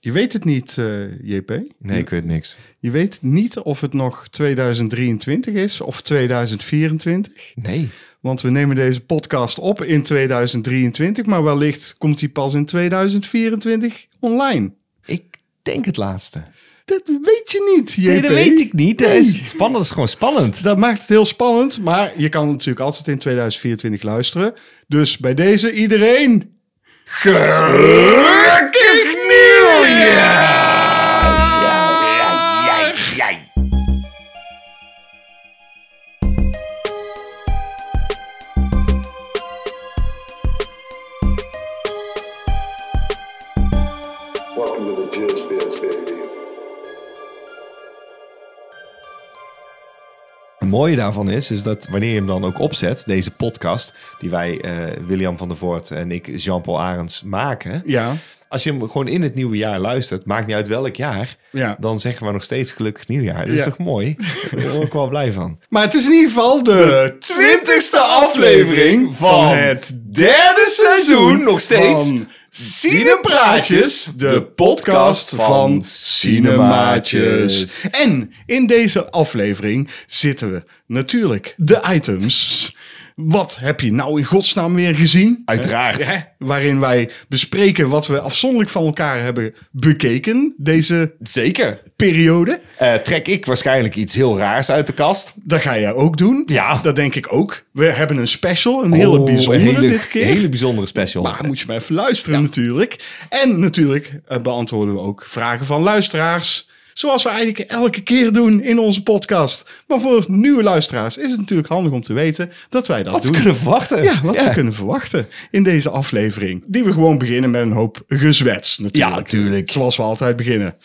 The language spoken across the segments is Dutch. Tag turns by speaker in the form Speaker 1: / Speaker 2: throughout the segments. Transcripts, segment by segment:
Speaker 1: Je weet het niet, eh, JP.
Speaker 2: Nee, ik weet niks.
Speaker 1: Je weet niet of het nog 2023 is of 2024.
Speaker 2: Nee.
Speaker 1: Want we nemen deze podcast op in 2023, maar wellicht komt die pas in 2024 online.
Speaker 2: Ik denk het laatste.
Speaker 1: Dat weet je niet, JP.
Speaker 2: Nee, dat weet ik niet. Dat
Speaker 1: Nee.
Speaker 2: is spannend. Dat is gewoon spannend.
Speaker 1: Dat maakt het heel spannend, maar je kan natuurlijk altijd in 2024 luisteren. Dus bij deze iedereen... Gelukkig nieuwjaar!
Speaker 3: Welcome to the Jizz Biz, baby.
Speaker 2: Het mooie daarvan is, is dat wanneer je hem dan ook opzet, deze podcast, die wij, eh, William van der Voort en ik, Jean-Paul Arends, maken.
Speaker 1: Ja,
Speaker 2: Als je hem gewoon in het nieuwe jaar luistert, maakt niet uit welk jaar,
Speaker 1: Ja.
Speaker 2: dan zeggen we nog steeds gelukkig nieuwjaar. Dat is
Speaker 1: Ja.
Speaker 2: toch mooi? Daar ben ik ook wel blij van.
Speaker 1: maar het is in ieder geval de twintigste aflevering van het
Speaker 2: derde
Speaker 1: seizoen nog steeds
Speaker 2: van
Speaker 1: Cinepraatjes, de podcast van Cinemaatjes. En in deze aflevering zitten we natuurlijk de items. Wat heb je nou in godsnaam weer gezien?
Speaker 2: Uiteraard.
Speaker 1: Hè? Waarin wij bespreken wat we afzonderlijk van elkaar hebben bekeken deze
Speaker 2: Zeker.
Speaker 1: periode.
Speaker 2: Eh, trek ik waarschijnlijk iets heel raars uit de kast.
Speaker 1: Dat ga jij ook doen.
Speaker 2: Ja.
Speaker 1: Dat denk ik ook. We hebben een special, een hele
Speaker 2: Oh,
Speaker 1: bijzondere
Speaker 2: een hele,
Speaker 1: dit keer.
Speaker 2: een hele bijzondere special.
Speaker 1: Maar moet je maar even luisteren natuurlijk. En natuurlijk eh, beantwoorden we ook vragen van luisteraars. Zoals we eigenlijk elke keer doen in onze podcast. Maar voor nieuwe luisteraars is het natuurlijk handig om te weten dat wij dat
Speaker 2: wat ze
Speaker 1: doen.
Speaker 2: kunnen verwachten.
Speaker 1: Ja, wat ze kunnen verwachten in deze aflevering. Die we gewoon beginnen met een hoop gezwets natuurlijk.
Speaker 2: Ja, tuurlijk.
Speaker 1: Zoals we altijd beginnen.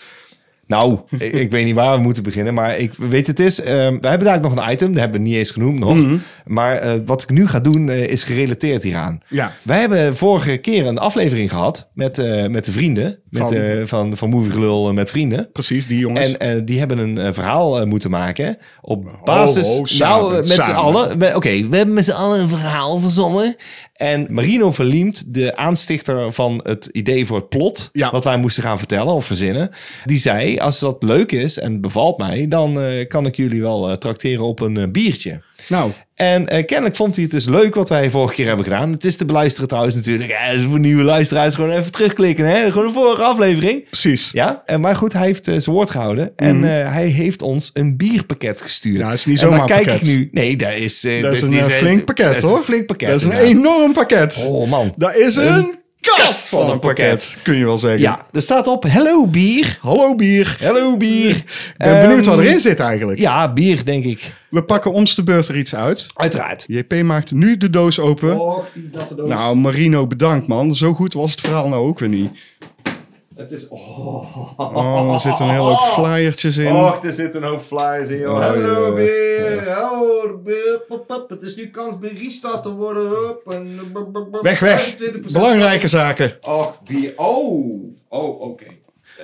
Speaker 2: Nou, ik, ik weet niet waar we moeten beginnen, maar ik weet het is. ehm, we hebben daar nog een item, dat hebben we niet eens genoemd nog.
Speaker 1: Mhm.
Speaker 2: Maar eh, wat ik nu ga doen eh, is gerelateerd hieraan.
Speaker 1: Ja.
Speaker 2: Wij hebben vorige keer een aflevering gehad met, eh, met de vrienden. Met,
Speaker 1: Van-
Speaker 2: van, van, van Movie Gelul eh, met vrienden.
Speaker 1: Precies, die jongens.
Speaker 2: En eh, die hebben een eh, verhaal eh, moeten maken op basis...
Speaker 1: ho, samen,
Speaker 2: nou, eh, met z'n
Speaker 1: samen.
Speaker 2: allen. We- Oké, we hebben met z'n allen een verhaal verzonnen. En Marino Verliemt, de aanstichter van het idee voor het plot...
Speaker 1: Ja.
Speaker 2: wat wij moesten gaan vertellen of verzinnen... die zei, als dat leuk is en bevalt mij... dan eh, kan ik jullie wel eh, trakteren op een eh, biertje.
Speaker 1: nou,
Speaker 2: En eh, kennelijk vond hij het dus leuk wat wij vorige keer hebben gedaan. Het is te beluisteren trouwens natuurlijk. Ja, dus voor nieuwe luisteraars gewoon even terugklikken. Hè? Gewoon de vorige aflevering.
Speaker 1: precies. Ja. Mhm.
Speaker 2: Ja, eh, maar goed, hij heeft eh, zijn woord gehouden. En eh, hij heeft ons een bierpakket gestuurd.
Speaker 1: Ja, dat is niet
Speaker 2: En dan
Speaker 1: zomaar een
Speaker 2: kijk
Speaker 1: pakket.
Speaker 2: ik nu. Nee, dat is... eh,
Speaker 1: Dat is een
Speaker 2: niet
Speaker 1: eh,
Speaker 2: zo-
Speaker 1: flink pakket,
Speaker 2: dat is een
Speaker 1: hoor.
Speaker 2: flink pakket.
Speaker 1: Dat is een
Speaker 2: inderdaad.
Speaker 1: enorm pakket.
Speaker 2: Oh, man.
Speaker 1: Dat is een, kast,
Speaker 2: kast
Speaker 1: van een pakket, kun je wel zeggen.
Speaker 2: Ja, er staat op hello bier.
Speaker 1: Hallo bier.
Speaker 2: Hello bier.
Speaker 1: Ik ben benieuwd wat erin zit eigenlijk.
Speaker 2: Ehm, Ja, bier denk ik.
Speaker 1: We pakken ons de beurt er iets uit.
Speaker 2: Uiteraard.
Speaker 1: JP maakt nu de doos open.
Speaker 2: Oh,
Speaker 1: Nou, Marino, bedankt man. Zo goed was het verhaal nou ook weer niet.
Speaker 2: Het is...
Speaker 1: Oh, er zitten een hele hoop flyertjes in.
Speaker 2: er zit een hoop flyers in,
Speaker 1: Oh, Hallo, ja.
Speaker 2: bier. Hallo, bier.
Speaker 4: Het is nu kans bij Riestad te worden. Hup, en eh, b- b- b-
Speaker 1: Weg, weg.
Speaker 4: 25%.
Speaker 1: Belangrijke zaken.
Speaker 4: Och, bier. Oh. Oh, oké.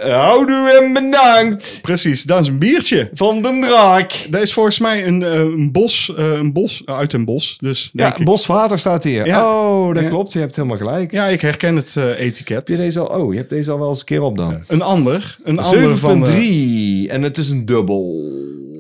Speaker 2: Houdoe en bedankt
Speaker 1: Precies, dat is een biertje.
Speaker 2: van de draak.
Speaker 1: Dat is volgens mij een, eh, een bos, eh, een bos eh, uit een bos. Dus denk
Speaker 2: Ja,
Speaker 1: ik.
Speaker 2: boswater staat hier.
Speaker 1: Ja.
Speaker 2: Oh, dat
Speaker 1: Ja.
Speaker 2: klopt. Je hebt helemaal gelijk.
Speaker 1: ja, ik herken het eh,
Speaker 2: Heb je
Speaker 1: etiket.
Speaker 2: deze al? Oh, je hebt deze al wel eens een keer op dan.
Speaker 1: Een ander. Een ander van... eh,
Speaker 2: 7.3 en het is een dubbel.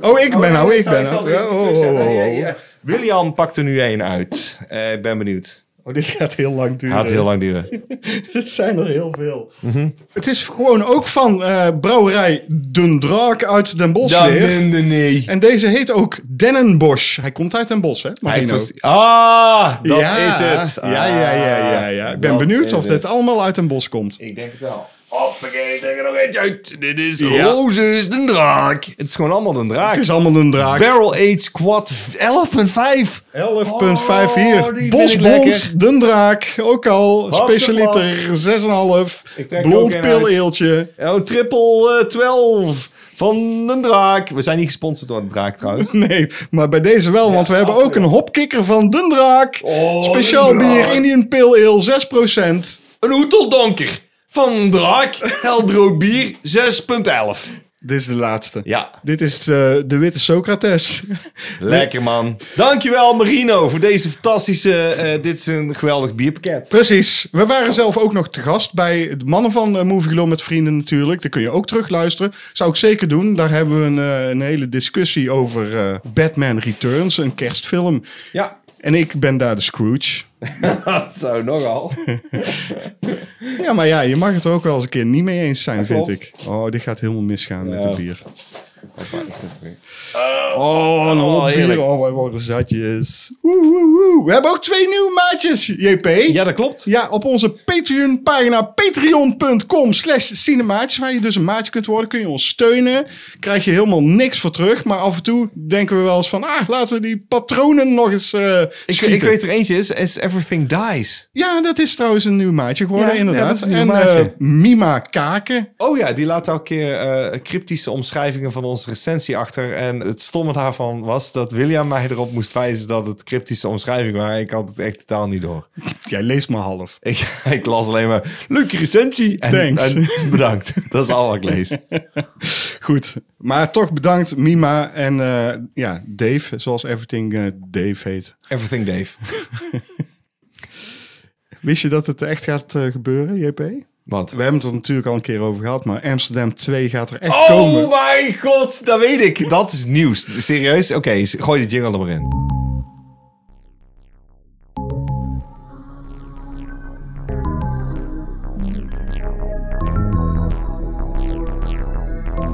Speaker 1: Oh, ik ben
Speaker 2: Oh,
Speaker 1: nou,
Speaker 2: ja,
Speaker 1: ik
Speaker 2: zal-
Speaker 1: ben
Speaker 2: zal
Speaker 1: nou.
Speaker 2: deze
Speaker 1: Oh, oh,
Speaker 2: terugzetten. Ja,
Speaker 1: oh, oh.
Speaker 2: ja. William pakt er nu één uit. Eh, Ik ben benieuwd.
Speaker 1: Oh, dit gaat heel lang duren.
Speaker 2: Gaat heel lang duren.
Speaker 1: Dit zijn er heel veel.
Speaker 2: Mhm.
Speaker 1: Het is gewoon ook van eh, brouwerij Den Draak uit Den Bosch weer.
Speaker 2: nee.
Speaker 1: En deze heet ook Dennenbosch. Hij komt uit Den Bosch, hè?
Speaker 2: Hij heeft
Speaker 1: Marino?
Speaker 2: dus- ah, dat
Speaker 1: Ja.
Speaker 2: is het. Ah,
Speaker 1: ja, ja, ja, ja, ja. Ik ben benieuwd of dit
Speaker 2: dit.
Speaker 1: allemaal uit Den Bosch komt.
Speaker 2: Ik denk het wel. Hoppakee, ik denk er nog eentje uit. Dit is
Speaker 1: Ja.
Speaker 2: Rozes de Draak. Het is gewoon allemaal een draak.
Speaker 1: Het is allemaal Den Draak. 11.5
Speaker 2: Barrel Age Quad 11.5. Oh,
Speaker 1: hier.
Speaker 2: die
Speaker 1: Bos
Speaker 2: vind ik lekker.
Speaker 1: Blond, Den Draak. Ook al.
Speaker 2: Hapse
Speaker 1: Specialiter 6,5.
Speaker 2: Ik trek er ook
Speaker 1: Blond
Speaker 2: een
Speaker 1: pilleeltje.
Speaker 2: Oh, triple eh, 12 van de draak. We zijn niet gesponsord door de draak trouwens.
Speaker 1: Nee, maar bij deze wel, want we hebben ook een hopkikker van Den Draak.
Speaker 2: Oh,
Speaker 1: Speciaal
Speaker 2: Den Draak.
Speaker 1: bier, Indian Pale Ale, 6%.
Speaker 2: Een hoeteldonker van de draak. Heldrood bier 6.11.
Speaker 1: Dit is de laatste.
Speaker 2: Ja,
Speaker 1: Dit is eh, de witte Socrates.
Speaker 2: lekker man. Dankjewel Marino voor deze fantastische... eh, dit is een geweldig bierpakket.
Speaker 1: Precies. We waren zelf ook nog te gast bij de mannen van eh, Movie Glow met vrienden natuurlijk. Daar kun je ook terugluisteren. Zou ik zeker doen. Daar hebben we een, eh, een hele discussie over eh, Batman Returns, een kerstfilm.
Speaker 2: Ja,
Speaker 1: En ik ben daar de Scrooge.
Speaker 2: zo nogal.
Speaker 1: Ja, maar ja, je mag het er ook wel eens een keer niet mee eens zijn, vind
Speaker 2: klopt.
Speaker 1: ik. Oh, dit gaat helemaal misgaan met
Speaker 2: Ja.
Speaker 1: het bier.
Speaker 2: Hoppa, is dit weer.
Speaker 1: Oh, een
Speaker 2: Eh, oh,
Speaker 1: hop bier.
Speaker 2: heerlijk.
Speaker 1: Oh, wij worden zatjes. Woe, woe, woe. We hebben ook twee nieuwe maatjes, JP.
Speaker 2: Ja, dat klopt.
Speaker 1: Ja, op onze Patreon-pagina patreon.com slash cinemaatjes, waar je dus een maatje kunt worden, kun je ons steunen. Krijg je helemaal niks voor terug, maar af en toe denken we wel eens van, ah, laten we die patronen nog eens eh
Speaker 2: Ik,
Speaker 1: schieten.
Speaker 2: ik weet er eentje is, is Everything Dies.
Speaker 1: Ja, dat is trouwens een nieuw maatje geworden,
Speaker 2: Ja,
Speaker 1: inderdaad.
Speaker 2: ja, dat is een nieuw
Speaker 1: en
Speaker 2: maatje.
Speaker 1: eh, Mima Kaken.
Speaker 2: Oh ja, die laat elke keer eh, cryptische omschrijvingen van onze recensie achter. En het stomme daarvan was dat William mij erop moest wijzen dat het cryptische omschrijving waren. Ik had het echt totaal niet door.
Speaker 1: Jij leest maar half.
Speaker 2: Ik, ik las alleen maar, leuke recensie. En,
Speaker 1: Thanks.
Speaker 2: en bedankt. Dat is al wat ik lees.
Speaker 1: Goed. Maar toch bedankt Mima en eh, ja, Dave, zoals Everything eh, Dave heet.
Speaker 2: Everything Dave.
Speaker 1: Wist je dat het echt gaat eh, gebeuren, JP?
Speaker 2: Wat?
Speaker 1: We hebben het er natuurlijk al een keer over gehad, maar Amsterdam 2 gaat er echt komen.
Speaker 2: Oh mijn god, dat weet ik. Dat is nieuws. Serieus? Oké, gooi de jingle er maar in.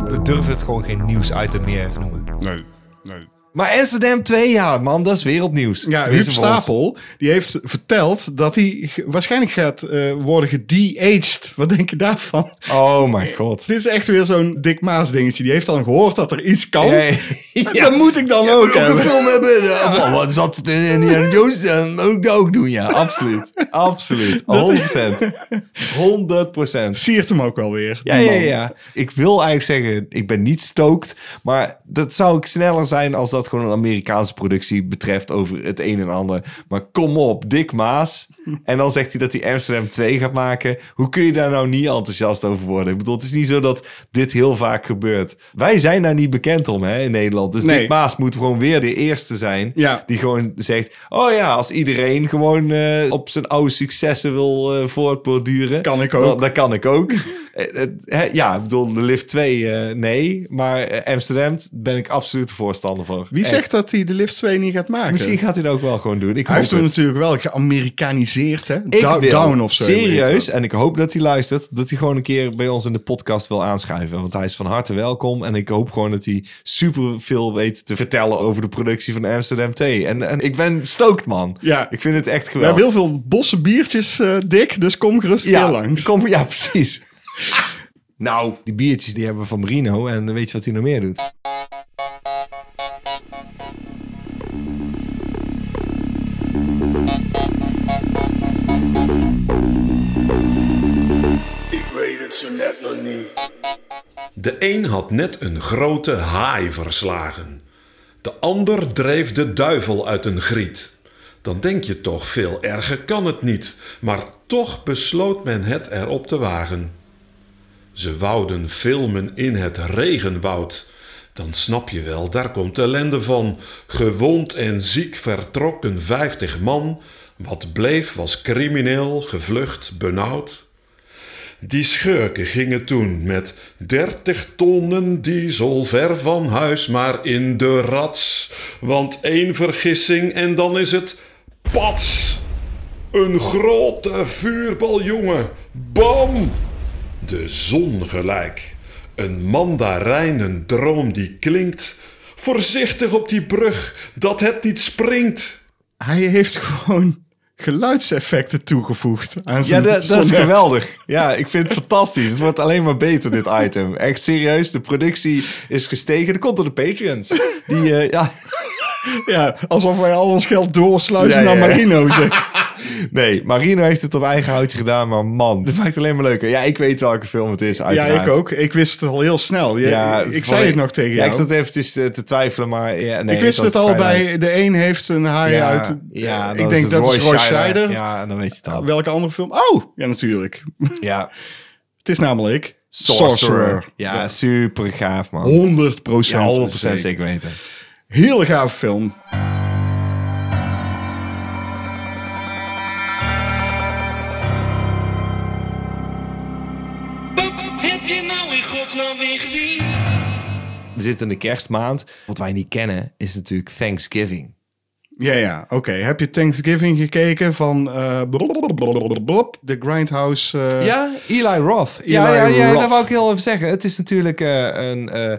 Speaker 2: We durven het gewoon geen nieuwsitem meer te noemen.
Speaker 1: Nee, nee.
Speaker 2: Maar Amsterdam 2 jaar, man, dat is wereldnieuws.
Speaker 1: Ja, Huub
Speaker 2: Tenminste voor ons.
Speaker 1: Stapel, die heeft verteld dat hij ge- waarschijnlijk gaat eh, worden gede-aged. Wat denk je daarvan?
Speaker 2: Oh mijn god.
Speaker 1: Dit is echt weer zo'n Dick Maas dingetje. Die heeft dan gehoord dat er iets kan.
Speaker 2: Hey.
Speaker 1: Dat moet ik dan ook hebben.
Speaker 2: hebben. Ja, van, wat zat het in eh, Indiana Jones? Dan moet ik dat ook doen, ja. Absoluut. Absoluut. 100%. 100%.
Speaker 1: Siert hem ook wel weer.
Speaker 2: Ja,
Speaker 1: die
Speaker 2: ja,
Speaker 1: man.
Speaker 2: ja. Ik wil eigenlijk zeggen, ik ben niet stookt. Maar dat zou ik sneller zijn als dat gewoon een Amerikaanse productie betreft over het een en ander. Maar kom op, Dick Maas. En dan zegt hij dat hij Amsterdam 2 gaat maken. Hoe kun je daar nou niet enthousiast over worden? Ik bedoel, het is niet zo dat dit heel vaak gebeurt. Wij zijn daar niet bekend om hè, in Nederland. Dus
Speaker 1: Nee.
Speaker 2: Dick Maas moet gewoon weer de eerste zijn.
Speaker 1: Ja.
Speaker 2: Die gewoon zegt, oh ja, als iedereen gewoon eh, op zijn oude successen wil eh voortborduren.
Speaker 1: Kan ik ook.
Speaker 2: dan- dat kan ik ook. Eh, eh, hè, ja, ik bedoel, de lift 2, eh, nee. Maar eh, Amsterdam ben ik absoluut de voorstander van.
Speaker 1: Wie zegt dat hij de Lift 2 niet gaat maken?
Speaker 2: Misschien gaat hij dat ook wel gewoon doen. Ik
Speaker 1: hij heeft
Speaker 2: hoop
Speaker 1: hem
Speaker 2: het.
Speaker 1: natuurlijk wel geamerikaniseerd, hè?
Speaker 2: Ik
Speaker 1: Dow-
Speaker 2: wil
Speaker 1: Down of zo. heet
Speaker 2: Serieus,
Speaker 1: dat.
Speaker 2: en ik hoop dat hij luistert, dat hij gewoon een keer bij ons in de podcast wil aanschuiven. Want hij is van harte welkom. En ik hoop gewoon dat hij super veel weet te vertellen over de productie van Amsterdam 2. En, en ik ben stookt, man.
Speaker 1: Ja.
Speaker 2: Ik vind het echt
Speaker 1: We hebben
Speaker 2: geweldig.
Speaker 1: heel veel bossen biertjes, eh Dick. Dus kom gerust
Speaker 2: ja,
Speaker 1: heel langs.
Speaker 2: Kom, ja, precies. nou, die biertjes die hebben we van Marino. En weet je wat hij nog meer doet?
Speaker 5: De een had net een grote haai verslagen. De ander dreef de duivel uit een griet. Dan denk je toch, veel erger kan het niet, maar toch besloot men het erop te wagen. Ze wouden filmen in het regenwoud. Dan snap je wel, daar komt ellende van. Gewond en ziek vertrokken vijftig man. Wat bleef was crimineel, gevlucht, benauwd. Die schurken gingen toen met 30 tonnen diesel ver van huis, maar in de rats. Want één vergissing en dan is het pats. Een grote vuurbal, jongen. Bam! De zon gelijk. Een mandarijnendroom die klinkt. Voorzichtig op die brug, dat het niet springt.
Speaker 1: Hij heeft gewoon geluidseffecten toegevoegd aan
Speaker 2: Ja,
Speaker 1: zijn
Speaker 2: dat, dat is
Speaker 1: sonnet.
Speaker 2: geweldig. Ja, ik vind het fantastisch. Het wordt alleen maar beter, dit item. Echt serieus, de productie is gestegen. Dat komt door de Patreons. Die, eh, ja,
Speaker 1: Ja, alsof wij al ons geld doorsluizen
Speaker 2: Ja, ja,
Speaker 1: naar
Speaker 2: ja.
Speaker 1: Marino. Zeg.
Speaker 2: nee, Marino heeft het op eigen houtje gedaan, maar man, dit maakt het alleen maar leuker. Ja, ik weet welke film het is,
Speaker 1: ja,
Speaker 2: uiteraard.
Speaker 1: ik ook. Ik wist het al heel snel. Je-
Speaker 2: Ja,
Speaker 1: ik
Speaker 2: van-
Speaker 1: zei het nog tegen
Speaker 2: Ja,
Speaker 1: jou.
Speaker 2: ik zat eventjes eh, te twijfelen, maar ja, nee,
Speaker 1: ik wist
Speaker 2: was
Speaker 1: het al
Speaker 2: vrij leuk.
Speaker 1: bij de een heeft een haai
Speaker 2: Ja,
Speaker 1: uit.
Speaker 2: ja,
Speaker 1: ik denk dat is Roy Scheider.
Speaker 2: Ja, dan weet je het al.
Speaker 1: Welke andere film? Oh, ja natuurlijk.
Speaker 2: Ja,
Speaker 1: Het is namelijk Sorcerer.
Speaker 2: Ja, super gaaf, man.
Speaker 1: 100 procent.
Speaker 2: Ja, 100% zeker weten.
Speaker 1: Hele gave film.
Speaker 6: Wat heb je nou in godsnaam weer gezien?
Speaker 2: We zitten in de kerstmaand. Wat wij niet kennen is natuurlijk Thanksgiving.
Speaker 1: Ja, ja, oké. Heb je Thanksgiving gekeken van eh, blablabla, de Grindhouse? eh,
Speaker 2: Ja, Eli Roth. ja,
Speaker 1: Eli
Speaker 2: ja, ja
Speaker 1: Roth.
Speaker 2: dat wou ik heel even zeggen. Het is natuurlijk eh, een... eh,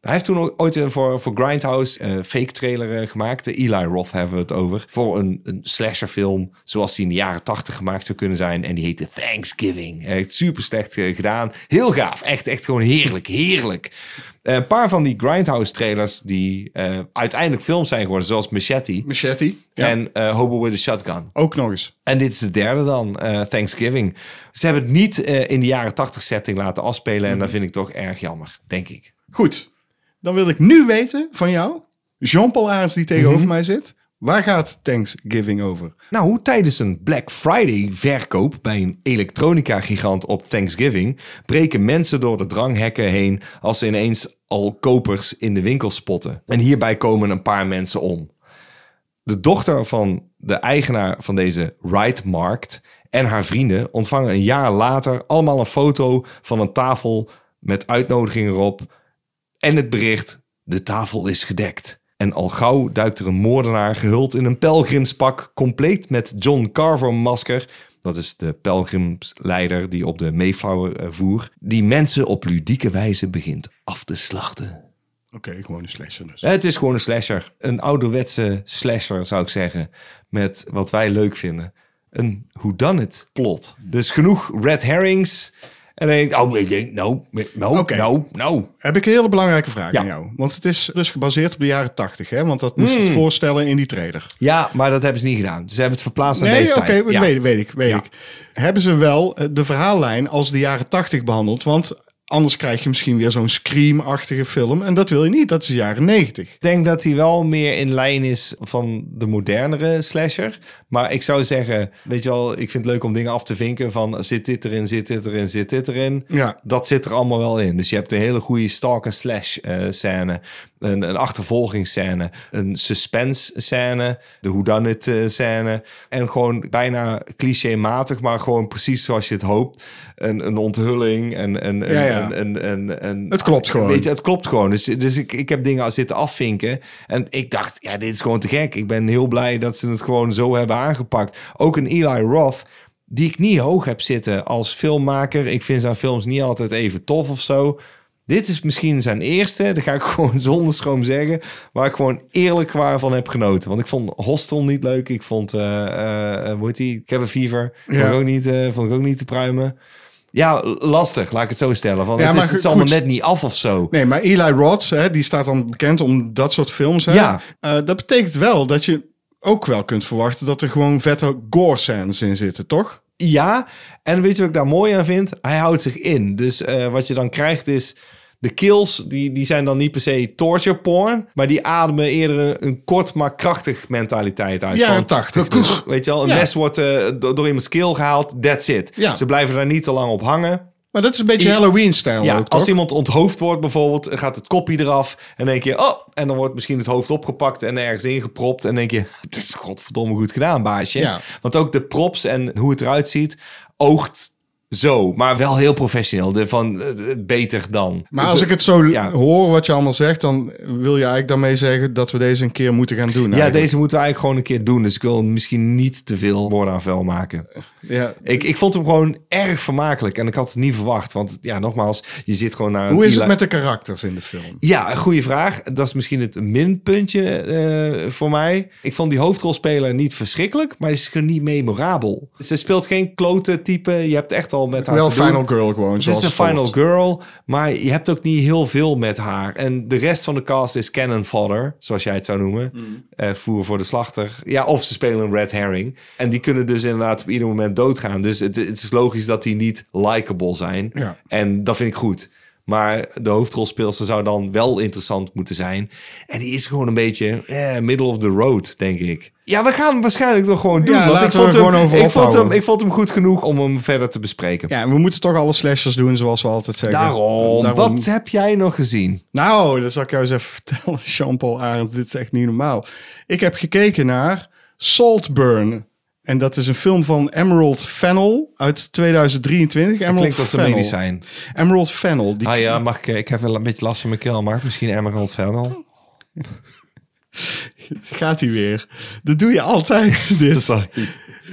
Speaker 2: hij heeft toen ook ooit een voor, voor Grindhouse eh, fake trailer eh, gemaakt. De Eli Roth hebben we het over. Voor een, een slasherfilm zoals die in de jaren tachtig gemaakt zou kunnen zijn. En die heette Thanksgiving. Echt super slecht eh, gedaan. Heel gaaf. Echt, echt gewoon heerlijk. Heerlijk. Eh, een paar van die Grindhouse trailers die eh, uiteindelijk films zijn geworden. Zoals Machete.
Speaker 1: Machete. Ja.
Speaker 2: En eh, Hobo with a Shotgun.
Speaker 1: Ook nog eens.
Speaker 2: En dit is de derde dan, eh, Thanksgiving. Ze hebben het niet eh, in de jaren 80 setting laten afspelen. En dat vind ik toch erg jammer, denk ik.
Speaker 1: Goed. Dan wil ik nu weten van jou, Jean-Paul Arends die tegenover
Speaker 2: Mhm.
Speaker 1: mij zit. Waar gaat Thanksgiving over?
Speaker 2: Nou, hoe tijdens een Black Friday verkoop bij een elektronica gigant op Thanksgiving... breken mensen door de dranghekken heen als ze ineens al kopers in de winkel spotten. En hierbij komen een paar mensen om. De dochter van de eigenaar van deze Ride Markt en haar vrienden ontvangen een jaar later allemaal een foto van een tafel met uitnodigingen erop en het bericht: de tafel is gedekt. En al gauw duikt er een moordenaar gehuld in een pelgrimspak, compleet met John Carver-masker. Dat is de pelgrimsleider die op de Mayflower eh, voer. Die mensen op ludieke wijze begint af te slachten.
Speaker 1: Oké, gewoon een slasher dus.
Speaker 2: Het is gewoon een slasher. Een ouderwetse slasher, zou ik zeggen. Met wat wij leuk vinden. Een whodunit plot. Dus genoeg red herrings. En dan denk ik, oh, ik denk, nou, no, no,
Speaker 1: Oké.
Speaker 2: no, no.
Speaker 1: Heb ik een hele belangrijke vraag
Speaker 2: Ja.
Speaker 1: aan jou. Want het is dus gebaseerd op de jaren 80, hè? Want dat moest
Speaker 2: Hmm.
Speaker 1: je het voorstellen in die trailer.
Speaker 2: Ja, maar dat hebben ze niet gedaan. Ze hebben het verplaatst naar
Speaker 1: Nee,
Speaker 2: deze
Speaker 1: oké,
Speaker 2: tijd. Ja.
Speaker 1: weet, weet ik, weet
Speaker 2: Ja.
Speaker 1: ik. Hebben ze wel eh, de verhaallijn als de jaren 80 behandeld? Want anders krijg je misschien weer zo'n Scream-achtige film. En dat wil je niet, dat is de jaren 90.
Speaker 2: Ik denk dat hij wel meer in lijn is van de modernere slasher. Maar ik zou zeggen, weet je wel, ik vind het leuk om dingen af te vinken van zit dit erin, zit dit erin, zit dit erin.
Speaker 1: Ja.
Speaker 2: Dat zit er allemaal wel in. Dus je hebt een hele goede stalker slash eh, scène, een, een achtervolgingsscène, een suspense scène, de whodunit eh, scène. En gewoon bijna clichématig, maar gewoon precies zoals je het hoopt. Een, een onthulling en een, een,
Speaker 1: Ja, ja.
Speaker 2: een- een- een- een-
Speaker 1: Het klopt gewoon.
Speaker 2: Weet je, het klopt gewoon. Dus, dus ik, ik heb dingen al zitten afvinken. En ik dacht, ja, dit is gewoon te gek. Ik ben heel blij dat ze het gewoon zo hebben aangepakt. Ook een Eli Roth, die ik niet hoog heb zitten als filmmaker. Ik vind zijn films niet altijd even tof of zo. Dit is misschien zijn eerste, dat ga ik gewoon zonder schroom zeggen. Waar ik gewoon eerlijk waar van heb genoten. Want ik vond Hostel niet leuk. Ik vond, eh eh, eh, hoe heet die? Ik heb een fever. Vond,
Speaker 1: Ja.
Speaker 2: ik ook niet, eh, vond ik ook niet te pruimen. Ja, lastig, laat ik het zo stellen. Want
Speaker 1: Ja,
Speaker 2: het, is,
Speaker 1: maar
Speaker 2: het is
Speaker 1: goed.
Speaker 2: allemaal net niet af of zo.
Speaker 1: Nee, maar Eli Roth, hè, die staat dan bekend om dat soort films. Hè?
Speaker 2: Ja.
Speaker 1: Eh, dat betekent wel dat je ook wel kunt verwachten dat er gewoon vette gore-scènes in zitten, toch?
Speaker 2: Ja, en weet je wat ik daar mooi aan vind? Hij houdt zich in. Dus eh, wat je dan krijgt is... De kills, die, die zijn dan niet per se torture porn... maar die ademen eerder een, een kort maar krachtig mentaliteit uit.
Speaker 1: Jaren
Speaker 2: Van,
Speaker 1: 80
Speaker 2: "Kuch",
Speaker 1: dus.
Speaker 2: Weet je wel, een
Speaker 1: Ja.
Speaker 2: mes wordt eh, do- door iemands keel gehaald, that's it.
Speaker 1: Ja.
Speaker 2: Ze blijven daar niet te lang op hangen.
Speaker 1: Maar dat is een beetje
Speaker 2: I-
Speaker 1: Halloween-stijl
Speaker 2: Ja,
Speaker 1: ook, toch?
Speaker 2: als iemand onthoofd wordt bijvoorbeeld, gaat het kopje eraf. En denk je, oh, en dan wordt misschien het hoofd opgepakt en ergens ingepropt. En denk je, het is godverdomme goed gedaan, baasje.
Speaker 1: Ja.
Speaker 2: Want ook de props en hoe het eruit ziet, oogt zo. Maar wel heel professioneel. De van, eh, eh, beter dan.
Speaker 1: Maar
Speaker 2: Dus,
Speaker 1: als ik het zo
Speaker 2: ja.
Speaker 1: hoor wat je allemaal zegt, dan wil je eigenlijk daarmee zeggen dat we deze een keer moeten gaan doen.
Speaker 2: Ja,
Speaker 1: eigenlijk.
Speaker 2: eh, deze moeten we eigenlijk gewoon een keer doen. Dus ik wil misschien niet te veel woorden aan vuil maken.
Speaker 1: Ja.
Speaker 2: Ik, ik vond hem gewoon erg vermakelijk. En ik had het niet verwacht. Want ja, nogmaals, je zit gewoon naar... een
Speaker 1: Hoe is het
Speaker 2: Eli-
Speaker 1: met de karakters in de film?
Speaker 2: Ehm, Ja, een goede vraag. Dat is misschien het minpuntje eh, voor mij. Ik vond die hoofdrolspeler niet verschrikkelijk, maar die is gewoon niet memorabel. Ze speelt geen klote type. Je hebt echt al met haar
Speaker 1: Wel
Speaker 2: te doen.
Speaker 1: Final Girl gewoon.
Speaker 2: Het
Speaker 1: zoals
Speaker 2: is een
Speaker 1: het hoort.
Speaker 2: final girl, maar je hebt ook niet heel veel met haar. En de rest van de cast is cannon fodder, zoals jij het zou noemen. Eh, voer voor de slachter. Ja, of ze spelen een red herring. En die kunnen dus inderdaad op ieder moment doodgaan. Dus het, het is logisch dat die niet likable zijn.
Speaker 1: Ja.
Speaker 2: En dat vind ik goed. Maar de hoofdrolspeelster zou dan wel interessant moeten zijn. En die is gewoon een beetje eh, middle of the road, denk ik. Ja, we gaan hem waarschijnlijk nog gewoon doen.
Speaker 1: Ja,
Speaker 2: want
Speaker 1: laten
Speaker 2: ik
Speaker 1: we
Speaker 2: vond,
Speaker 1: er
Speaker 2: hem,
Speaker 1: gewoon over
Speaker 2: ik, vond hem,
Speaker 1: ophouden.
Speaker 2: ik vond hem goed genoeg om hem verder te bespreken.
Speaker 1: Ja, en we moeten toch alle slashers doen zoals we altijd zeggen.
Speaker 2: Daarom,
Speaker 1: Daarom-
Speaker 2: wat heb jij nog gezien?
Speaker 1: Nou, dat zal ik jou eens even vertellen, Jean-Paul Arends. Dit is echt niet normaal. Ik heb gekeken naar Saltburn. En dat is een film van Emerald Fennel uit 2023. Emerald
Speaker 2: Klinkt als een
Speaker 1: Fennel.
Speaker 2: medicijn.
Speaker 1: Emerald Fennel. Die
Speaker 2: Ah ja, mag ik, eh, ik heb wel een beetje last van mijn keel, maar misschien Emerald Fennel.
Speaker 1: gaat hij weer. Dat doe je altijd. Dit.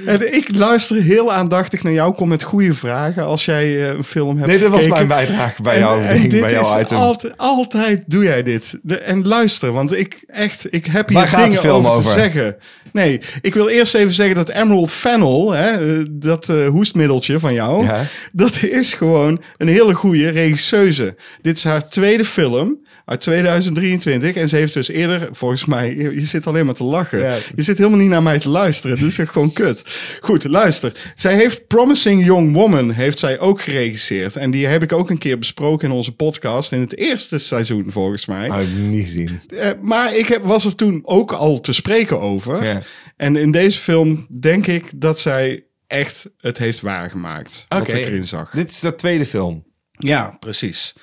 Speaker 1: En ik luister heel aandachtig naar jou. Kom met goede vragen als jij eh, een film hebt
Speaker 2: Nee, dat was
Speaker 1: gekeken.
Speaker 2: mijn bijdrage bij
Speaker 1: En-
Speaker 2: jou,
Speaker 1: en dit
Speaker 2: bij jouw
Speaker 1: is
Speaker 2: item.
Speaker 1: Altijd, altijd doe jij dit. De- en luister, want ik echt, ik heb hier
Speaker 2: Waar gaat de
Speaker 1: dingen
Speaker 2: film
Speaker 1: over,
Speaker 2: over?
Speaker 1: te zeggen. Nee, ik wil eerst even zeggen dat Emerald Fennel, hè, eh, dat eh, hoestmiddeltje van jou,
Speaker 2: Ja.
Speaker 1: dat is gewoon een hele goede regisseuse. Dit is haar tweede film. Uit 2023. En ze heeft dus eerder, volgens mij, je je zit alleen maar te lachen.
Speaker 2: Ja.
Speaker 1: Je zit helemaal niet naar mij te luisteren. Dit is echt gewoon kut. Goed, luister. Zij heeft Promising Young Woman heeft zij ook geregisseerd. En die heb ik ook een keer besproken in onze podcast. In het eerste seizoen, volgens mij.
Speaker 2: heb ik niet gezien.
Speaker 1: Eh, maar ik heb, was er toen ook al te spreken over.
Speaker 2: Ja.
Speaker 1: En in deze film denk ik dat zij echt het heeft waargemaakt. Wat ik erin zag.
Speaker 2: Dit is de tweede film.
Speaker 1: Ja, precies.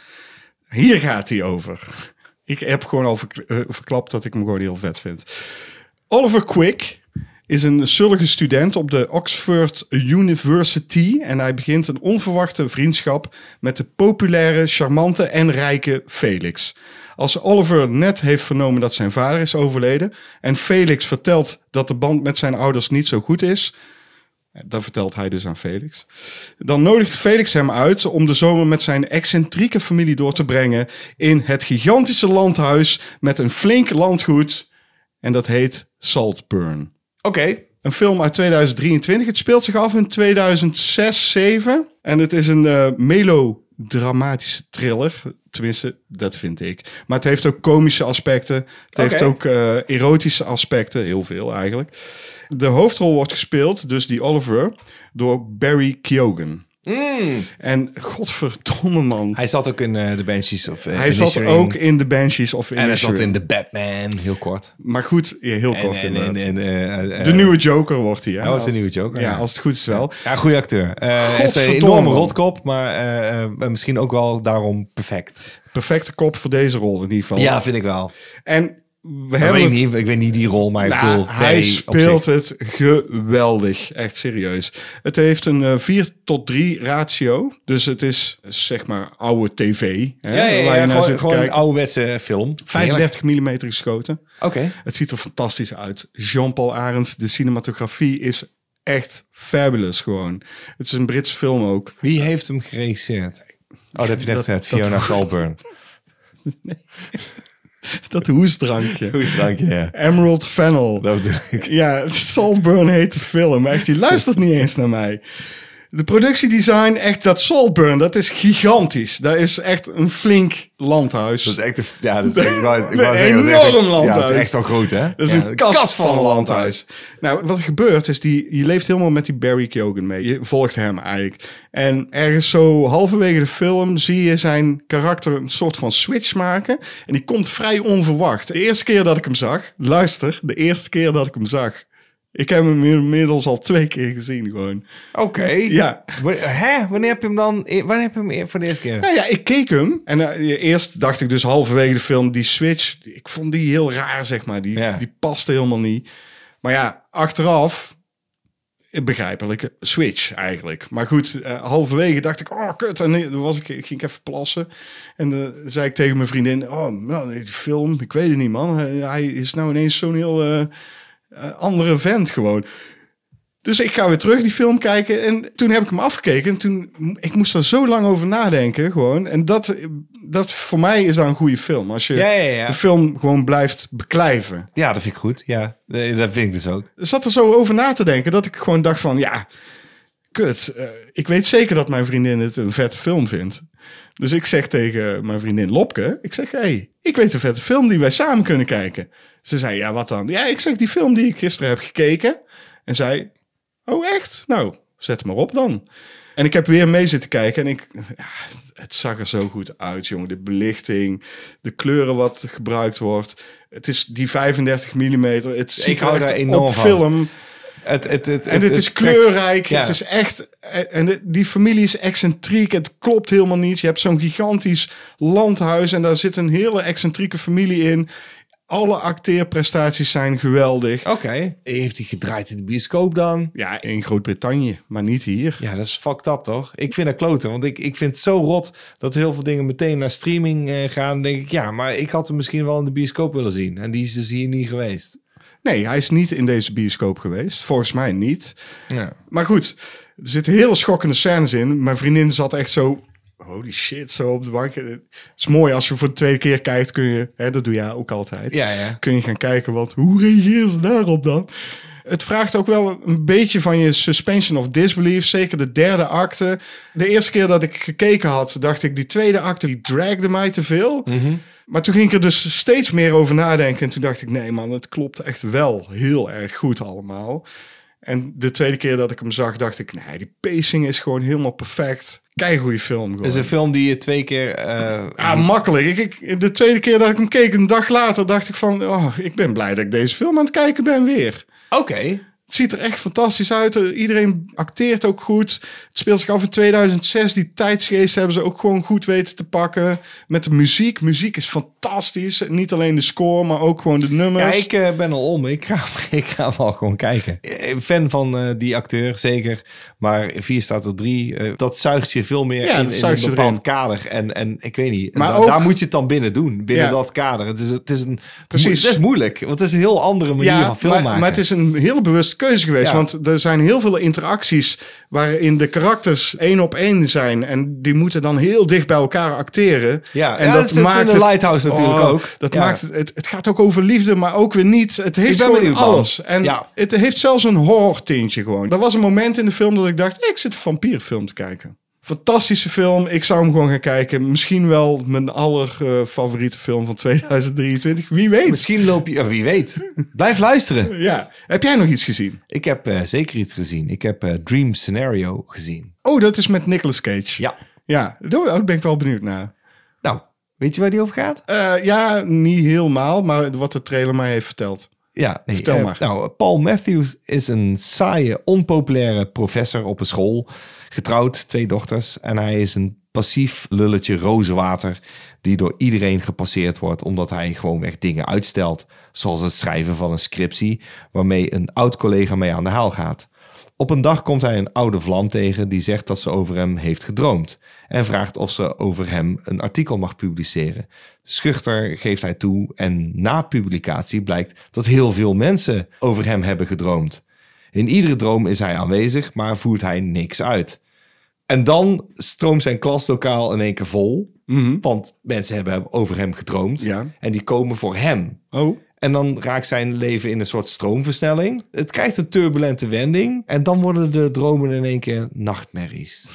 Speaker 1: Hier gaat hij over. Ik heb gewoon al verk- eh, verklapt dat ik hem gewoon heel vet vind. Oliver Quick is een zullige student op de Oxford University. En hij begint een onverwachte vriendschap met de populaire, charmante en rijke Felix. Als Oliver net heeft vernomen dat zijn vader is overleden... en Felix vertelt dat de band met zijn ouders niet zo goed is... Dat vertelt hij dus aan Felix. Dan nodigt Felix hem uit om de zomer met zijn excentrieke familie door te brengen in het gigantische landhuis met een flink landgoed. En dat heet Saltburn.
Speaker 2: Oké.
Speaker 1: Een film uit 2023. Het speelt zich af in 2006, 7. En het is een eh, melodramatische thriller. Tenminste, dat vind ik. Maar het heeft ook komische aspecten. Het heeft ook eh, erotische aspecten. Heel veel eigenlijk. De hoofdrol wordt gespeeld, dus die Oliver, door Barry Keoghan. Hmm. En godverdomme man. Hij,
Speaker 2: Hij zat ook in eh The Banshees of eh,
Speaker 1: zat
Speaker 2: Inisherin.
Speaker 1: ook in The Banshees of
Speaker 2: En hij zat in
Speaker 1: Inisherin.
Speaker 2: The Batman, heel kort.
Speaker 1: Maar goed, ja, heel
Speaker 2: En-
Speaker 1: kort
Speaker 2: en-
Speaker 1: inderdaad.
Speaker 2: en- en, eh, eh,
Speaker 1: de nieuwe Joker wordt hij. hè?
Speaker 2: Hij wordt de
Speaker 1: Als-
Speaker 2: nieuwe Joker,
Speaker 1: Ja,
Speaker 2: ja.
Speaker 1: als het goed is wel.
Speaker 2: Ja, goede acteur. Eh, hij heeft een
Speaker 1: Godverdomme.
Speaker 2: enorme rotkop, maar eh, eh, misschien ook wel daarom perfect.
Speaker 1: perfecte kop voor deze rol in ieder geval.
Speaker 2: vind ik wel.
Speaker 1: En we
Speaker 2: Ik
Speaker 1: hebben
Speaker 2: weet,
Speaker 1: het-
Speaker 2: niet, ik weet niet die rol, maar ik
Speaker 1: Nou,
Speaker 2: bedoel,
Speaker 1: hij
Speaker 2: nee, op zich.
Speaker 1: speelt het geweldig. Echt serieus. Het heeft een eh, 4 tot 3 ratio. Dus het is zeg maar oude tv. Hè,
Speaker 2: Ja, ja, ja,
Speaker 1: waar je naar
Speaker 2: gewoon,
Speaker 1: zit te
Speaker 2: gewoon een
Speaker 1: kijken.
Speaker 2: ouderwetse film.
Speaker 1: 35 mm geschoten.
Speaker 2: Oké.
Speaker 1: Het ziet er fantastisch uit. Jean-Paul Arends, de cinematografie is echt fabulous gewoon. Het is een Brits film ook.
Speaker 2: Wie heeft hem geregisseerd? Oh, dat heb je net
Speaker 1: Dat-
Speaker 2: gezegd.
Speaker 1: dat-
Speaker 2: Fiona Salburn.
Speaker 1: Dat hoesdrankje.
Speaker 2: Hoestdrankje, ja.
Speaker 1: Emerald Fennel.
Speaker 2: Dat bedoel ik.
Speaker 1: Ja, Saltburn heet de film. Echt, je luistert niet eens naar mij. De productiedesign, echt dat Saltburn, dat is gigantisch. Dat is echt een flink landhuis.
Speaker 2: Dat is echt een... Ja, dat is echt, ik wou- ik
Speaker 1: Een
Speaker 2: wou zeggen, dat is echt-
Speaker 1: enorm
Speaker 2: Ja, dat
Speaker 1: landhuis.
Speaker 2: is echt al groot, hè?
Speaker 1: Dat is
Speaker 2: Ja,
Speaker 1: een kast, van een landhuis. Nou, wat er gebeurt is, die, je leeft helemaal met die Barry Keoghan mee. Je volgt hem eigenlijk. En ergens zo halverwege de film zie je zijn karakter een soort van switch maken. En die komt vrij onverwacht. De eerste keer dat ik hem zag, luister, de eerste keer dat ik hem zag. Ik heb hem inmiddels al twee keer gezien gewoon.
Speaker 2: Oké.
Speaker 1: Ja.
Speaker 2: Wa- Hè? Wanneer heb je hem dan... e- Wanneer heb je hem voor de eerste keer?
Speaker 1: Nou ja, ik keek hem. En eh, eerst dacht ik dus halverwege de film, die switch, ik vond die heel raar, zeg maar. Die,
Speaker 2: Ja.
Speaker 1: die paste helemaal niet. Maar ja, achteraf, eh, begrijpelijke switch eigenlijk. Maar goed, eh, halverwege dacht ik, oh kut. En eh, dan was ik, ging ik even plassen. En dan zei ik tegen mijn vriendin, oh man, die film, ik weet het niet man. Eh, Hij is nou ineens zo'n heel eh, eh, andere vent gewoon. Dus ik ga weer terug die film kijken. En toen heb ik hem afgekeken. En toen, ik moest er zo lang over nadenken gewoon. En dat, dat voor mij is dan een goede film. Als je
Speaker 2: Ja, ja, ja.
Speaker 1: de film gewoon blijft beklijven.
Speaker 2: Ja, dat vind ik goed. Ja, Nee, dat vind ik dus ook.
Speaker 1: zat er zo over na te denken dat ik gewoon dacht van ja, kut. eh, ik weet zeker dat mijn vriendin het een vette film vindt. Dus ik zeg tegen mijn vriendin Lopke, ik zeg hey, ik weet een vette film die wij samen kunnen kijken. Ze zei ja, wat dan? Ja, ik zeg die film die ik gisteren heb gekeken. En zij, oh echt? Nou, zet hem maar op dan. En ik heb weer mee zitten kijken en ik, ja, het zag er zo goed uit, jongen. De belichting, de kleuren wat gebruikt wordt. Het is die 35 mm. Het ziet er
Speaker 2: hou daar
Speaker 1: echt
Speaker 2: enorm
Speaker 1: op
Speaker 2: van.
Speaker 1: film.
Speaker 2: Het, het, het,
Speaker 1: En het, is
Speaker 2: trekt-
Speaker 1: kleurrijk.
Speaker 2: ja.
Speaker 1: Het is echt. eh, En de- die familie is excentriek. Het klopt helemaal niet. Je hebt zo'n gigantisch landhuis en daar zit een hele excentrieke familie in. Alle acteerprestaties zijn geweldig.
Speaker 2: Oké. Heeft hij gedraaid in de bioscoop dan?
Speaker 1: Ja, in Groot-Brittannië, maar niet hier.
Speaker 2: Ja, dat is fucked up, toch? Ik vind dat kloten, want ik, ik vind het zo rot dat heel veel dingen meteen naar streaming eh, gaan. Dan denk ik, ja, maar ik had hem misschien wel in de bioscoop willen zien. En die is dus hier niet geweest.
Speaker 1: Nee, hij is niet in deze bioscoop geweest. Volgens mij niet.
Speaker 2: Ja.
Speaker 1: Maar goed, er zitten hele schokkende scènes in. Mijn vriendin zat echt zo... Holy shit, zo op de bank. Het is mooi als je voor de tweede keer kijkt, kun je... Hè, dat doe jij ook altijd.
Speaker 2: Ja, ja.
Speaker 1: Kun je gaan kijken, want hoe reageer ze daarop dan? Het vraagt ook wel een beetje van je suspension of disbelief. Zeker de derde acte. De eerste keer dat ik gekeken had, dacht ik... die tweede acte, die dragde mij te veel.
Speaker 2: Mhm.
Speaker 1: Maar toen ging ik er dus steeds meer over nadenken. En toen dacht ik, nee man, het klopt echt wel heel erg goed allemaal. En de tweede keer dat ik hem zag, dacht ik, nee, die pacing is gewoon helemaal perfect. Kijk goede film.
Speaker 2: Het is
Speaker 1: Gewoon.
Speaker 2: een film die je twee keer... eh,
Speaker 1: Ah, makkelijk. Ik, ik- de tweede keer dat ik hem keek, een dag later, dacht ik van, oh, ik ben blij dat ik deze film aan het kijken ben weer.
Speaker 2: Oké.
Speaker 1: Het ziet er echt fantastisch uit. Eh, Iedereen acteert ook goed. Het speelt zich af in 2006. Die tijdsgeest hebben ze ook gewoon goed weten te pakken. Met de muziek. Muziek is fantastisch. Niet alleen de score, maar ook gewoon de
Speaker 2: Ja,
Speaker 1: nummers.
Speaker 2: ik eh, ben al om. Ik ga, ik ga wel gewoon kijken. Eh, Fan van eh, die acteur, zeker. Maar vier staat er drie. eh, dat zuigt je veel meer
Speaker 1: Ja,
Speaker 2: in,
Speaker 1: dat
Speaker 2: in
Speaker 1: zuigt
Speaker 2: een
Speaker 1: je
Speaker 2: bepaald
Speaker 1: erin.
Speaker 2: kader. En, en ik weet niet. En
Speaker 1: Maar
Speaker 2: da-
Speaker 1: ook-
Speaker 2: daar moet je het dan binnen doen. Binnen
Speaker 1: Ja.
Speaker 2: dat kader. Het is, het is een,
Speaker 1: Precies.
Speaker 2: Het is moeilijk. Want het is een heel andere manier van film
Speaker 1: maar,
Speaker 2: maken.
Speaker 1: maar het is een heel bewuste keuze geweest.
Speaker 2: Ja.
Speaker 1: Want er zijn heel veel interacties waarin de karakters één op één zijn. En die moeten dan heel dicht bij elkaar acteren.
Speaker 2: Ja,
Speaker 1: en
Speaker 2: ja, dat zit in de Lighthouse natuurlijk ook.
Speaker 1: Oh, Dat
Speaker 2: Ja.
Speaker 1: maakt het, het, het gaat ook over liefde, maar ook weer niet. Het heeft
Speaker 2: ben
Speaker 1: gewoon
Speaker 2: benieuwd, man.
Speaker 1: alles. En
Speaker 2: Ja.
Speaker 1: het heeft zelfs een horror tintje gewoon. Er was een moment in de film dat ik dacht, ik zit een vampierfilm te kijken. Fantastische film. Ik zou hem gewoon gaan kijken. Misschien wel mijn allerfavoriete film van 2023. Wie weet.
Speaker 2: Misschien loop je... ja, wie weet. Blijf luisteren.
Speaker 1: Ja. Heb jij nog iets gezien?
Speaker 2: Ik heb eh, zeker iets gezien. Ik heb eh, Dream Scenario gezien.
Speaker 1: Oh, dat is met Nicolas Cage.
Speaker 2: Ja.
Speaker 1: Ja, daar daar ben ik wel benieuwd naar.
Speaker 2: Nou, weet je waar die over gaat?
Speaker 1: Eh, ja, niet helemaal, maar wat de trailer mij heeft verteld.
Speaker 2: Ja, nee,
Speaker 1: Vertel
Speaker 2: eh,
Speaker 1: maar.
Speaker 2: nou, Paul Matthews is een saaie, onpopulaire professor op een school. Getrouwd, twee dochters. En hij is een passief lulletje rozenwater die door iedereen gepasseerd wordt omdat hij gewoonweg dingen uitstelt. Zoals het schrijven van een scriptie waarmee een oud collega mee aan de haal gaat. Op een dag komt hij een oude vlam tegen die zegt dat ze over hem heeft gedroomd en vraagt of ze over hem een artikel mag publiceren. Schuchter geeft hij toe en na publicatie blijkt dat heel veel mensen over hem hebben gedroomd. In iedere droom is hij aanwezig, maar voert hij niks uit. En dan stroomt zijn klaslokaal in één keer vol, want mensen hebben hem- over hem gedroomd
Speaker 1: Ja.
Speaker 2: en die komen voor hem.
Speaker 1: Oh,
Speaker 2: En dan raakt zijn leven in een soort stroomversnelling. Het krijgt een turbulente wending. En dan worden de dromen in één keer nachtmerries.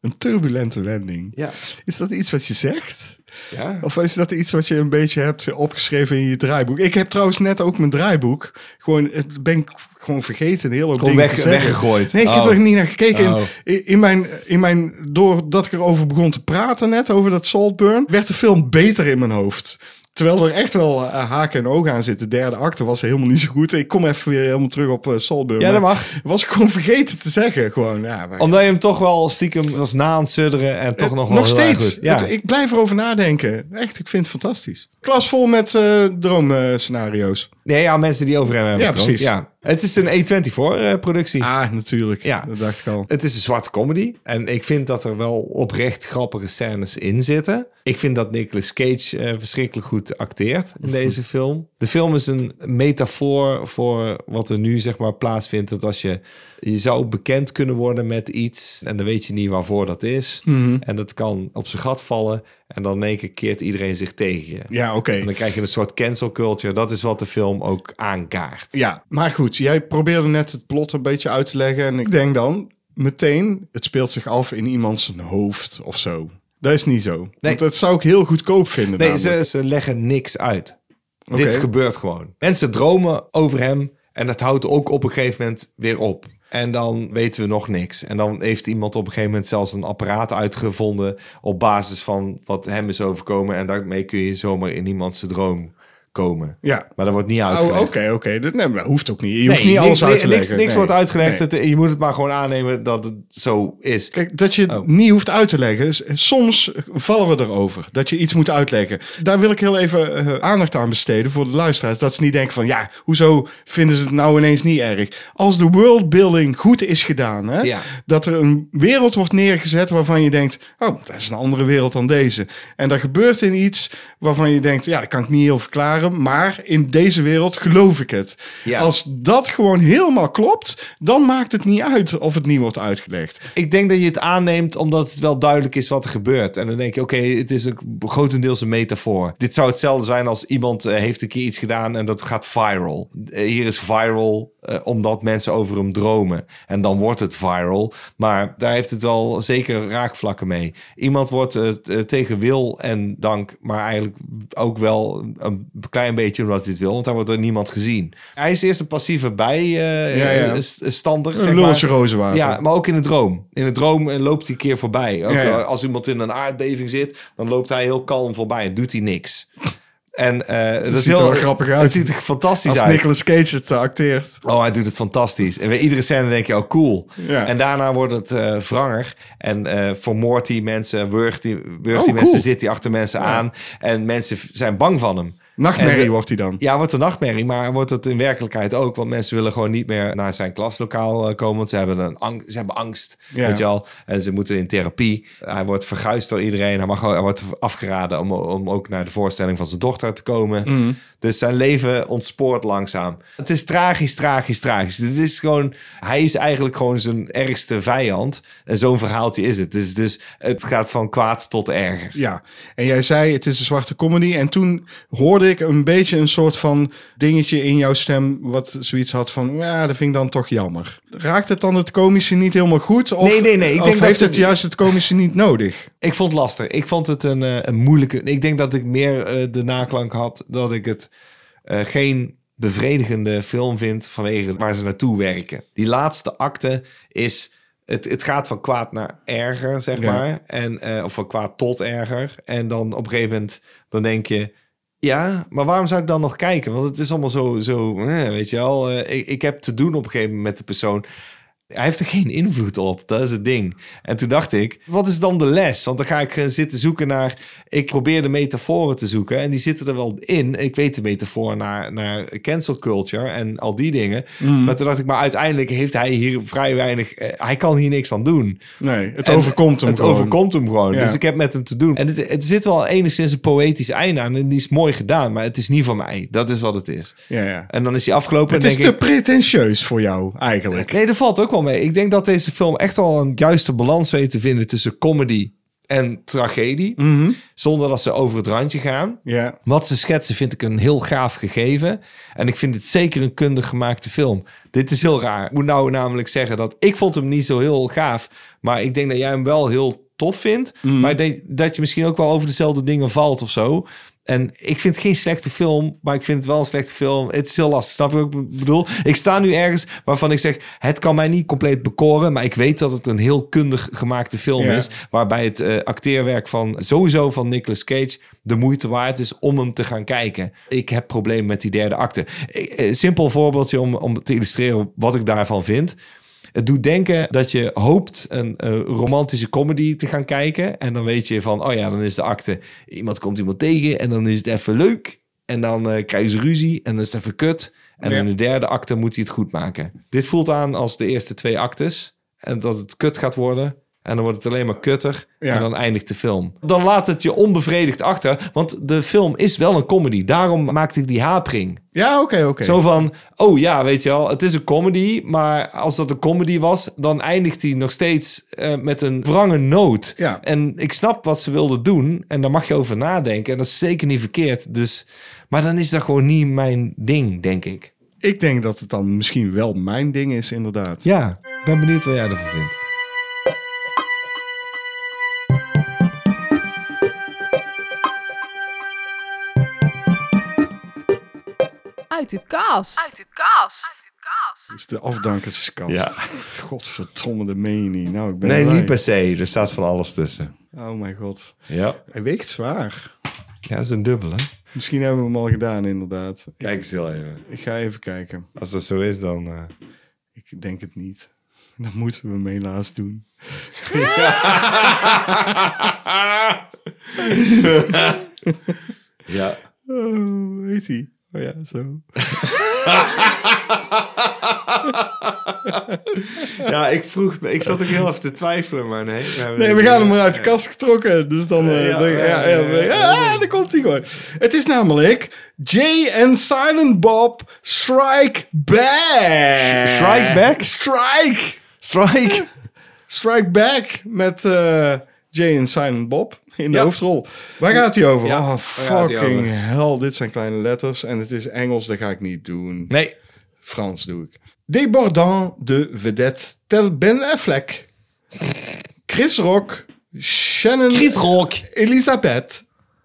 Speaker 1: een turbulente wending.
Speaker 2: Ja.
Speaker 1: Is dat iets wat je zegt?
Speaker 2: Ja.
Speaker 1: Of is dat iets wat je een beetje hebt opgeschreven in je draaiboek? Ik heb trouwens net ook mijn draaiboek. Gewoon, eh, ben ik gewoon vergeten. Heel hoop
Speaker 2: Gewoon
Speaker 1: dingen
Speaker 2: weg-
Speaker 1: te zeggen.
Speaker 2: weggegooid.
Speaker 1: Nee, ik heb
Speaker 2: Oh.
Speaker 1: er niet naar gekeken.
Speaker 2: Oh.
Speaker 1: In, in mijn, in mijn, doordat ik erover begon te praten net, over dat Saltburn, werd de film beter in mijn hoofd. Terwijl er echt wel eh, haken en ogen aan zitten. De derde acte was helemaal niet zo goed. Ik kom even weer helemaal terug op eh, Saltburn.
Speaker 2: Ja, dat
Speaker 1: Maar
Speaker 2: mag.
Speaker 1: Was ik gewoon vergeten te zeggen. Gewoon, ja, maar-
Speaker 2: Omdat je hem toch wel stiekem was na aan het sudderen. En toch nog wel
Speaker 1: Eh, nog
Speaker 2: heel erg
Speaker 1: steeds.
Speaker 2: goed. Ja.
Speaker 1: Ik blijf erover nadenken. Echt, ik vind het fantastisch. Klas vol met eh, droomscenario's.
Speaker 2: Nee, ja, mensen die over hem hebben.
Speaker 1: Ja,
Speaker 2: gedroomd.
Speaker 1: precies.
Speaker 2: Ja. Het is een E eh, A24-productie.
Speaker 1: Ah, natuurlijk.
Speaker 2: Ja. Eh,
Speaker 1: Dat dacht ik al.
Speaker 2: Het is een zwarte comedy. En ik vind dat er wel oprecht grappige scènes in zitten. Ik vind dat Nicolas Cage eh, verschrikkelijk goed acteert in deze film. De film is een metafoor voor wat er nu zeg maar plaatsvindt. Dat als je, je zou bekend kunnen worden met iets. En dan weet je niet waarvoor dat is. En dat kan op zijn gat vallen. En dan in één keer keert iedereen zich tegen je.
Speaker 1: Ja, oké.
Speaker 2: En dan krijg je een soort cancel culture. Dat is wat de film ook aankaart.
Speaker 1: Ja, maar goed. Jij probeerde net het plot een beetje uit te leggen. En ik denk dan meteen, het speelt zich af in iemands hoofd of zo. Dat is niet zo. Want dat zou ik heel goedkoop vinden.
Speaker 2: Nee,
Speaker 1: namelijk.
Speaker 2: ze, ze leggen niks uit.
Speaker 1: Oké.
Speaker 2: Dit gebeurt gewoon. Mensen dromen over hem en dat houdt ook op een gegeven moment weer op. En dan weten we nog niks. En dan heeft iemand op een gegeven moment zelfs een apparaat uitgevonden op basis van wat hem is overkomen. En daarmee kun je zomaar in iemands droom komen.
Speaker 1: Ja.
Speaker 2: Maar dat wordt niet
Speaker 1: Oh,
Speaker 2: uitgelegd.
Speaker 1: Oké, oké. Dat, nee, maar dat hoeft ook niet. Je hoeft
Speaker 2: Nee,
Speaker 1: niet
Speaker 2: niks-
Speaker 1: alles uit te
Speaker 2: niks-
Speaker 1: leggen.
Speaker 2: Niks
Speaker 1: Nee.
Speaker 2: wordt uitgelegd.
Speaker 1: Nee.
Speaker 2: Het- je moet het maar gewoon aannemen dat het zo is.
Speaker 1: Kijk, dat je het
Speaker 2: Oh.
Speaker 1: niet hoeft uit te leggen. is- Soms vallen we erover dat je iets moet uitleggen. Daar wil ik heel even eh, aandacht aan besteden voor de luisteraars. Dat ze niet denken van ja, hoezo vinden ze het nou ineens niet erg? Als de worldbuilding goed is gedaan, hè,
Speaker 2: Ja.
Speaker 1: dat er een wereld wordt neergezet waarvan je denkt, oh, dat is een andere wereld dan deze. En daar gebeurt in iets waarvan je denkt, ja, dat kan ik niet heel verklaren, maar in deze wereld geloof ik het.
Speaker 2: Ja.
Speaker 1: Als dat gewoon helemaal klopt, dan maakt het niet uit of het niet wordt uitgelegd.
Speaker 2: Ik denk dat je het aanneemt omdat het wel duidelijk is wat er gebeurt. En dan denk je, oké, het is een, grotendeels een metafoor. Dit zou hetzelfde zijn als iemand eh, heeft een keer iets gedaan en dat gaat viral. Eh, hier is viral eh, omdat mensen over hem dromen. En dan wordt het viral. Maar daar heeft het wel zeker raakvlakken mee. Iemand wordt eh, t- eh, tegen wil en dank, maar eigenlijk ook wel een klein beetje omdat hij het wil. Want hij wordt door niemand gezien. Hij is eerst een passieve eh,
Speaker 1: Ja, ja.
Speaker 2: bijstander.
Speaker 1: Een lulletje rozenwater.
Speaker 2: Ja, maar ook in de droom. In de droom eh, loopt hij een keer voorbij. Ook
Speaker 1: Ja, ja.
Speaker 2: eh, als iemand in een aardbeving zit, dan loopt hij heel kalm voorbij en doet hij niks. En eh, dat, is
Speaker 1: ziet er
Speaker 2: heel
Speaker 1: wel grappig
Speaker 2: Dat
Speaker 1: uit.
Speaker 2: ziet er fantastisch
Speaker 1: Als
Speaker 2: uit.
Speaker 1: Nicolas Cage het eh, acteert.
Speaker 2: Oh, hij doet het fantastisch. En bij iedere scène denk je, oh cool.
Speaker 1: Ja.
Speaker 2: En daarna wordt het eh vranger. En eh vermoordt hij mensen, wurgt hij wurgt hij
Speaker 1: Oh, cool.
Speaker 2: mensen, zit hij achter mensen aan. En mensen v- zijn bang van hem.
Speaker 1: Nachtmerrie
Speaker 2: En de-
Speaker 1: wordt hij dan.
Speaker 2: Ja, wordt een nachtmerrie, maar wordt het in werkelijkheid ook. Want mensen willen gewoon niet meer naar zijn klaslokaal eh, komen. Want ze hebben, een ang- ze hebben angst,
Speaker 1: Ja.
Speaker 2: weet je wel. En ze moeten in therapie. Hij wordt verguisd door iedereen. Hij, mag, hij wordt afgeraden om, om ook naar de voorstelling van zijn dochter te komen. Dus zijn leven ontspoort langzaam. Het is tragisch, tragisch, tragisch. Dit is gewoon... Hij is eigenlijk gewoon zijn ergste vijand. En zo'n verhaaltje is het. Dus, dus het gaat van kwaad tot erger.
Speaker 1: Ja, en jij zei het is een zwarte comedy. En toen hoorde ik een beetje een soort van dingetje in jouw stem... wat zoiets had van, ja, dat vind ik dan toch jammer. Raakt het dan het komische niet helemaal goed? Of,
Speaker 2: Nee, nee, nee, ik
Speaker 1: of
Speaker 2: denk dat
Speaker 1: heeft
Speaker 2: het-
Speaker 1: het juist het komische niet nodig?
Speaker 2: Ik vond het lastig. Ik vond het een, eh, een moeilijke. Ik denk dat ik meer eh, de naklank had dat ik het eh, geen bevredigende film vind vanwege waar ze naartoe werken. Die laatste acte is. Het, het gaat van kwaad naar erger, zeg
Speaker 1: Ja.
Speaker 2: maar. En, eh, of van kwaad tot erger. En dan op een gegeven moment dan denk je. Ja, maar waarom zou ik dan nog kijken? Want het is allemaal zo, zo eh, weet je wel. eh, ik, ik heb te doen op een gegeven moment met de persoon. Hij heeft er geen invloed op, dat is het ding. En toen dacht ik, wat is dan de les? Want dan ga ik eh, zitten zoeken naar... Ik probeer de metaforen te zoeken en die zitten er wel in. Ik weet de metafoor naar, naar cancel culture en al die dingen.
Speaker 1: Mhm.
Speaker 2: Maar toen dacht ik, maar uiteindelijk heeft hij hier vrij weinig... eh, hij kan hier niks aan doen.
Speaker 1: Nee, het
Speaker 2: En
Speaker 1: overkomt hem
Speaker 2: Het
Speaker 1: gewoon.
Speaker 2: overkomt hem gewoon.
Speaker 1: Ja.
Speaker 2: Dus ik heb met hem te doen. En het, het zit wel enigszins een poëtisch einde aan. En die is mooi gedaan, maar het is niet van mij. Dat is wat het is.
Speaker 1: Ja, ja.
Speaker 2: En dan is hij afgelopen.
Speaker 1: Het
Speaker 2: en
Speaker 1: is
Speaker 2: denk
Speaker 1: te
Speaker 2: ik,
Speaker 1: pretentieus voor jou eigenlijk.
Speaker 2: Nee, dat valt ook wel mee. Ik denk dat deze film echt wel een juiste balans weet te vinden tussen comedy en tragedie. Zonder dat ze over het randje gaan.
Speaker 1: Ja,
Speaker 2: Wat ze schetsen vind ik een heel gaaf gegeven. En ik vind dit zeker een kundig gemaakte film. Dit is heel raar. Ik moet nou namelijk zeggen dat ik vond hem niet zo heel gaaf. Maar ik denk dat jij hem wel heel tof vindt. Maar ik denk dat je misschien ook wel over dezelfde dingen valt of zo. En ik vind het geen slechte film, maar ik vind het wel een slechte film. Het is heel lastig, snap je wat ik bedoel? Ik sta nu ergens waarvan ik zeg, het kan mij niet compleet bekoren. Maar ik weet dat het een heel kundig gemaakte film
Speaker 1: Ja.
Speaker 2: is. Waarbij het eh, acteerwerk van sowieso van Nicolas Cage de moeite waard is om hem te gaan kijken. Ik heb problemen met die derde acte. Eh, eh, simpel voorbeeldje om, om te illustreren wat ik daarvan vind. Het doet denken dat je hoopt een eh, romantische comedy te gaan kijken. En dan weet je van, oh ja, dan is de acte. Iemand komt iemand tegen en dan is het even leuk. En dan eh, krijgen ze ruzie en dan is het even kut. En
Speaker 1: Ja.
Speaker 2: in de derde acte moet hij het goed maken. Dit voelt aan als de eerste twee actes. En dat het kut gaat worden. En dan wordt het alleen maar kutter.
Speaker 1: Ja.
Speaker 2: En dan eindigt de film. Dan laat het je onbevredigd achter. Want de film is wel een comedy. Daarom maakte ik die hapering.
Speaker 1: ja oké, oké.
Speaker 2: Zo van, oh ja, weet je wel, het is een comedy. Maar als dat een comedy was, dan eindigt hij nog steeds eh, met een wrange noot.
Speaker 1: Ja.
Speaker 2: En ik snap wat ze wilden doen. En daar mag je over nadenken. En dat is zeker niet verkeerd. Dus, maar dan is dat gewoon niet mijn ding, denk ik.
Speaker 1: Ik denk dat het dan misschien wel mijn ding is inderdaad.
Speaker 2: Ja, ik ben benieuwd wat jij ervan vindt.
Speaker 7: Uit de kast.
Speaker 8: Uit de kast. Uit de kast.
Speaker 1: Dat is de afdankerskast.
Speaker 2: Ja.
Speaker 1: Godverdomme, de meen je niet. Nou, ik ben
Speaker 2: Nee,
Speaker 1: blij.
Speaker 2: niet per se. Er staat van alles tussen.
Speaker 1: Oh mijn god.
Speaker 2: Ja.
Speaker 1: Hij weegt zwaar.
Speaker 2: Ja, dat is een dubbele.
Speaker 1: Misschien hebben we hem al gedaan, inderdaad.
Speaker 2: Kijk eens heel even.
Speaker 1: Ik ga even kijken.
Speaker 2: Als dat zo is, dan... eh,
Speaker 1: Ik denk het niet. Dan moeten we hem helaas doen.
Speaker 2: Ja.
Speaker 1: Oh, hoe heet hij? Oh ja, zo.
Speaker 2: Ja, ik vroeg... Ik zat ook heel even te twijfelen, maar nee.
Speaker 1: Nee, we gaan hem maar uit de kast getrokken. Dus dan... eh,
Speaker 2: Ja,
Speaker 1: dan-
Speaker 2: ja,
Speaker 1: ja,
Speaker 2: ja,
Speaker 1: ja, we-
Speaker 2: ja.
Speaker 1: ah, daar komt hij gewoon. Het is namelijk Jay en Silent Bob Strike Back.
Speaker 2: Strike Back?
Speaker 1: Strike.
Speaker 2: Strike!
Speaker 1: Strike Back met eh, Jay en Silent Bob in de
Speaker 2: Ja.
Speaker 1: hoofdrol. Waar gaat hij over?
Speaker 2: Ja,
Speaker 1: oh,
Speaker 2: waar gaat hij
Speaker 1: fucking
Speaker 2: over?
Speaker 1: hell. Dit zijn kleine letters en het is Engels. Dat ga ik niet doen.
Speaker 2: Nee.
Speaker 1: Frans doe ik. Débordant de vedette tel Ben Affleck. Chris Rock. Shannon.
Speaker 2: Rock.
Speaker 1: Elisabeth.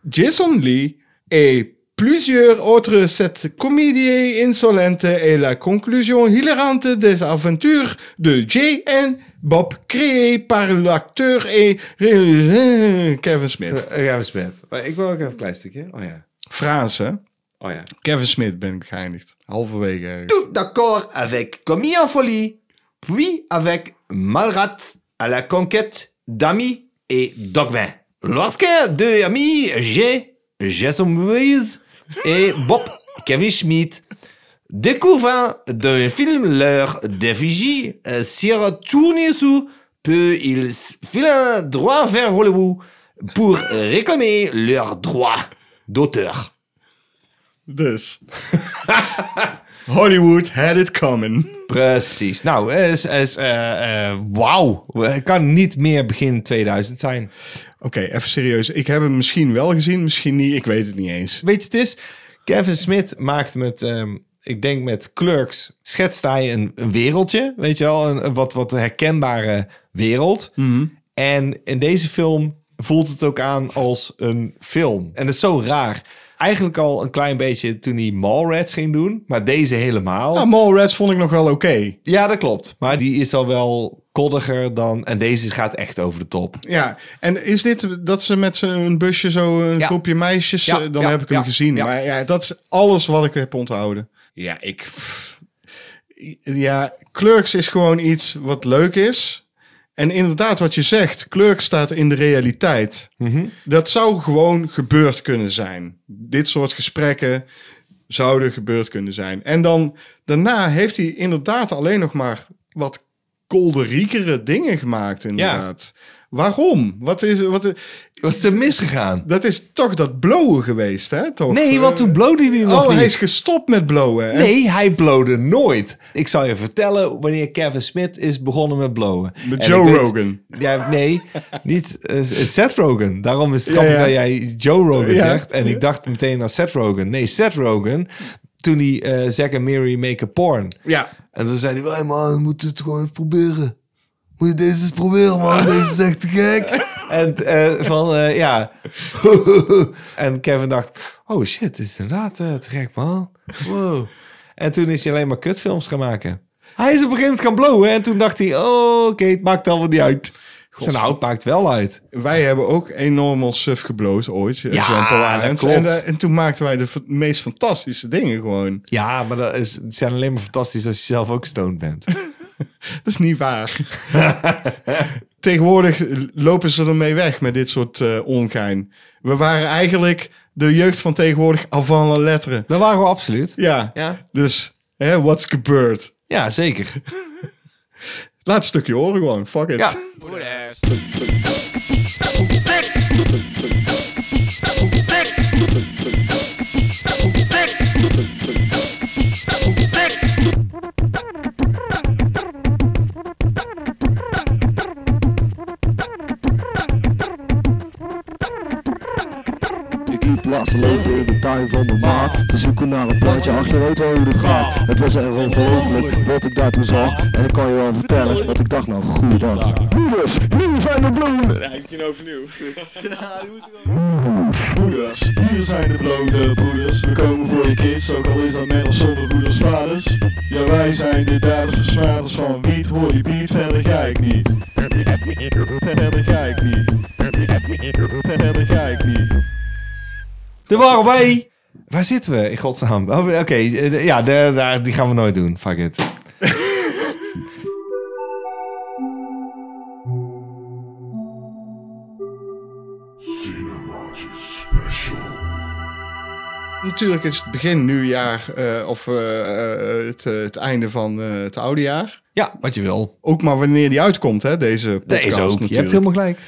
Speaker 1: Jason Lee. Et plusieurs autres cette comédie insolente est la conclusion hilarante des aventures de Jay and Bob créées par l'acteur et réalisateur Kevin Smith.
Speaker 2: Gaan we smet. Maar ik wil ook even een klein stukje. Oh ja.
Speaker 1: Frans, hè?
Speaker 2: Oh ja.
Speaker 1: Kevin Smith ben ik geëindigd. Halverwege. ergens.
Speaker 2: Tout d'accord avec Camille en folie, puis avec Malrat à la conquête d'amis et dogmen. Lorsque deux amis, j'ai Jason Moyes et Bob Kevin Schmidt, découvrent d'un film leur défigie euh, sur tourner sous, peu ils filent droit vers Hollywood pour réclamer leurs droits d'auteur.
Speaker 1: Dus. Hollywood had it coming.
Speaker 2: Precies. Nou, is, is, eh, eh, wauw. Het kan niet meer begin 2000 zijn.
Speaker 1: Oké, even serieus. Ik heb hem misschien wel gezien, misschien niet. Ik weet het niet eens.
Speaker 2: Weet je, het is... Kevin Smith maakt met, ehm, ik denk met Clerks, schetst hij een, een wereldje. Weet je wel, een, een wat, wat herkenbare wereld. En in deze film voelt het ook aan als een film. En dat is zo raar. Eigenlijk al een klein beetje toen hij Mallrats ging doen. Maar deze helemaal.
Speaker 1: Ah, Mallrats vond ik nog wel oké.
Speaker 2: Ja, dat klopt. Maar die is al wel koddiger dan... En deze gaat echt over de top.
Speaker 1: Ja, en is dit dat ze met zo'n busje zo een
Speaker 2: Ja.
Speaker 1: groepje meisjes...
Speaker 2: Ja,
Speaker 1: eh, dan
Speaker 2: ja,
Speaker 1: heb ik hem
Speaker 2: ja,
Speaker 1: gezien.
Speaker 2: ja.
Speaker 1: Maar ja, dat is alles wat ik heb onthouden.
Speaker 2: Ja, ik...
Speaker 1: Ja, Clerks is gewoon iets wat leuk is. En inderdaad, wat je zegt, Clerks staat in de realiteit.
Speaker 2: Mhm.
Speaker 1: Dat zou gewoon gebeurd kunnen zijn. Dit soort gesprekken zouden gebeurd kunnen zijn. En dan daarna heeft hij inderdaad alleen nog maar wat kolderiekere dingen gemaakt, inderdaad. Waarom? Wat is, wat,
Speaker 2: Wat is er misgegaan?
Speaker 1: dat is toch dat blowen geweest, hè? Toch?
Speaker 2: Nee, want toen blode hij nog
Speaker 1: Oh,
Speaker 2: niet.
Speaker 1: hij is gestopt met blowen. hè?
Speaker 2: Nee, hij blode nooit. Ik zal je vertellen wanneer Kevin Smith is begonnen met blowen.
Speaker 1: Met
Speaker 2: En
Speaker 1: Joe
Speaker 2: ik weet-
Speaker 1: Rogan.
Speaker 2: Ja, nee, niet eh, Seth Rogan. Daarom is het grappig
Speaker 1: ja.
Speaker 2: dat jij Joe Rogan
Speaker 1: Ja.
Speaker 2: zegt. En ik dacht meteen aan Seth Rogan. Nee, Seth Rogan, toen hij eh Zack en Mary make a porn.
Speaker 1: Ja,
Speaker 2: En toen zei hij, hey man, we moeten het gewoon even proberen. Moet je deze eens proberen, man. Deze is echt te gek. En eh, van, eh, ja. en Kevin dacht, oh shit, dit is inderdaad eh, te gek, man. Wow. En toen is hij alleen maar kutfilms gaan maken. Hij is op een gegeven moment gaan blowen. En toen dacht hij, oh, oké, het maakt allemaal niet uit. Zijn hout maakt wel uit.
Speaker 1: wij hebben ook enorm ons suf gebloot ooit. Ja,
Speaker 2: dat klopt.
Speaker 1: En, eh, en toen maakten wij de v- meest fantastische dingen gewoon.
Speaker 2: Ja, maar dat is, het zijn alleen maar fantastisch als je zelf ook stoned bent.
Speaker 1: Dat is niet waar. Tegenwoordig lopen ze ermee weg met dit soort eh, ongein. We waren eigenlijk de jeugd van tegenwoordig avant la lettre.
Speaker 2: Dat waren we absoluut.
Speaker 1: Ja,
Speaker 2: Ja.
Speaker 1: dus hè, what's gebeurd?
Speaker 2: Ja, zeker.
Speaker 1: Laat een stukje horen gewoon, fuck it.
Speaker 2: Ja.
Speaker 7: Ik liep laatst lopen in de tuin van mijn maat Te zoeken naar een plantje, ach je weet wel hoe dit gaat Het was echt ongelooflijk wat ik daar toen zag En ik kan je wel vertellen wat ik dacht nou, goeiedag Moeders, hier zijn de blonden Ja, ik kan overnieuw Moeders, hier zijn de blonde broeders We komen voor voor je kids, ook al is dat met of zonder moeders vaders. Ja, wij zijn de daders versmaders van wiet, hoor die beat, verder ga ik niet. Verder ga ik niet. Verder ga ik niet.
Speaker 2: De waren wij. Waar zitten we in godsnaam? Oh, Oké, eh, de- ja, de, daar- die gaan we nooit doen. Fuck it.
Speaker 1: Natuurlijk is het begin nieuwjaar eh, of eh, eh, het, eh, het einde van eh, het oude jaar.
Speaker 2: Ja, wat je wil.
Speaker 1: Ook maar wanneer die uitkomt, hè, deze
Speaker 2: Dat
Speaker 1: podcast
Speaker 2: is ook.
Speaker 1: natuurlijk.
Speaker 2: Je hebt helemaal gelijk.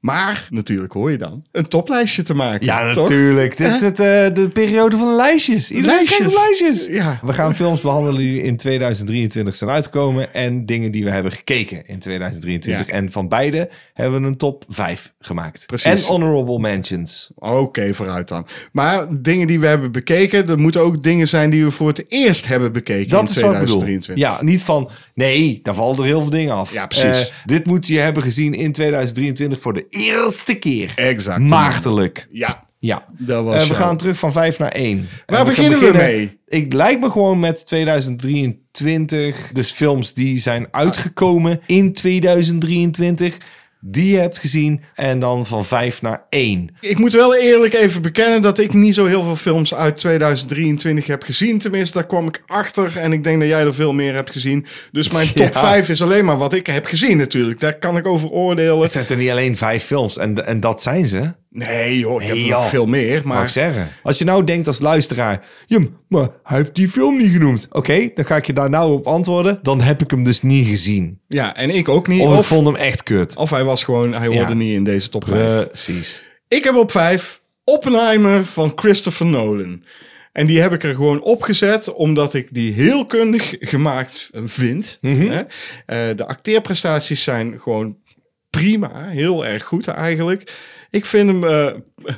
Speaker 1: Maar natuurlijk hoor je dan een toplijstje te maken.
Speaker 2: Ja,
Speaker 1: toch?
Speaker 2: natuurlijk. Dit is het, eh, de periode van de lijstjes. Iedereen
Speaker 1: Lijstjes.
Speaker 2: schrijft lijstjes.
Speaker 1: Ja.
Speaker 2: We gaan films behandelen die in 2023 zijn uitgekomen. En dingen die we hebben gekeken in 2023.
Speaker 1: Ja.
Speaker 2: En van beide hebben we een top 5 gemaakt.
Speaker 1: Precies.
Speaker 2: En honorable mentions.
Speaker 1: Oké, vooruit dan. Maar dingen die we hebben bekeken, er moeten ook dingen zijn die we voor het eerst hebben bekeken
Speaker 2: Dat
Speaker 1: in
Speaker 2: is wat ik bedoel.
Speaker 1: 2023.
Speaker 2: Ja, niet van... Nee, daar vallen er heel veel dingen af.
Speaker 1: Ja, precies.
Speaker 2: Eh, dit moet je hebben gezien in 2023 voor de eerste keer.
Speaker 1: Exact.
Speaker 2: Maagdelijk.
Speaker 1: Ja,
Speaker 2: Ja.
Speaker 1: dat was
Speaker 2: Eh, we
Speaker 1: jou.
Speaker 2: gaan terug van 5 naar 1.
Speaker 1: Waar beginnen we mee?
Speaker 2: Ik lijkt me gewoon met 2023. Dus films die zijn uitgekomen in 2023. Die je hebt gezien. En dan van 5 naar 1.
Speaker 1: Ik moet wel eerlijk even bekennen dat ik niet zo heel veel films uit 2023 heb gezien. Tenminste, daar kwam ik achter en ik denk dat jij er veel meer hebt gezien. Dus mijn top
Speaker 2: Ja.
Speaker 1: 5 is alleen maar wat ik heb gezien natuurlijk. Daar kan ik over oordelen.
Speaker 2: Het zijn er niet alleen vijf films. En, en dat zijn ze.
Speaker 1: Nee joh, ik heb
Speaker 2: Nee,
Speaker 1: er nog
Speaker 2: joh.
Speaker 1: veel meer.
Speaker 2: Mag ik
Speaker 1: Maar
Speaker 2: zeggen. Als je nou denkt als luisteraar. Jum, maar hij heeft die film niet genoemd. Oké, dan ga ik je daar nou op antwoorden. Dan heb ik hem dus niet gezien.
Speaker 1: ja, en ik ook niet.
Speaker 2: Of, Oh, ik
Speaker 1: Of,
Speaker 2: vond hem echt kut.
Speaker 1: of hij was gewoon, hij hoorde niet in deze top 5.
Speaker 2: Precies.
Speaker 1: Ik heb op vijf Oppenheimer van Christopher Nolan. En die heb ik er gewoon opgezet, omdat ik die heel kundig gemaakt eh, vind.
Speaker 2: Mhm.
Speaker 1: Hè? Eh, de acteerprestaties zijn gewoon prima, heel erg goed eigenlijk. Ik vind hem eh,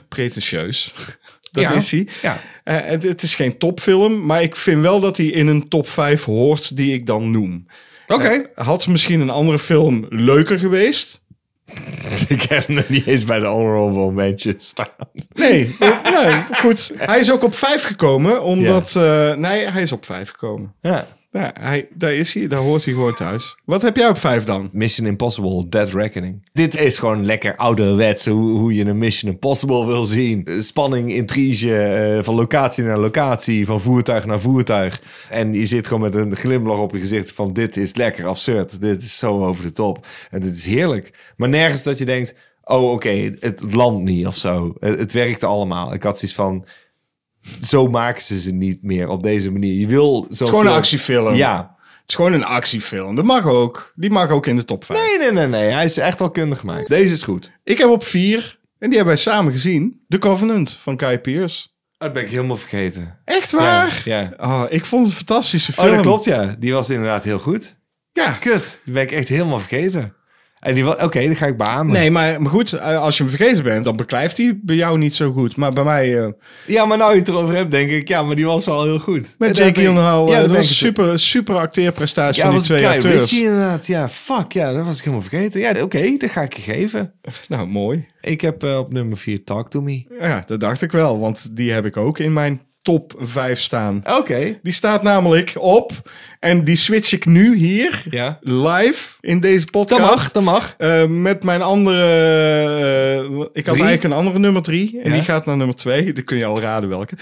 Speaker 1: pretentieus. Dat
Speaker 2: Ja,
Speaker 1: is hij.
Speaker 2: ja.
Speaker 1: Eh, het, het is geen topfilm, maar ik vind wel dat hij in een top 5 hoort die ik dan noem. Eh,
Speaker 2: Oké.
Speaker 1: Had misschien een andere film leuker geweest?
Speaker 2: Ik heb hem nog niet eens bij de honorable mentions staan.
Speaker 1: Nee, nee, goed. Hij is ook op vijf gekomen, omdat... eh, nee, hij is op vijf gekomen.
Speaker 2: Ja.
Speaker 1: Ja, hij, daar is hij, daar hoort hij gewoon thuis. Wat heb jij op vijf dan?
Speaker 2: Mission Impossible, Dead Reckoning. Dit is gewoon lekker ouderwets hoe, hoe je een Mission Impossible wil zien. Eh, Spanning, intrige, eh, van locatie naar locatie, van voertuig naar voertuig. En je zit gewoon met een glimlach op je gezicht van dit is lekker absurd. Dit is zo over de top. En dit is heerlijk. Maar nergens dat je denkt, oh oké, het, het landt niet of zo. Het, het werkte allemaal. Ik had zoiets van... Zo maken ze ze niet meer op deze manier. Je wil zo'n
Speaker 1: Gewoon een
Speaker 2: film-
Speaker 1: actiefilm.
Speaker 2: Ja,
Speaker 1: Het is gewoon een actiefilm. Dat mag ook. Die mag ook in de top vijf.
Speaker 2: Nee, nee, nee, nee. Hij is echt al kundig gemaakt. Deze is goed.
Speaker 1: Ik heb op vier, en die hebben wij samen gezien, The Covenant van Kai Pierce.
Speaker 2: Dat ben ik helemaal vergeten.
Speaker 1: Echt waar?
Speaker 2: Ja, ja.
Speaker 1: Oh, ik vond het een fantastische
Speaker 2: Oh,
Speaker 1: film.
Speaker 2: dat klopt, ja. Die was inderdaad heel goed.
Speaker 1: Ja.
Speaker 2: Kut, die ben ik echt helemaal vergeten. En die was... Oké, dan ga ik beamen.
Speaker 1: Nee, maar, maar goed, eh, als je hem vergeten bent, dan beklijft hij bij jou niet zo goed. Maar bij mij... eh,
Speaker 2: Ja, maar nou je het erover hebt, denk ik... Ja, maar die was wel heel goed. En
Speaker 1: met
Speaker 2: daar
Speaker 1: Jake
Speaker 2: ben ik-
Speaker 1: Gyllenhaal, eh,
Speaker 2: Ja, daar
Speaker 1: dat
Speaker 2: ben
Speaker 1: was
Speaker 2: ik
Speaker 1: een
Speaker 2: het-
Speaker 1: super, super acteerprestatie
Speaker 2: Ja,
Speaker 1: van die
Speaker 2: was
Speaker 1: twee
Speaker 2: Guy
Speaker 1: acteurs.
Speaker 2: Ritchie inderdaad. Ja, fuck. Ja, dat was ik helemaal vergeten. Ja, oké, dat ga ik je geven.
Speaker 1: Nou, mooi.
Speaker 2: Ik heb eh, op nummer 4 Talk To Me.
Speaker 1: Ja, dat dacht ik wel, want die heb ik ook in mijn top 5 staan.
Speaker 2: Oké.
Speaker 1: Die staat namelijk op, en die switch ik nu hier,
Speaker 2: Ja.
Speaker 1: live in deze
Speaker 2: Dat
Speaker 1: podcast.
Speaker 2: mag, dat mag.
Speaker 1: Eh, met mijn andere... eh, ik had
Speaker 2: Drie?
Speaker 1: eigenlijk een andere nummer 3, en
Speaker 2: Ja.
Speaker 1: die gaat naar nummer 2. Dan kun je al raden welke.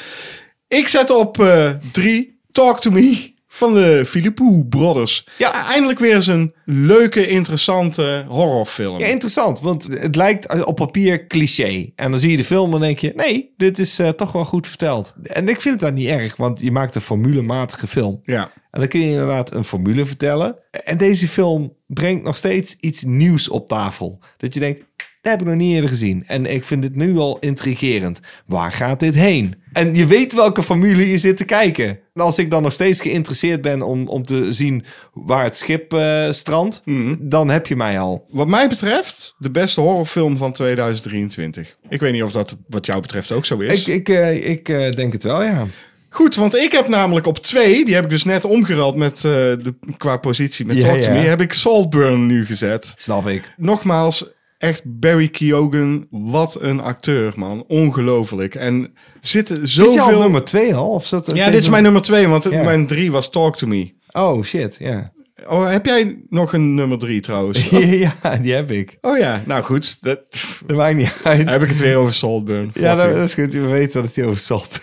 Speaker 1: Ik zet op 3, Talk To Me, van de Philippou Brothers.
Speaker 2: Ja.
Speaker 1: Eindelijk weer eens een leuke, interessante horrorfilm.
Speaker 2: Ja, interessant, want het lijkt op papier cliché. En dan zie je de film en denk je... nee, dit is eh, toch wel goed verteld. En ik vind het dan niet erg, want je maakt een formulematige film.
Speaker 1: ja.
Speaker 2: En dan kun je inderdaad een formule vertellen. En deze film brengt nog steeds iets nieuws op tafel. Dat je denkt, dat heb ik nog niet eerder gezien. En ik vind dit nu al intrigerend. Waar gaat dit heen? En je weet welke formule je zit te kijken. En als ik dan nog steeds geïnteresseerd ben om, om te zien waar het schip eh, strandt... dan heb je mij al.
Speaker 1: Wat mij betreft, de beste horrorfilm van 2023. Ik weet niet of dat wat jou betreft ook zo is.
Speaker 2: Ik, ik, eh, ik eh, denk het wel, ja.
Speaker 1: Goed, want ik heb namelijk op twee, die heb ik dus net omgerald met, eh, de, qua positie met
Speaker 2: Ja,
Speaker 1: Talk To
Speaker 2: ja.
Speaker 1: Me, heb ik Saltburn nu gezet.
Speaker 2: Snap ik.
Speaker 1: Nogmaals, Echt Barry Keoghan, wat een acteur, man. Ongelooflijk. En zitten
Speaker 2: Zit je al op
Speaker 1: zoveel...
Speaker 2: nummer 2 al? Of zat er
Speaker 1: Ja,
Speaker 2: tegen-
Speaker 1: dit is mijn nummer twee, want
Speaker 2: Ja.
Speaker 1: mijn drie was Talk To Me.
Speaker 2: Oh, shit, ja.
Speaker 1: Oh, heb jij nog een nummer drie trouwens?
Speaker 2: ja, die heb ik.
Speaker 1: Oh ja, nou goed. Dat,
Speaker 2: Dat maakt niet uit.
Speaker 1: heb ik het weer over Saltburn. Fuck
Speaker 2: ja, dat,
Speaker 1: you.
Speaker 2: dat is goed. We weten dat het hier over Salp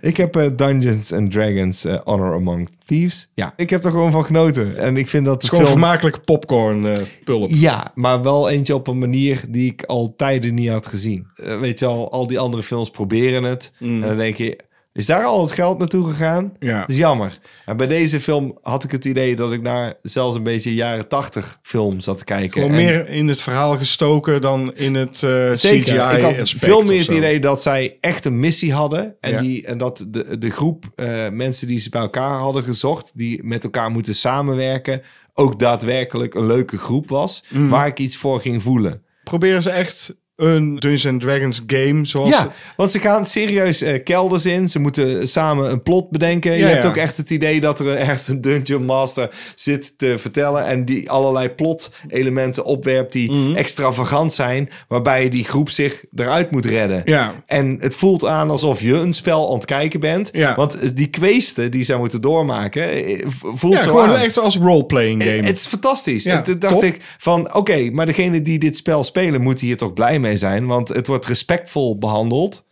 Speaker 2: Ik heb eh, Dungeons and Dragons eh, Honor Among Thieves. Ja, ik heb er gewoon van genoten. En ik vind dat de
Speaker 1: Het is gewoon
Speaker 2: film...
Speaker 1: vermakelijke popcorn eh, pulp.
Speaker 2: Ja, maar wel eentje op een manier die ik al tijden niet had gezien. Eh, weet je al, al die andere films proberen het. En dan denk je, is daar al het geld naartoe gegaan?
Speaker 1: Mm. Ja.
Speaker 2: Dat is jammer. En bij deze film had ik het idee dat ik naar zelfs een beetje jaren tachtig film zat te kijken.
Speaker 1: Gewoon
Speaker 2: En-
Speaker 1: meer in het verhaal gestoken dan in het eh
Speaker 2: Zeker.
Speaker 1: CGI
Speaker 2: ik had
Speaker 1: aspect
Speaker 2: veel
Speaker 1: of
Speaker 2: meer het
Speaker 1: zo.
Speaker 2: idee dat zij echt een missie hadden. En,
Speaker 1: Ja.
Speaker 2: die, en dat de, de groep eh, mensen die ze bij elkaar hadden gezocht, die met elkaar moeten samenwerken, ook daadwerkelijk een leuke groep was.
Speaker 1: Mm.
Speaker 2: Waar ik iets voor ging voelen.
Speaker 1: Proberen ze echt een Dungeons and Dragons game zoals...
Speaker 2: Ja, want ze gaan serieus eh, kelders in. Ze moeten samen een plot bedenken. je
Speaker 1: Ja,
Speaker 2: hebt
Speaker 1: ja.
Speaker 2: ook echt het idee dat er ergens een dungeon master zit te vertellen. En die allerlei plot elementen opwerpt die
Speaker 1: Mhm.
Speaker 2: extravagant zijn. Waarbij die groep zich eruit moet redden.
Speaker 1: Ja.
Speaker 2: En het voelt aan alsof je een spel aan het kijken bent.
Speaker 1: Ja.
Speaker 2: Want die kweesten die zij moeten doormaken, eh, voelt
Speaker 1: Ja,
Speaker 2: zo
Speaker 1: gewoon
Speaker 2: aan.
Speaker 1: echt als roleplaying game.
Speaker 2: Het is fantastisch.
Speaker 1: Ja,
Speaker 2: en toen dacht
Speaker 1: top.
Speaker 2: ik van, oké, maar degene die dit spel spelen... moeten hier toch blij mee zijn. Want het wordt respectvol behandeld.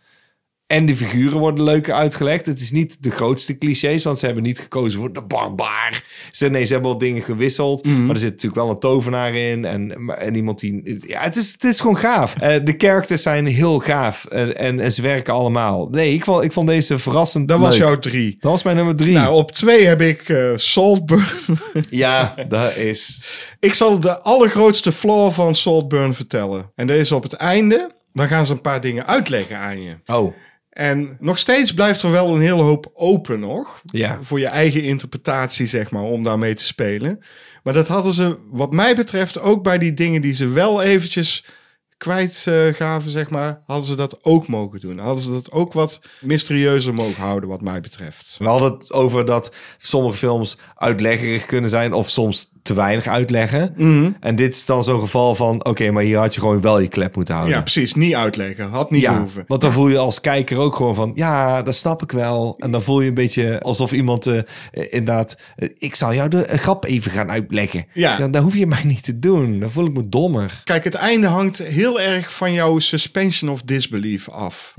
Speaker 2: En de figuren worden leuker uitgelegd. Het is niet de grootste clichés, want ze hebben niet gekozen voor de barbaar. Ze, nee, ze hebben wel dingen gewisseld.
Speaker 1: Mhm.
Speaker 2: Maar er zit natuurlijk wel een tovenaar in. En, maar- en iemand die. Ja, het is, het is gewoon gaaf. Eh, de characters zijn heel gaaf. eh, en, en ze werken allemaal. Nee, ik vond, ik vond deze verrassend.
Speaker 1: dat was
Speaker 2: leuk.
Speaker 1: jouw drie.
Speaker 2: Dat was mijn nummer drie.
Speaker 1: Nou, op twee heb ik eh Saltburn.
Speaker 2: ja, dat is.
Speaker 1: ik zal de allergrootste flaw van Saltburn vertellen. En deze op het einde. Dan gaan ze een paar dingen uitleggen aan je.
Speaker 2: Oh,
Speaker 1: En nog steeds blijft er wel een hele hoop open nog.
Speaker 2: Ja.
Speaker 1: Voor je eigen interpretatie, zeg maar, om daarmee te spelen. Maar dat hadden ze, wat mij betreft, ook bij die dingen die ze wel eventjes kwijtgaven, zeg maar, hadden ze dat ook mogen doen. Hadden ze dat ook wat mysterieuzer mogen houden, wat mij betreft.
Speaker 2: We hadden het over dat sommige films uitleggerig kunnen zijn of soms te weinig uitleggen.
Speaker 1: Mhm.
Speaker 2: En dit is dan zo'n geval van, oké, maar hier had je gewoon wel je klep moeten houden.
Speaker 1: Ja, precies. Niet uitleggen. Had niet
Speaker 2: Ja,
Speaker 1: hoeven.
Speaker 2: want dan voel je als kijker ook gewoon van, ja, dat snap ik wel. En dan voel je een beetje alsof iemand eh, eh, inderdaad, eh, ik zal jou de eh, grap even gaan uitleggen.
Speaker 1: Ja.
Speaker 2: Dan, dan hoef je mij niet te doen. Dan voel ik me dommer.
Speaker 1: Kijk, het einde hangt heel erg van jouw suspension of disbelief af.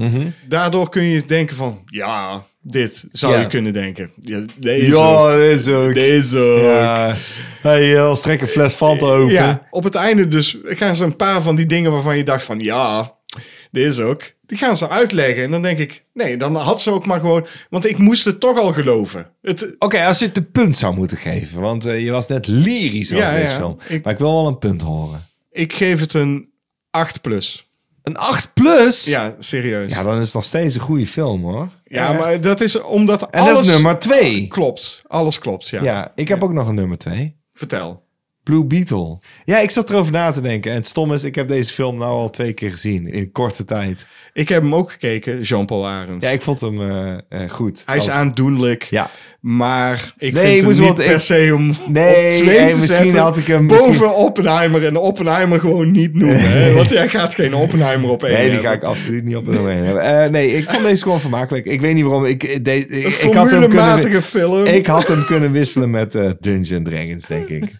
Speaker 1: Daardoor kun je denken van, ja, dit zou
Speaker 2: Ja.
Speaker 1: je kunnen denken. Ja, deze.
Speaker 2: dat is ook.
Speaker 1: Deze. ook.
Speaker 2: Ja. Hey, eh, als trek een fles Fanta open.
Speaker 1: Ja, op het einde dus gaan ze een paar van die dingen waarvan je dacht van ja, dit is ook. Die gaan ze uitleggen. En dan denk ik, nee, dan had ze ook maar gewoon. Want ik moest het toch al geloven. Het,
Speaker 2: Oké, als je het een punt zou moeten geven. Want eh, je was net lyrisch over
Speaker 1: Ja,
Speaker 2: deze
Speaker 1: ja.
Speaker 2: film.
Speaker 1: Ik-
Speaker 2: Maar ik wil wel een punt horen.
Speaker 1: ik geef het een 8 plus.
Speaker 2: Een 8 plus?
Speaker 1: Ja, serieus.
Speaker 2: Ja,
Speaker 1: Ja,
Speaker 2: dan is het nog steeds een goede film hoor. Eh,
Speaker 1: maar dat is omdat
Speaker 2: En
Speaker 1: alles
Speaker 2: dat is nummer 2.
Speaker 1: klopt. Alles klopt, ja.
Speaker 2: Ja, ik heb ook nog een nummer 2.
Speaker 1: Vertel.
Speaker 2: Blue Beetle. Ja, ik zat erover na te denken. En het stom is, ik heb deze film nou al twee keer gezien. In korte tijd.
Speaker 1: Ik heb hem ook gekeken, Jean-Paul Arends.
Speaker 2: Ja, ik vond hem eh, eh, goed.
Speaker 1: Hij is
Speaker 2: Als-
Speaker 1: aandoenlijk.
Speaker 2: Ja.
Speaker 1: Maar ik
Speaker 2: Nee, ik
Speaker 1: vind
Speaker 2: moest
Speaker 1: het niet
Speaker 2: wel-
Speaker 1: per
Speaker 2: ik-
Speaker 1: se om
Speaker 2: Nee,
Speaker 1: op twee
Speaker 2: en
Speaker 1: te
Speaker 2: misschien
Speaker 1: zetten
Speaker 2: had ik hem
Speaker 1: boven
Speaker 2: misschien-
Speaker 1: Oppenheimer. En Oppenheimer gewoon niet noemen. hè, Want jij gaat geen Oppenheimer op één
Speaker 2: Nee, die
Speaker 1: hebben.
Speaker 2: ga ik absoluut niet op de domein hebben. Eh, nee, ik vond deze gewoon vermakelijk. Ik weet niet waarom. Ik, eh, de, ik,
Speaker 1: Een
Speaker 2: ik had hem kunnen,
Speaker 1: formulematige film.
Speaker 2: Ik had hem kunnen wisselen met eh Dungeon Dragons, denk ik.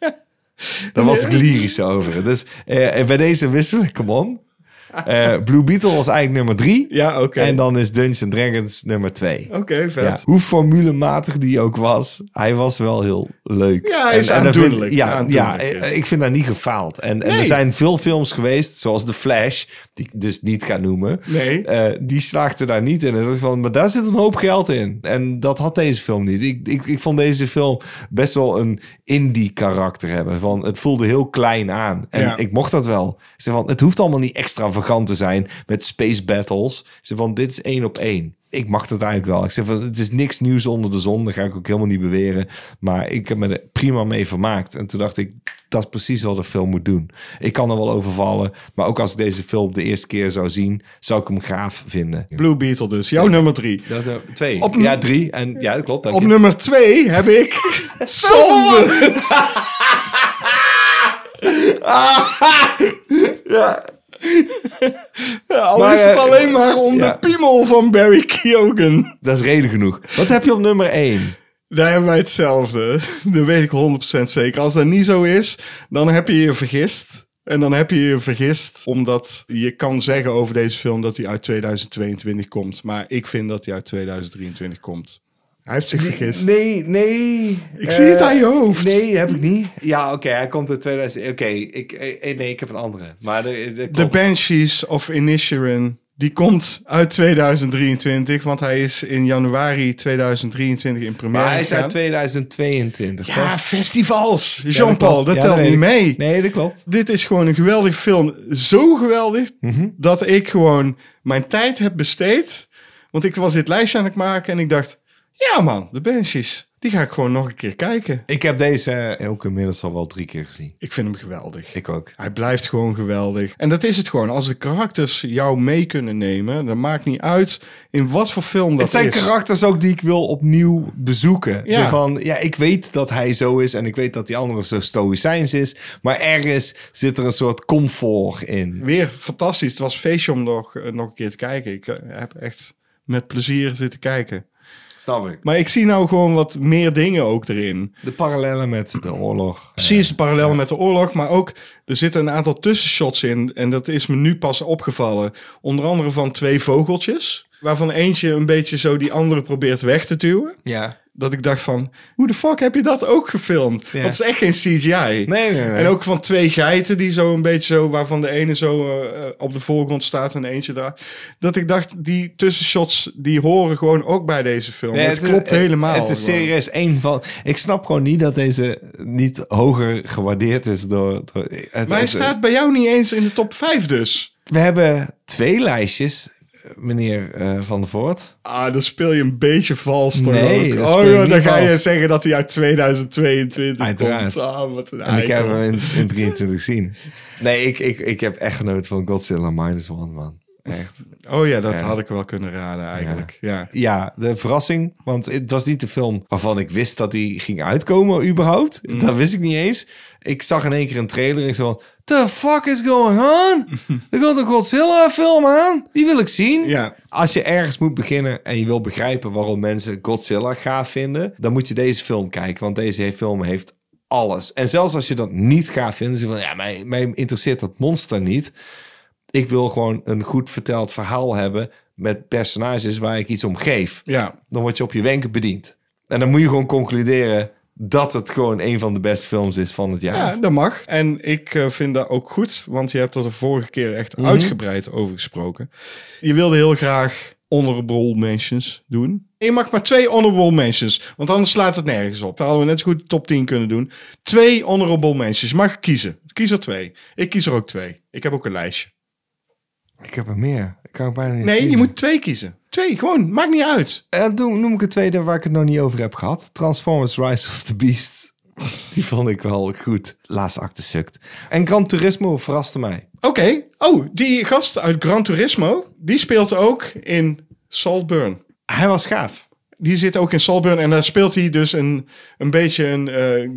Speaker 2: Daar was ik lyrisch over. Dus eh, bij deze wissel ik hem om. Eh, Blue Beetle was eigenlijk nummer drie.
Speaker 1: Ja, oké.
Speaker 2: En dan is Dungeon Dragons nummer twee.
Speaker 1: Oké,
Speaker 2: Ja,
Speaker 1: vet.
Speaker 2: hoe formulematig die ook was, hij was wel heel leuk.
Speaker 1: Ja, hij is
Speaker 2: dat vind-
Speaker 1: aandoenlijk.
Speaker 2: ja,
Speaker 1: Aandoenlijk
Speaker 2: ja,
Speaker 1: is.
Speaker 2: eh, ik vind daar niet gefaald. En, en er
Speaker 1: Nee.
Speaker 2: zijn veel films geweest, zoals The Flash, die ik dus niet ga noemen.
Speaker 1: Nee.
Speaker 2: eh, die slaagde daar niet in. En dat is van, maar daar zit een hoop geld in. En dat had deze film niet. Ik, ik, ik vond deze film best wel een indie karakter hebben. Van, het voelde heel klein aan. En
Speaker 1: Ja.
Speaker 2: ik mocht dat wel. Ik zei van, het hoeft allemaal niet extravagant te zijn met space battles. Ik zei van, dit is één op één. Ik mag dat eigenlijk wel. Ik zeg van, het is niks nieuws onder de zon. Dat ga ik ook helemaal niet beweren. Maar ik heb me er prima mee vermaakt. En toen dacht ik, dat is precies wat een film moet doen. Ik kan er wel over vallen. Maar ook als ik deze film de eerste keer zou zien, zou ik hem gaaf vinden.
Speaker 1: Blue Beetle dus. Jouw nummer drie.
Speaker 2: Dat is nummer twee.
Speaker 1: Op-
Speaker 2: ja, drie. En ja, dat klopt. dank
Speaker 1: Op
Speaker 2: je.
Speaker 1: nummer twee heb ik... Zonde.
Speaker 2: Oh, Ja,
Speaker 1: Al
Speaker 2: Maar,
Speaker 1: is het
Speaker 2: eh,
Speaker 1: alleen maar om
Speaker 2: ja.
Speaker 1: de piemel van Barry Keoghan.
Speaker 2: dat is reden genoeg. Wat heb je op nummer 1?
Speaker 1: Daar hebben wij hetzelfde. Dat weet ik 100% zeker. Als dat niet zo is, dan heb je je vergist. En dan heb je je vergist omdat je kan zeggen over deze film dat hij uit 2022 komt. Maar ik vind dat hij uit 2023 komt. Hij heeft zich vergist.
Speaker 2: Nee, nee. Ik
Speaker 1: zie het aan je hoofd.
Speaker 2: Nee, heb ik niet. Ja, oké, hij komt in 2000. Oké, ik, eh, nee, ik heb een andere. Maar de, de,
Speaker 1: De Banshees of Inisherin, die komt uit 2023. Want hij is in januari 2023 in première
Speaker 2: maar hij is uit
Speaker 1: gegaan.
Speaker 2: 2022. toch?
Speaker 1: Ja, festivals.
Speaker 2: Ja, dat
Speaker 1: Jean-Paul,
Speaker 2: klopt.
Speaker 1: dat
Speaker 2: Ja,
Speaker 1: telt
Speaker 2: weet
Speaker 1: niet
Speaker 2: ik.
Speaker 1: mee.
Speaker 2: Nee, dat klopt.
Speaker 1: Dit is gewoon een geweldig film. Zo geweldig
Speaker 2: Mhm.
Speaker 1: dat ik gewoon mijn tijd heb besteed. Want ik was dit lijstje aan het maken en ik dacht... Ja man, de Banshees, die ga ik gewoon nog een keer kijken.
Speaker 2: Ik heb deze ook inmiddels al wel drie keer gezien.
Speaker 1: Ik vind hem geweldig.
Speaker 2: Ik ook.
Speaker 1: Hij blijft gewoon geweldig. En dat is het gewoon. Als de karakters jou mee kunnen nemen... dan maakt niet uit in wat voor film dat
Speaker 2: Het zijn
Speaker 1: is.
Speaker 2: karakters ook die ik wil opnieuw bezoeken.
Speaker 1: Ja.
Speaker 2: Zo van, ja, ik weet dat hij zo is en ik weet dat die andere zo stoïcijns is. Maar ergens zit er een soort comfort in.
Speaker 1: Weer fantastisch. Het was feestje om nog, eh, nog een keer te kijken. Ik eh, heb echt met plezier zitten kijken.
Speaker 2: Snap ik.
Speaker 1: Maar ik zie nou gewoon wat meer dingen ook erin.
Speaker 2: De parallellen met de oorlog.
Speaker 1: Precies de parallel met de oorlog, maar ook er zitten een aantal tussenshots in. En dat is me nu pas opgevallen. Onder andere van twee vogeltjes, waarvan eentje een beetje zo die andere probeert weg te duwen.
Speaker 2: Ja.
Speaker 1: Dat ik dacht van, hoe de fuck heb je dat ook gefilmd?
Speaker 2: Ja.
Speaker 1: Want het is echt geen CGI.
Speaker 2: Nee, nee, nee.
Speaker 1: En ook van twee geiten die zo een beetje zo, waarvan de ene zo eh, eh, op de voorgrond staat en eentje daar. Dat ik dacht, die tussenshots, die horen gewoon ook bij deze film.
Speaker 2: Nee,
Speaker 1: het, klopt
Speaker 2: het-
Speaker 1: helemaal.
Speaker 2: Het is
Speaker 1: gewoon.
Speaker 2: serieus één van... Ik snap gewoon niet dat deze niet hoger gewaardeerd is door... door het,
Speaker 1: Maar hij
Speaker 2: het-
Speaker 1: staat bij jou niet eens in de top 5 dus.
Speaker 2: We hebben twee lijstjes, meneer eh, Van der Voort.
Speaker 1: Ah, dan speel je een beetje vals toch
Speaker 2: Nee,
Speaker 1: ook?
Speaker 2: dat
Speaker 1: Oh
Speaker 2: speel ik
Speaker 1: joh,
Speaker 2: niet
Speaker 1: dan ga
Speaker 2: vals.
Speaker 1: je zeggen dat hij uit 2022
Speaker 2: Uiteraard.
Speaker 1: komt. Ah, wat een
Speaker 2: En ik heb
Speaker 1: eikel.
Speaker 2: hem in, in 23 gezien. Nee, ik, ik, ik heb echt genoten van Godzilla Minus One, man. Echt.
Speaker 1: Oh ja, dat
Speaker 2: Ja.
Speaker 1: had ik wel kunnen raden eigenlijk. Ja.
Speaker 2: Ja, de verrassing. Want het was niet de film waarvan ik wist dat die ging uitkomen überhaupt. Dat wist ik niet eens. Ik zag in één keer een trailer en ik zei van... The fuck is going on? Er komt een Godzilla film aan. Die wil ik zien.
Speaker 1: Ja.
Speaker 2: Als je ergens moet beginnen en je wil begrijpen waarom mensen Godzilla gaaf vinden... dan moet je deze film kijken. Want deze film heeft alles. En zelfs als je dat niet gaaf vindt... dan zeg je van, ja, mij, mij interesseert dat monster niet ik wil gewoon een goed verteld verhaal hebben met personages waar ik iets om geef.
Speaker 1: ja.
Speaker 2: Dan word je op je wenken bediend. En dan moet je gewoon concluderen dat het gewoon een van de beste films is van het jaar.
Speaker 1: Ja, dat mag. En ik eh, vind dat ook goed, want je hebt er de vorige keer echt
Speaker 2: Mhm.
Speaker 1: uitgebreid over gesproken. Je wilde heel graag honorable mentions doen. En je mag maar twee honorable mentions, want anders slaat het nergens op. Dan hadden we net zo goed de top 10 kunnen doen. Twee honorable mentions. Je mag kiezen. Kies er twee. Ik kies er ook twee. Ik heb ook een lijstje.
Speaker 2: Ik heb er meer. Ik kan er bijna niet
Speaker 1: Nee, je
Speaker 2: kiezen.
Speaker 1: moet twee kiezen. Twee, gewoon. Maakt niet uit.
Speaker 2: Eh, doe- noem ik een tweede waar ik het nog niet over heb gehad. Transformers Rise of the Beast. Die vond ik wel goed. Laatste acte sukt. En Gran Turismo verraste mij.
Speaker 1: Oké. Oh, die gast uit Gran Turismo, die speelt ook in Saltburn.
Speaker 2: Hij was gaaf.
Speaker 1: die zit ook in Salburn en daar speelt hij dus een, een beetje een eh,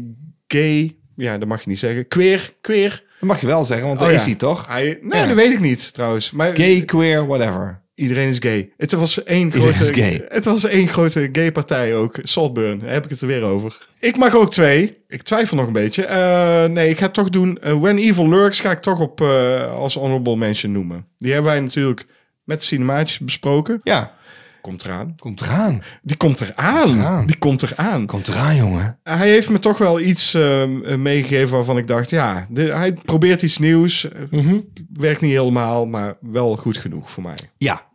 Speaker 1: gay, ja, dat mag je niet zeggen, queer, queer.
Speaker 2: Dat mag je wel zeggen, want dat
Speaker 1: Oh,
Speaker 2: is
Speaker 1: ja.
Speaker 2: hij toch?
Speaker 1: Hij, nee,
Speaker 2: Ja.
Speaker 1: dat weet ik niet trouwens. Maar
Speaker 2: Gay, queer, whatever.
Speaker 1: iedereen is gay. Het was één
Speaker 2: Iedereen
Speaker 1: grote,
Speaker 2: is gay.
Speaker 1: het was één grote gay partij ook. Saltburn, daar heb ik het er weer over. Ik mag ook twee. Ik twijfel nog een beetje. Eh, nee, ik ga het toch doen. eh, When Evil Lurks ga ik toch op eh, als honorable mention noemen. Die hebben wij natuurlijk met cinemaatjes besproken.
Speaker 2: Ja,
Speaker 1: Komt eraan.
Speaker 2: komt eraan.
Speaker 1: Die komt eraan.
Speaker 2: eraan.
Speaker 1: Die komt eraan.
Speaker 2: Komt eraan, jongen.
Speaker 1: hij heeft me toch wel iets ehm, eh, meegegeven waarvan ik dacht, ja, de- hij probeert iets nieuws. Eh,
Speaker 2: Mhm.
Speaker 1: Werkt niet helemaal, maar wel goed genoeg voor mij.
Speaker 2: Ja,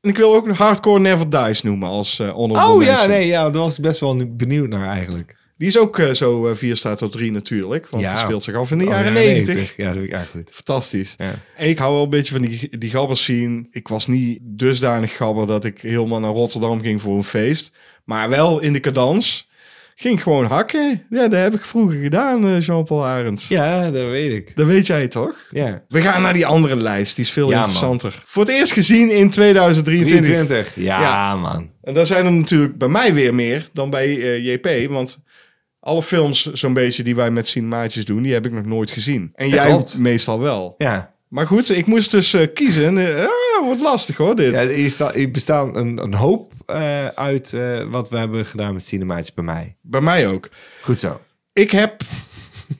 Speaker 1: En ik wil ook Hardcore Never Dies noemen als eh honorable
Speaker 2: Oh ja,
Speaker 1: mention.
Speaker 2: nee, ja, daar was ik best wel nu- benieuwd naar eigenlijk.
Speaker 1: Die is ook eh, zo eh, vier staat tot drie natuurlijk, want
Speaker 2: Ja.
Speaker 1: het speelt zich af in de jaren
Speaker 2: Oh,
Speaker 1: negentig.
Speaker 2: Ja, dat vind ik erg goed.
Speaker 1: Fantastisch.
Speaker 2: Ja.
Speaker 1: En ik hou wel een beetje van die, die gabbers zien. Ik was niet dusdanig gabber dat ik helemaal naar Rotterdam ging voor een feest. Maar wel in de cadans. Ging gewoon hakken. Ja, dat heb ik vroeger gedaan, eh, Jean-Paul Arends.
Speaker 2: Ja, dat weet ik.
Speaker 1: Dat weet jij toch?
Speaker 2: Ja.
Speaker 1: We gaan naar die andere lijst. Die is veel
Speaker 2: Ja, man.
Speaker 1: interessanter. Voor het eerst gezien in 2023.
Speaker 2: 23. Ja,
Speaker 1: Ja.
Speaker 2: man.
Speaker 1: En daar zijn er natuurlijk bij mij weer meer dan bij eh, JP. Want Alle films zo'n beetje die wij met cinemaatjes doen, die heb ik nog nooit gezien. En
Speaker 2: Ja,
Speaker 1: jij
Speaker 2: klopt.
Speaker 1: meestal wel.
Speaker 2: Ja.
Speaker 1: Maar goed, ik moest dus eh, kiezen. Eh, ah, wordt lastig hoor, dit.
Speaker 2: Ja, er, is da- er bestaan een, een hoop eh, uit eh, wat we hebben gedaan met cinemaatjes bij mij.
Speaker 1: Bij mij ook.
Speaker 2: Goed zo.
Speaker 1: Ik heb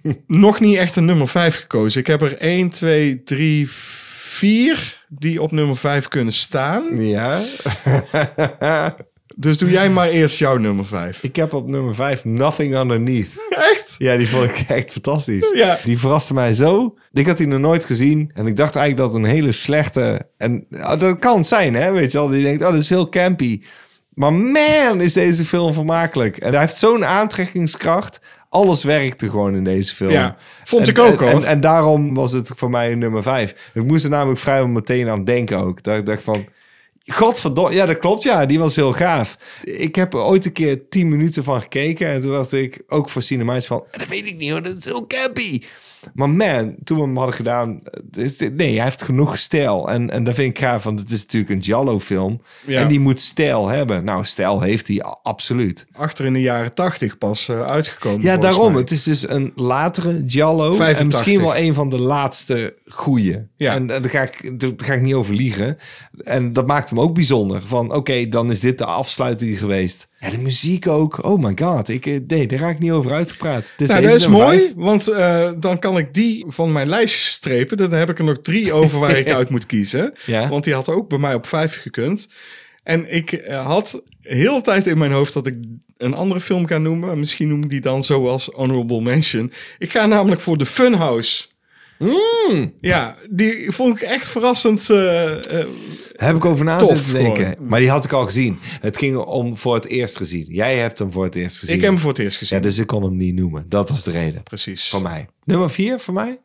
Speaker 1: nog niet echt een nummer 5 gekozen. Ik heb er 1, 2, 3, 4 die op nummer 5 kunnen staan.
Speaker 2: Ja.
Speaker 1: Dus doe jij maar eerst jouw nummer 5.
Speaker 2: ik heb op nummer 5 Nothing Underneath.
Speaker 1: Echt?
Speaker 2: Ja, die vond ik echt fantastisch.
Speaker 1: Ja.
Speaker 2: Die verraste mij zo. Ik had die nog nooit gezien. En ik dacht eigenlijk dat het een hele slechte... En ah, dat kan het zijn, hè? Weet je wel, die denkt, oh, dat is heel campy. Maar man, is deze film vermakelijk. En hij heeft zo'n aantrekkingskracht. Alles werkte gewoon in deze film.
Speaker 1: Ja, vond
Speaker 2: En-
Speaker 1: ik ook,
Speaker 2: en,
Speaker 1: hoor.
Speaker 2: En, en daarom was het voor mij een nummer 5. Ik moest er namelijk vrijwel meteen aan denken ook. Dat ik dacht van... Godverdomme, ja dat klopt, ja, die was heel gaaf. Ik heb er ooit een keer 10 minuten van gekeken en toen dacht ik, ook voor Cinemites van, dat weet ik niet hoor, dat is heel campy. Maar man, toen we hem hadden gedaan, eh, is dit- nee, hij heeft genoeg stijl. En, en dat vind ik gaaf, want het is natuurlijk een Giallo film
Speaker 1: Ja.
Speaker 2: en die moet stijl hebben. Nou, stijl heeft hij a- absoluut.
Speaker 1: Achter in de jaren 80 pas eh, uitgekomen.
Speaker 2: Ja,
Speaker 1: volgens
Speaker 2: daarom.
Speaker 1: mij.
Speaker 2: Het is dus een latere Giallo. En
Speaker 1: 85.
Speaker 2: misschien wel een van de laatste goeie.
Speaker 1: Ja.
Speaker 2: En, en daar, ga ik, daar daar ga ik niet over liegen. En dat maakt hem ook bijzonder. Van oké, dan is dit de afsluiting geweest. En de muziek ook. Oh my god. Ik, eh, nee, daar ga ik niet over uitgepraat. Dus
Speaker 1: Nou,
Speaker 2: deze
Speaker 1: dat is
Speaker 2: nummer
Speaker 1: mooi,
Speaker 2: vijf.
Speaker 1: want eh, dan kan ik die van mijn lijstje strepen. Dan heb ik er nog drie over waar ik uit moet kiezen.
Speaker 2: Ja.
Speaker 1: Want die had ook bij mij op vijf gekund. En ik eh, had heel de tijd in mijn hoofd dat ik een andere film ga noemen. Misschien noem ik die dan zoals Honorable Mention. Ik ga namelijk voor de Funhouse.
Speaker 2: Mm.
Speaker 1: Ja, die vond ik echt verrassend. eh, eh,
Speaker 2: Heb ik over na
Speaker 1: Tof,
Speaker 2: zitten denken.
Speaker 1: gewoon.
Speaker 2: Maar die had ik al gezien. Het ging om voor het eerst gezien. Jij hebt hem voor het eerst gezien.
Speaker 1: ik heb hem voor het eerst gezien.
Speaker 2: Ja, dus ik kon hem niet noemen. Dat was de reden.
Speaker 1: Precies.
Speaker 2: Voor mij. Nummer vier voor mij.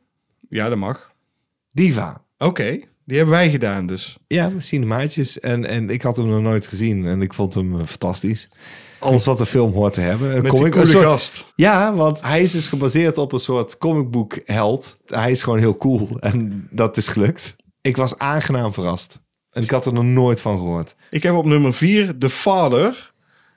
Speaker 1: Ja, dat mag.
Speaker 2: Diva.
Speaker 1: Oké, die hebben wij gedaan dus.
Speaker 2: Ja, Cinemaatjes. En, en ik had hem nog nooit gezien en ik vond hem eh, fantastisch. Alles wat de film hoort te hebben. Een
Speaker 1: Met
Speaker 2: comic-
Speaker 1: die
Speaker 2: een
Speaker 1: coole
Speaker 2: soort-
Speaker 1: gast.
Speaker 2: Ja, want hij is dus gebaseerd op een soort comicboek held. Hij is gewoon heel cool en dat is gelukt. Ik was aangenaam verrast. En ik had er nog nooit van gehoord.
Speaker 1: Ik heb op nummer 4 The Father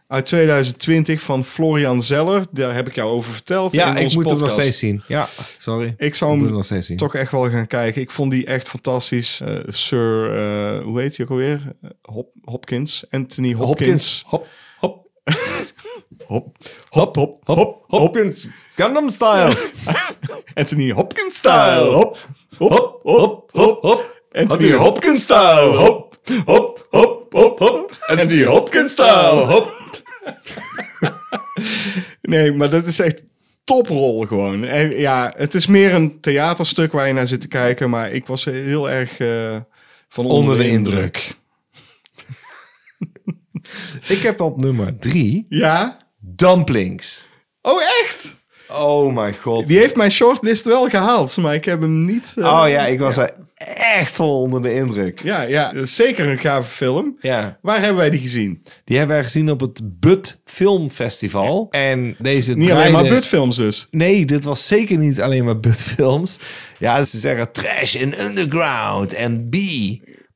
Speaker 1: uit 2020 van Florian Zeller. Daar heb ik jou over verteld.
Speaker 2: Ja,
Speaker 1: in
Speaker 2: ik moet
Speaker 1: onze
Speaker 2: hem nog
Speaker 1: podcast.
Speaker 2: steeds zien. Ja, sorry.
Speaker 1: Ik zou
Speaker 2: moet
Speaker 1: hem
Speaker 2: hem nog steeds zien.
Speaker 1: toch echt wel gaan kijken. Ik vond die echt fantastisch. Eh, Sir, eh, hoe heet hij ook alweer? Eh, Hop, Hopkins. Anthony Hopkins.
Speaker 2: Hop, hop,
Speaker 1: Hop, hop, hop, hop,
Speaker 2: Hopkins. Gundam style.
Speaker 1: Anthony Hopkins style. Hop, hop,
Speaker 2: hop, hop, hop.
Speaker 1: Anthony Hopkins style. Hop, hop, hop, hop, hop. Anthony Hopkins style. Hop. nee, maar dat is echt toprol gewoon. En ja, het is meer een theaterstuk waar je naar zit te kijken, maar ik was heel erg eh, van onder, de, indruk.
Speaker 2: Ik heb op nummer drie
Speaker 1: Ja?
Speaker 2: dumplings.
Speaker 1: Oh, echt?
Speaker 2: Oh mijn god.
Speaker 1: Die heeft mijn shortlist wel gehaald, maar ik heb hem niet... eh,
Speaker 2: Oh ja, ik was er echt vol onder de indruk.
Speaker 1: Ja, ja, dat is zeker een gave film.
Speaker 2: Ja.
Speaker 1: Waar hebben wij die gezien?
Speaker 2: Die hebben wij gezien op het Bud Film Festival. En deze
Speaker 1: Niet alleen
Speaker 2: draaide-
Speaker 1: maar budfilms dus.
Speaker 2: Nee, dit was zeker niet alleen maar Bud Films. Ja, ze zeggen trash en underground en B.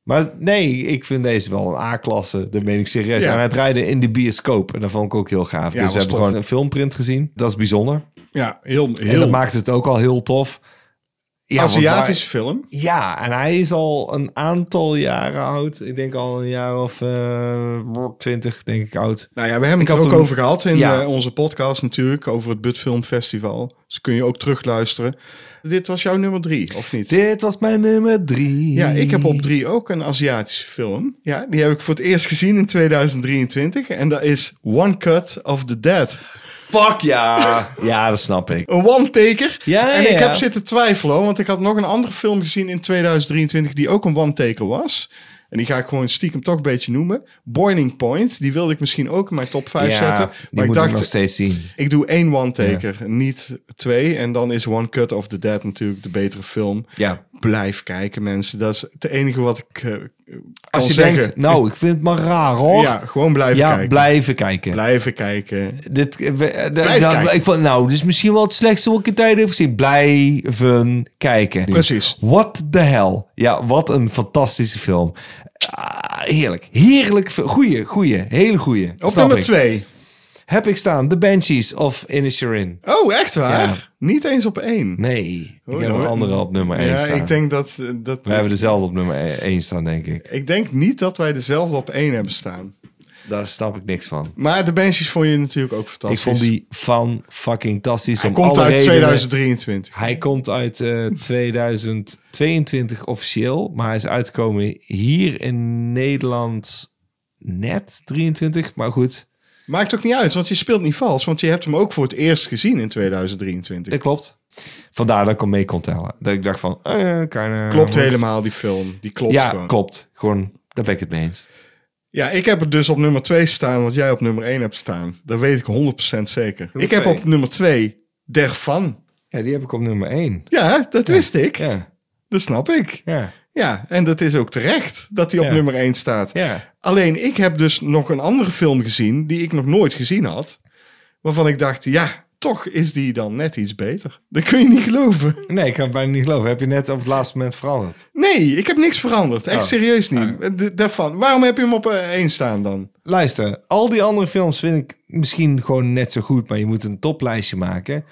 Speaker 2: Maar nee, ik vind deze wel een A-klasse. Dat meen ik serieus.
Speaker 1: Ja.
Speaker 2: En hij draaide in de bioscoop. En dat vond ik ook heel gaaf. dus
Speaker 1: was
Speaker 2: we hebben
Speaker 1: tof.
Speaker 2: gewoon een filmprint gezien. Dat is bijzonder.
Speaker 1: Ja, heel...
Speaker 2: En
Speaker 1: heel
Speaker 2: dat maakt het ook al heel tof. Ja, want wij-
Speaker 1: Aziatische film.
Speaker 2: Ja, en hij is al een aantal jaren oud. Ik denk al een jaar of eh, twintig, denk ik, oud.
Speaker 1: Nou ja, we hebben
Speaker 2: Ik
Speaker 1: het er
Speaker 2: had
Speaker 1: ook
Speaker 2: hem-
Speaker 1: over gehad in
Speaker 2: Ja.
Speaker 1: eh, onze podcast natuurlijk, over het Bud Film Festival. Dus kun je ook terugluisteren. Dit was jouw nummer drie, of niet?
Speaker 2: Dit was mijn nummer drie.
Speaker 1: Ja, ik heb op drie ook een Aziatische film. Ja, die heb ik voor het eerst gezien in 2023. En dat is One Cut of the Dead.
Speaker 2: Fuck ja! ja, dat snap ik.
Speaker 1: Een one-taker.
Speaker 2: Ja,
Speaker 1: en
Speaker 2: ja,
Speaker 1: ik
Speaker 2: ja.
Speaker 1: heb zitten twijfelen, hoor, want ik had nog een andere film gezien in 2023 die ook een one-taker was. En die ga ik gewoon stiekem toch een beetje noemen. Boiling Point, die wilde ik misschien ook in mijn top 5
Speaker 2: ja,
Speaker 1: zetten.
Speaker 2: die
Speaker 1: Maar ik
Speaker 2: moet ik nog
Speaker 1: dacht,
Speaker 2: steeds zien.
Speaker 1: Ik doe één one-taker, niet twee. En dan is One Cut of the Dead natuurlijk de betere film.
Speaker 2: Ja.
Speaker 1: Blijf kijken, mensen. Dat is het enige wat ik eh, kan
Speaker 2: Als je
Speaker 1: zeggen.
Speaker 2: denkt, nou, ik vind het maar raar hoor.
Speaker 1: ja, gewoon blijven
Speaker 2: Ja,
Speaker 1: kijken.
Speaker 2: blijven kijken.
Speaker 1: Blijven kijken.
Speaker 2: Dit, eh, we- eh,
Speaker 1: Blijf
Speaker 2: dan-
Speaker 1: kijken.
Speaker 2: Ik vond, nou, dit is misschien wel het slechtste wat ik in tijden heb gezien. Blijven kijken.
Speaker 1: Precies.
Speaker 2: What the hell. Ja, wat een fantastische film. Ah, heerlijk. Heerlijk. fi- Goeie, goeie. Hele goeie.
Speaker 1: Op
Speaker 2: Snap
Speaker 1: nummer
Speaker 2: ik.
Speaker 1: twee.
Speaker 2: Heb ik staan. The Banshees of Inisherin.
Speaker 1: Oh, echt waar?
Speaker 2: Ja.
Speaker 1: Niet eens op één.
Speaker 2: Nee, ik
Speaker 1: Oh,
Speaker 2: heb
Speaker 1: dan-
Speaker 2: een andere op nummer 1
Speaker 1: ja,
Speaker 2: staan.
Speaker 1: ik denk dat... dat
Speaker 2: We hebben dezelfde op nummer 1 staan, denk ik.
Speaker 1: Ik denk niet dat wij dezelfde op één hebben staan.
Speaker 2: Daar snap ik niks van.
Speaker 1: Maar de Banshees vond je natuurlijk ook
Speaker 2: Ik
Speaker 1: fantastisch.
Speaker 2: vond die fan fucking tastisch.
Speaker 1: Hij
Speaker 2: om
Speaker 1: komt
Speaker 2: alle
Speaker 1: uit
Speaker 2: redenen.
Speaker 1: 2023.
Speaker 2: Hij komt uit eh, 2022 officieel, maar hij is uitgekomen hier in Nederland net 23. Maar goed,
Speaker 1: Maakt ook niet uit, want je speelt niet vals. Want je hebt hem ook voor het eerst gezien in 2023.
Speaker 2: dat klopt. Vandaar dat ik hem mee kon tellen. Dat ik dacht van, eh, kan, eh,
Speaker 1: klopt
Speaker 2: goed.
Speaker 1: helemaal, die film. Die klopt
Speaker 2: ja,
Speaker 1: gewoon.
Speaker 2: klopt. Gewoon, daar ben ik het mee eens.
Speaker 1: Ja, ik heb het dus op nummer 2 staan, wat jij op nummer 1 hebt staan. Dat weet ik 100% zeker. ik heb
Speaker 2: twee.
Speaker 1: op nummer 2 Dervan.
Speaker 2: Ja, die heb ik op nummer 1.
Speaker 1: Ja, dat wist ik.
Speaker 2: Ja,
Speaker 1: Dat snap ik.
Speaker 2: ja,
Speaker 1: Ja, en dat is ook terecht dat hij op
Speaker 2: Ja.
Speaker 1: nummer 1 staat.
Speaker 2: ja.
Speaker 1: Alleen ik heb dus nog een andere film gezien die ik nog nooit gezien had. Waarvan ik dacht, ja, toch is die dan net iets beter. Dat kun je niet geloven.
Speaker 2: Nee, ik kan het bijna niet geloven. Heb je net op het laatste moment veranderd.
Speaker 1: Nee, ik heb niks veranderd.
Speaker 2: Oh.
Speaker 1: Echt serieus niet. D- Daarvan. Waarom heb je hem op 1 staan dan?
Speaker 2: Luister, al die andere films vind ik misschien gewoon net zo goed, maar je moet een toplijstje maken.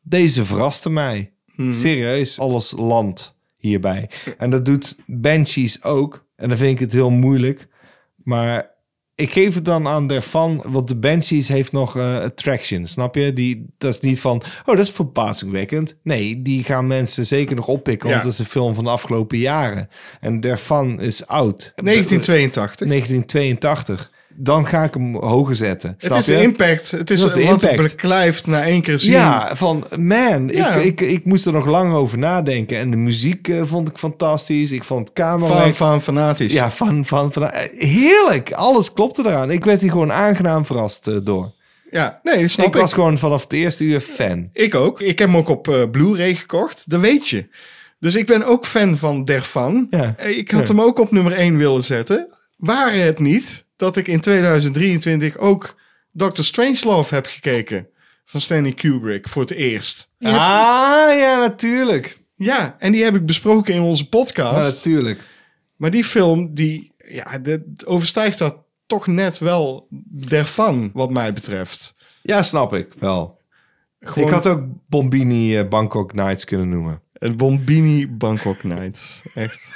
Speaker 2: Deze verraste mij. Serieus, alles land hierbij. En dat doet Banshees ook. En dan vind ik het heel moeilijk. Maar ik geef het dan aan daarvan, want de Banshees heeft nog eh, attraction, snap je? Die, dat is niet van, oh, dat is verbazingwekkend. Nee, die gaan mensen zeker nog oppikken,
Speaker 1: Ja.
Speaker 2: want dat is een film van de afgelopen jaren. En daarvan is oud.
Speaker 1: 1982.
Speaker 2: 1982. Dan ga ik hem hoger zetten.
Speaker 1: Het
Speaker 2: Snap
Speaker 1: is
Speaker 2: je?
Speaker 1: de impact. Het is
Speaker 2: Dat is de
Speaker 1: wat
Speaker 2: impact.
Speaker 1: beklijft na één keer zien.
Speaker 2: Ja, van man,
Speaker 1: Ja.
Speaker 2: Ik, ik, ik moest er nog lang over nadenken. En de muziek eh, vond ik fantastisch. Ik vond het
Speaker 1: Van,
Speaker 2: camera.
Speaker 1: van fanatisch.
Speaker 2: Ja, van, van, van, eh, heerlijk. Alles klopte eraan. Ik werd hier gewoon aangenaam verrast eh, door.
Speaker 1: Ja, nee, dat snap
Speaker 2: ik
Speaker 1: ik.
Speaker 2: was gewoon vanaf het eerste uur fan.
Speaker 1: Ik ook. Ik heb hem ook op eh, Blu-ray gekocht. Dat weet je. Dus ik ben ook fan van Derfan. Eh,
Speaker 2: Ja.
Speaker 1: Ik had
Speaker 2: Ja.
Speaker 1: hem ook op nummer 1 willen zetten. Waren het niet dat ik in 2023 ook Doctor Strangelove heb gekeken. Van Stanley Kubrick voor het eerst.
Speaker 2: Ah, ja, natuurlijk.
Speaker 1: Ja, en die heb ik besproken in onze
Speaker 2: Ja,
Speaker 1: podcast.
Speaker 2: natuurlijk.
Speaker 1: Maar die film, die ja, dat overstijgt dat toch net wel Derfan, wat mij betreft.
Speaker 2: Ja, snap ik wel.
Speaker 1: Gewoon
Speaker 2: Ik had ook Bombini eh, Bangkok Nights kunnen noemen.
Speaker 1: het Bombini Bangkok Nights. Echt.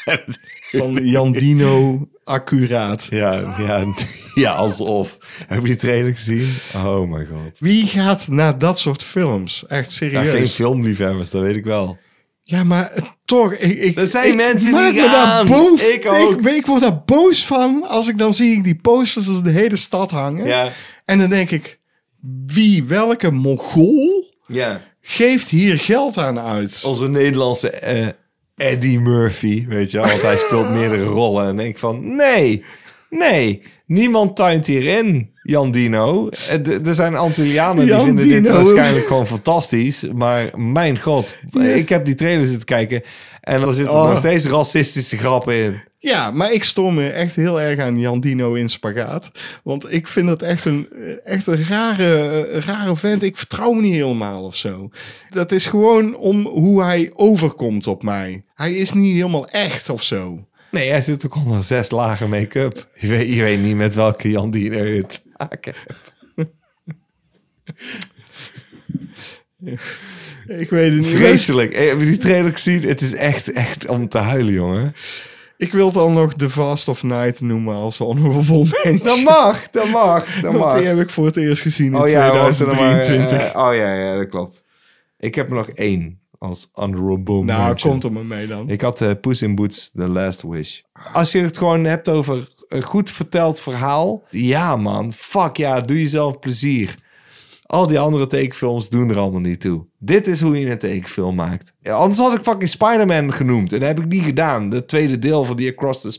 Speaker 1: Van Jan Dino, accuraat.
Speaker 2: Ja, ja, ja, alsof. Heb je die trailer gezien? Oh my god.
Speaker 1: Wie gaat naar dat soort films? Echt
Speaker 2: Ja, geen
Speaker 1: serieus.
Speaker 2: filmliefhebbers, dat weet ik wel.
Speaker 1: Ja, maar eh, toch. Ik, ik,
Speaker 2: Er zijn
Speaker 1: ik
Speaker 2: mensen
Speaker 1: maak
Speaker 2: die
Speaker 1: me
Speaker 2: gaan.
Speaker 1: Daar boos,
Speaker 2: Ik ook.
Speaker 1: Ik, ik word daar boos van als ik dan zie ik die posters door de hele stad hangen.
Speaker 2: Ja.
Speaker 1: En dan denk ik, wie, welke Mongool
Speaker 2: Ja.
Speaker 1: geeft hier geld aan uit?
Speaker 2: Onze Nederlandse eh, Eddie Murphy, weet je wel. Want hij speelt meerdere rollen. En ik van, nee, nee. Niemand tuint hierin, Jan Dino. Eh, d- Er zijn Antillianen die
Speaker 1: Jan
Speaker 2: vinden dit
Speaker 1: Dino.
Speaker 2: waarschijnlijk gewoon fantastisch. Maar mijn god, ik heb die trailer zitten kijken. En er zitten
Speaker 1: Oh.
Speaker 2: nog steeds racistische grappen in.
Speaker 1: Ja, maar ik stoor me echt heel erg aan Jan Dino in spagaat. Want ik vind dat echt een, echt een rare, eh, rare vent. Ik vertrouw hem niet helemaal of zo. Dat is gewoon om hoe hij overkomt op mij. Hij is niet helemaal echt of zo.
Speaker 2: Nee, hij zit ook onder zes lagen make-up. Je weet, je weet niet met welke Jan Dino je te maken hebt.
Speaker 1: Ik weet het niet.
Speaker 2: Vreselijk. Eh, Heb je die trailer gezien? Het is echt, echt om te huilen, jongen.
Speaker 1: Ik wil dan nog The Vast of Night noemen als honorable mention.
Speaker 2: Dat mag, dat mag, dat
Speaker 1: Want
Speaker 2: mag.
Speaker 1: die heb ik voor het eerst gezien in Nou,
Speaker 2: Oh ja, we moeten er maar,
Speaker 1: 2023.
Speaker 2: eh, oh ja, ja, dat klopt. Ik heb er nog één als honorable
Speaker 1: nou,
Speaker 2: mention.
Speaker 1: komt er maar mee dan.
Speaker 2: Ik had eh Poes in Boots, The Last Wish. Als je het gewoon hebt over een goed verteld verhaal. Ja man, fuck ja, doe jezelf plezier. Al die andere tekenfilms doen er allemaal niet toe. Dit is hoe je een tekenfilm maakt. Ja, Anders had ik fucking Spider-Man genoemd. En dat heb ik niet gedaan. De tweede deel van die Across the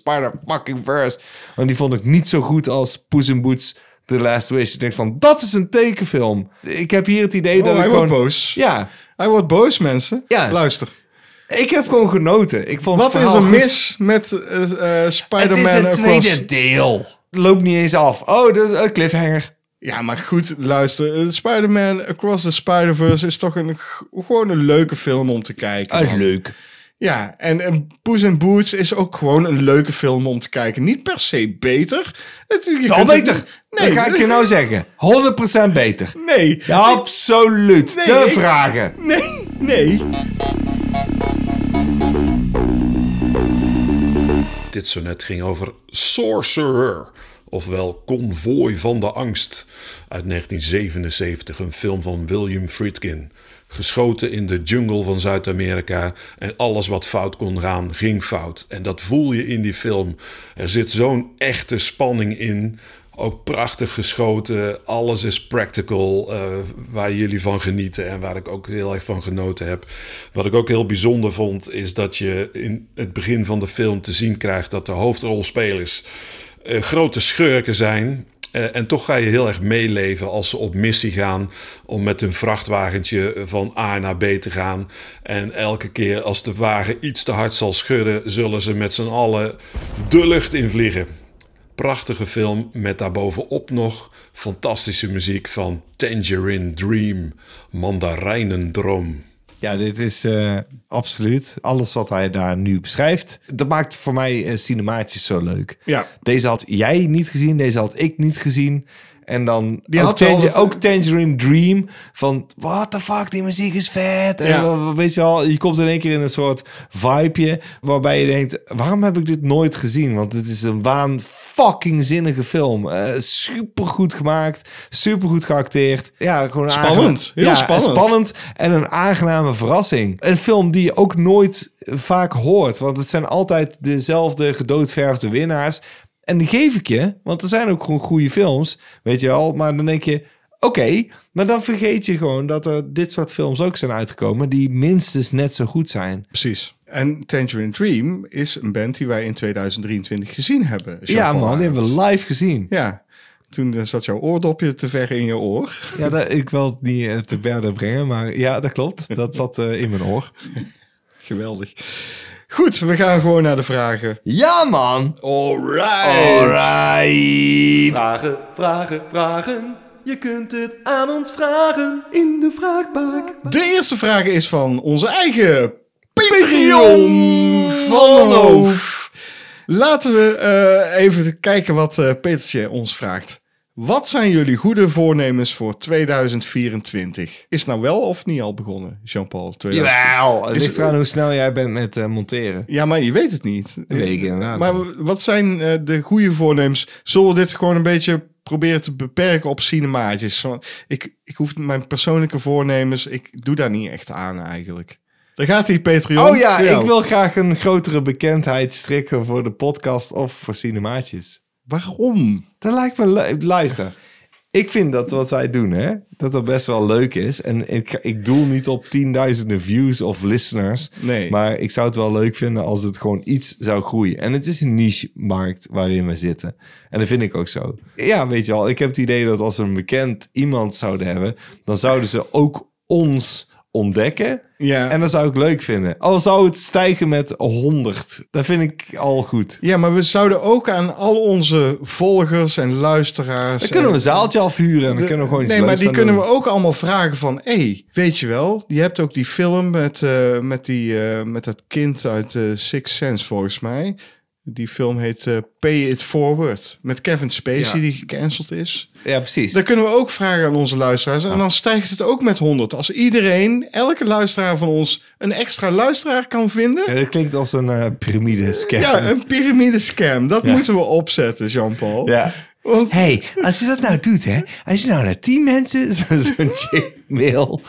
Speaker 2: Spider-Fucking-Verse. Want die vond ik niet zo goed als Poes in Boots, The Last Wish. Ik denk van, dat is een tekenfilm. Ik heb hier het idee
Speaker 1: Oh,
Speaker 2: dat ik
Speaker 1: hij
Speaker 2: gewoon...
Speaker 1: wordt boos.
Speaker 2: Ja,
Speaker 1: Hij wordt boos, mensen.
Speaker 2: Ja.
Speaker 1: Luister.
Speaker 2: ik heb gewoon genoten. Ik vond het
Speaker 1: Wat is
Speaker 2: verhaal
Speaker 1: er
Speaker 2: goed.
Speaker 1: mis met eh, eh, Spider-Man Across-
Speaker 2: deel. Loopt niet eens af. Oh, dat is een cliffhanger.
Speaker 1: Ja, maar goed, luister. eh, Spider-Man Across the Spider-Verse Oh, is toch een, g- gewoon een leuke film om te kijken. man.
Speaker 2: leuk.
Speaker 1: Ja, en, en Poes en Boots is ook gewoon een leuke film om te kijken. Niet per se beter. Het, je
Speaker 2: Wel
Speaker 1: kunt het-
Speaker 2: beter.
Speaker 1: Nee,
Speaker 2: Dat ga ik je nou zeggen. 100% beter.
Speaker 1: Nee.
Speaker 2: Absoluut.
Speaker 1: Nee,
Speaker 2: de
Speaker 1: ik-
Speaker 2: vragen.
Speaker 1: Nee, nee.
Speaker 5: Dit sonnet ging over Sorcerer, ofwel Convoy van de Angst, uit 1977, een film van William Friedkin. Geschoten in de jungle van Zuid-Amerika en alles wat fout kon gaan, ging fout. En dat voel je in die film. Er zit zo'n echte spanning in. Ook prachtig geschoten, alles is practical, eh, waar jullie van genieten en waar ik ook heel erg van genoten heb. Wat ik ook heel bijzonder vond, is dat je in het begin van de film te zien krijgt dat de hoofdrolspelers eh, grote schurken zijn. Eh, en toch ga je heel erg meeleven als ze op missie gaan om met hun vrachtwagentje van A naar B te gaan. En elke keer als de wagen iets te hard zal schudden, zullen ze met z'n allen de lucht in vliegen. Prachtige film met daarbovenop nog fantastische muziek van Tangerine Dream, Mandarijnendroom.
Speaker 2: Ja, dit is eh, absoluut alles wat hij daar nu beschrijft. Dat maakt voor mij eh, cinematisch zo leuk.
Speaker 1: Ja.
Speaker 2: Deze had jij niet gezien, deze had ik niet gezien. En dan
Speaker 1: Die
Speaker 2: ook,
Speaker 1: had wel
Speaker 2: Tanger-
Speaker 1: dat-
Speaker 2: ook Tangerine Dream van what the fuck, die muziek is vet. En
Speaker 1: Ja.
Speaker 2: wa- wa- weet je wel, je komt in één keer in een soort vibeje waarbij je denkt, waarom heb ik dit nooit gezien? Want het is een waan fucking zinnige film. super supergoed gemaakt, supergoed geacteerd. Ja, gewoon een
Speaker 1: Spannend,
Speaker 2: aangenaam-
Speaker 1: heel spannend.
Speaker 2: spannend en een aangename verrassing. Een film die je ook nooit vaak hoort, want het zijn altijd dezelfde gedoodverfde winnaars. En die geef ik je, want er zijn ook gewoon goede films, weet je wel. Maar dan denk je, oké, maar dan vergeet je gewoon dat er dit soort films ook zijn uitgekomen die minstens net zo goed zijn.
Speaker 1: Precies. En Tangerine Dream is een band die wij in 2023 gezien hebben.
Speaker 2: ja
Speaker 1: Jean-Paul
Speaker 2: man, die hebben
Speaker 1: Arends.
Speaker 2: we live gezien.
Speaker 1: Ja. Toen eh, zat jouw oordopje te ver in je oor.
Speaker 2: Ja, dat, ik wil het niet eh, te berden brengen, maar ja, dat klopt. Dat zat eh, in mijn oor.
Speaker 1: Geweldig. Goed, we gaan gewoon naar de vragen.
Speaker 2: Ja man!
Speaker 1: Alright.
Speaker 8: Vragen, vragen, vragen. Je kunt het aan ons vragen in de vraagbak.
Speaker 1: De eerste vraag is van onze eigen Patreon van Hoof. Laten we eh, even kijken wat eh, Petertje ons vraagt. Wat zijn jullie goede voornemens voor 2024? Is nou wel of niet al begonnen, Jean-Paul? 2000?
Speaker 2: Jawel, het
Speaker 1: Is-
Speaker 2: ligt eraan hoe snel jij bent met eh, monteren.
Speaker 1: Ja, maar je weet het niet.
Speaker 2: weet ik inderdaad
Speaker 1: Maar wat zijn eh, de goede voornemens? Zullen we dit gewoon een beetje proberen te beperken op cinemaatjes? Want ik, ik hoef mijn persoonlijke voornemens, ik doe daar niet echt aan eigenlijk. Daar gaat hij, Patreon.
Speaker 2: Oh ja,
Speaker 1: Voor jou.
Speaker 2: ik wil graag een grotere bekendheid strikken voor de podcast of voor cinemaatjes.
Speaker 1: Waarom?
Speaker 2: Dat lijkt me leuk. Luister, ik vind dat wat wij doen, hè, dat dat best wel leuk is. En ik, ik doel niet op tienduizenden views of listeners.
Speaker 1: Nee.
Speaker 2: Maar ik zou het wel leuk vinden als het gewoon iets zou groeien. En het is een niche-markt waarin we zitten. En dat vind ik ook zo. Ja, weet je wel, ik heb het idee dat als we een bekend iemand zouden hebben, dan zouden ze ook ons ontdekken.
Speaker 1: Ja.
Speaker 2: En dat zou ik leuk vinden. Al zou het stijgen met 100. Dat vind ik al goed.
Speaker 1: Ja, maar we zouden ook aan al onze volgers en luisteraars...
Speaker 2: Dan kunnen we
Speaker 1: en-
Speaker 2: een zaaltje afhuren en dan kunnen we gewoon iets
Speaker 1: Nee, maar
Speaker 2: leuks
Speaker 1: die
Speaker 2: gaan
Speaker 1: kunnen
Speaker 2: doen.
Speaker 1: we ook allemaal vragen van... Hé, hey, weet je wel, je hebt ook die film met, eh, met, die, eh, met dat kind uit eh, Six Sense, volgens mij. Die film heet eh, Pay It Forward. Met Kevin Spacey,
Speaker 2: Ja.
Speaker 1: die gecanceld is.
Speaker 2: Ja, precies.
Speaker 1: Daar kunnen we ook vragen aan onze luisteraars. En dan stijgt het ook met 100. Als iedereen, elke luisteraar van ons... een extra luisteraar kan vinden...
Speaker 2: Ja, dat klinkt als een eh piramide scam.
Speaker 1: Ja, een piramidescam. Dat
Speaker 2: Ja.
Speaker 1: moeten we opzetten, Jean-Paul.
Speaker 2: Ja.
Speaker 1: Want
Speaker 2: hey, als je dat nou doet, hè? Als je nou naar 10 mensen zo- zo'n mail,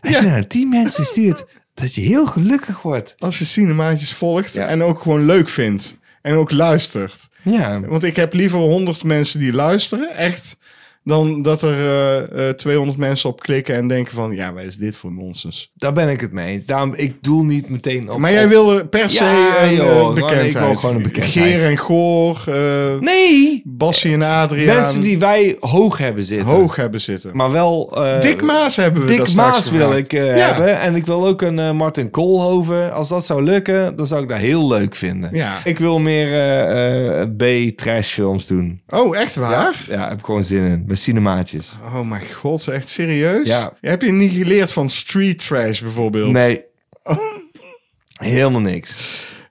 Speaker 2: als je nou naar 10 mensen stuurt, dat je heel gelukkig wordt.
Speaker 1: als je cinemaatjes volgt
Speaker 2: Ja.
Speaker 1: en ook gewoon leuk vindt en ook luistert.
Speaker 2: Ja,
Speaker 1: Want ik heb liever 100 mensen die luisteren, echt, dan dat er eh, eh, 200 mensen op klikken en denken van, ja, wat is dit voor nonsens?
Speaker 2: daar ben ik het mee eens. Daarom, ik doel niet meteen op.
Speaker 1: Maar jij
Speaker 2: op-
Speaker 1: wilde per se
Speaker 2: Ja,
Speaker 1: een eh,
Speaker 2: joh, gewoon-
Speaker 1: bekendheid.
Speaker 2: ik wil gewoon een bekendheid.
Speaker 1: Geer en Goor, eh
Speaker 2: Nee!
Speaker 1: Bassie en Adriaan.
Speaker 2: Mensen die wij hoog hebben zitten.
Speaker 1: hoog hebben zitten.
Speaker 2: Maar wel... eh,
Speaker 1: Dick Maas hebben we daar
Speaker 2: Dick
Speaker 1: straks
Speaker 2: Maas wil
Speaker 1: gevraagd.
Speaker 2: ik eh,
Speaker 1: Ja.
Speaker 2: hebben. En ik wil ook een eh, Martin Koolhoven. Als dat zou lukken, dan zou ik dat heel leuk vinden.
Speaker 1: Ja.
Speaker 2: Ik wil meer eh, eh, B-trash films doen.
Speaker 1: Oh, echt waar?
Speaker 2: Ja, heb ik gewoon zin in. Met cinemaatjes.
Speaker 1: Oh mijn god, echt serieus?
Speaker 2: Ja.
Speaker 1: Heb je niet geleerd van street trash bijvoorbeeld?
Speaker 2: Nee. Helemaal niks.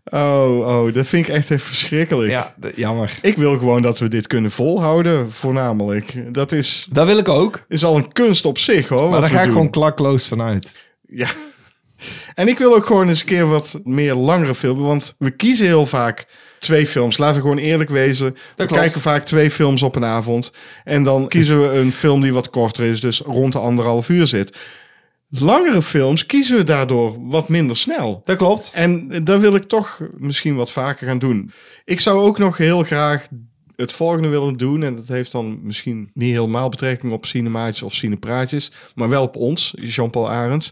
Speaker 1: Oh, oh, dat vind ik echt even verschrikkelijk.
Speaker 2: Ja, d- jammer.
Speaker 1: Ik wil gewoon dat we dit kunnen volhouden, voornamelijk. Dat is,
Speaker 2: Dat wil ik ook.
Speaker 1: is al een kunst op zich, hoor.
Speaker 2: Maar
Speaker 1: wat
Speaker 2: daar
Speaker 1: we
Speaker 2: ga ik
Speaker 1: doen.
Speaker 2: gewoon klakloos vanuit.
Speaker 1: Ja. En ik wil ook gewoon eens een keer wat meer langere filmen. Want we kiezen heel vaak twee films. Laten we gewoon eerlijk wezen. we
Speaker 2: klopt.
Speaker 1: kijken vaak twee films op een avond. En dan kiezen we een film die wat korter is. Dus rond de anderhalf uur zit. Langere films kiezen we daardoor wat minder snel.
Speaker 2: Dat klopt.
Speaker 1: En dat wil ik toch misschien wat vaker gaan doen. Ik zou ook nog heel graag het volgende willen doen. En dat heeft dan misschien niet helemaal betrekking op cinemaatjes of cinepraatjes. Maar wel op ons, Jean-Paul Arends.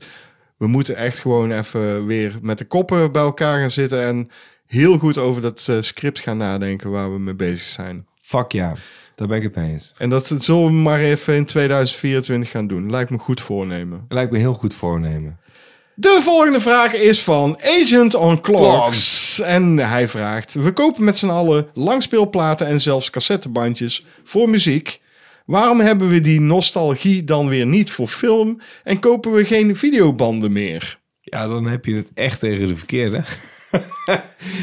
Speaker 1: We moeten echt gewoon even weer met de koppen bij elkaar gaan zitten. En heel goed over dat eh, script gaan nadenken waar we mee bezig zijn.
Speaker 2: Fuck ja. Daar ben ik het mee eens.
Speaker 1: En dat zullen we maar even in 2024 gaan doen. Lijkt me goed voornemen.
Speaker 2: Lijkt me een heel goed voornemen.
Speaker 1: De volgende vraag is van Agent on Clocks. En hij vraagt: We kopen met z'n allen langspeelplaten en zelfs cassettebandjes voor muziek. Waarom hebben we die nostalgie dan weer niet voor film en kopen we geen videobanden meer?
Speaker 2: Ja, dan heb je het echt tegen de verkeerde.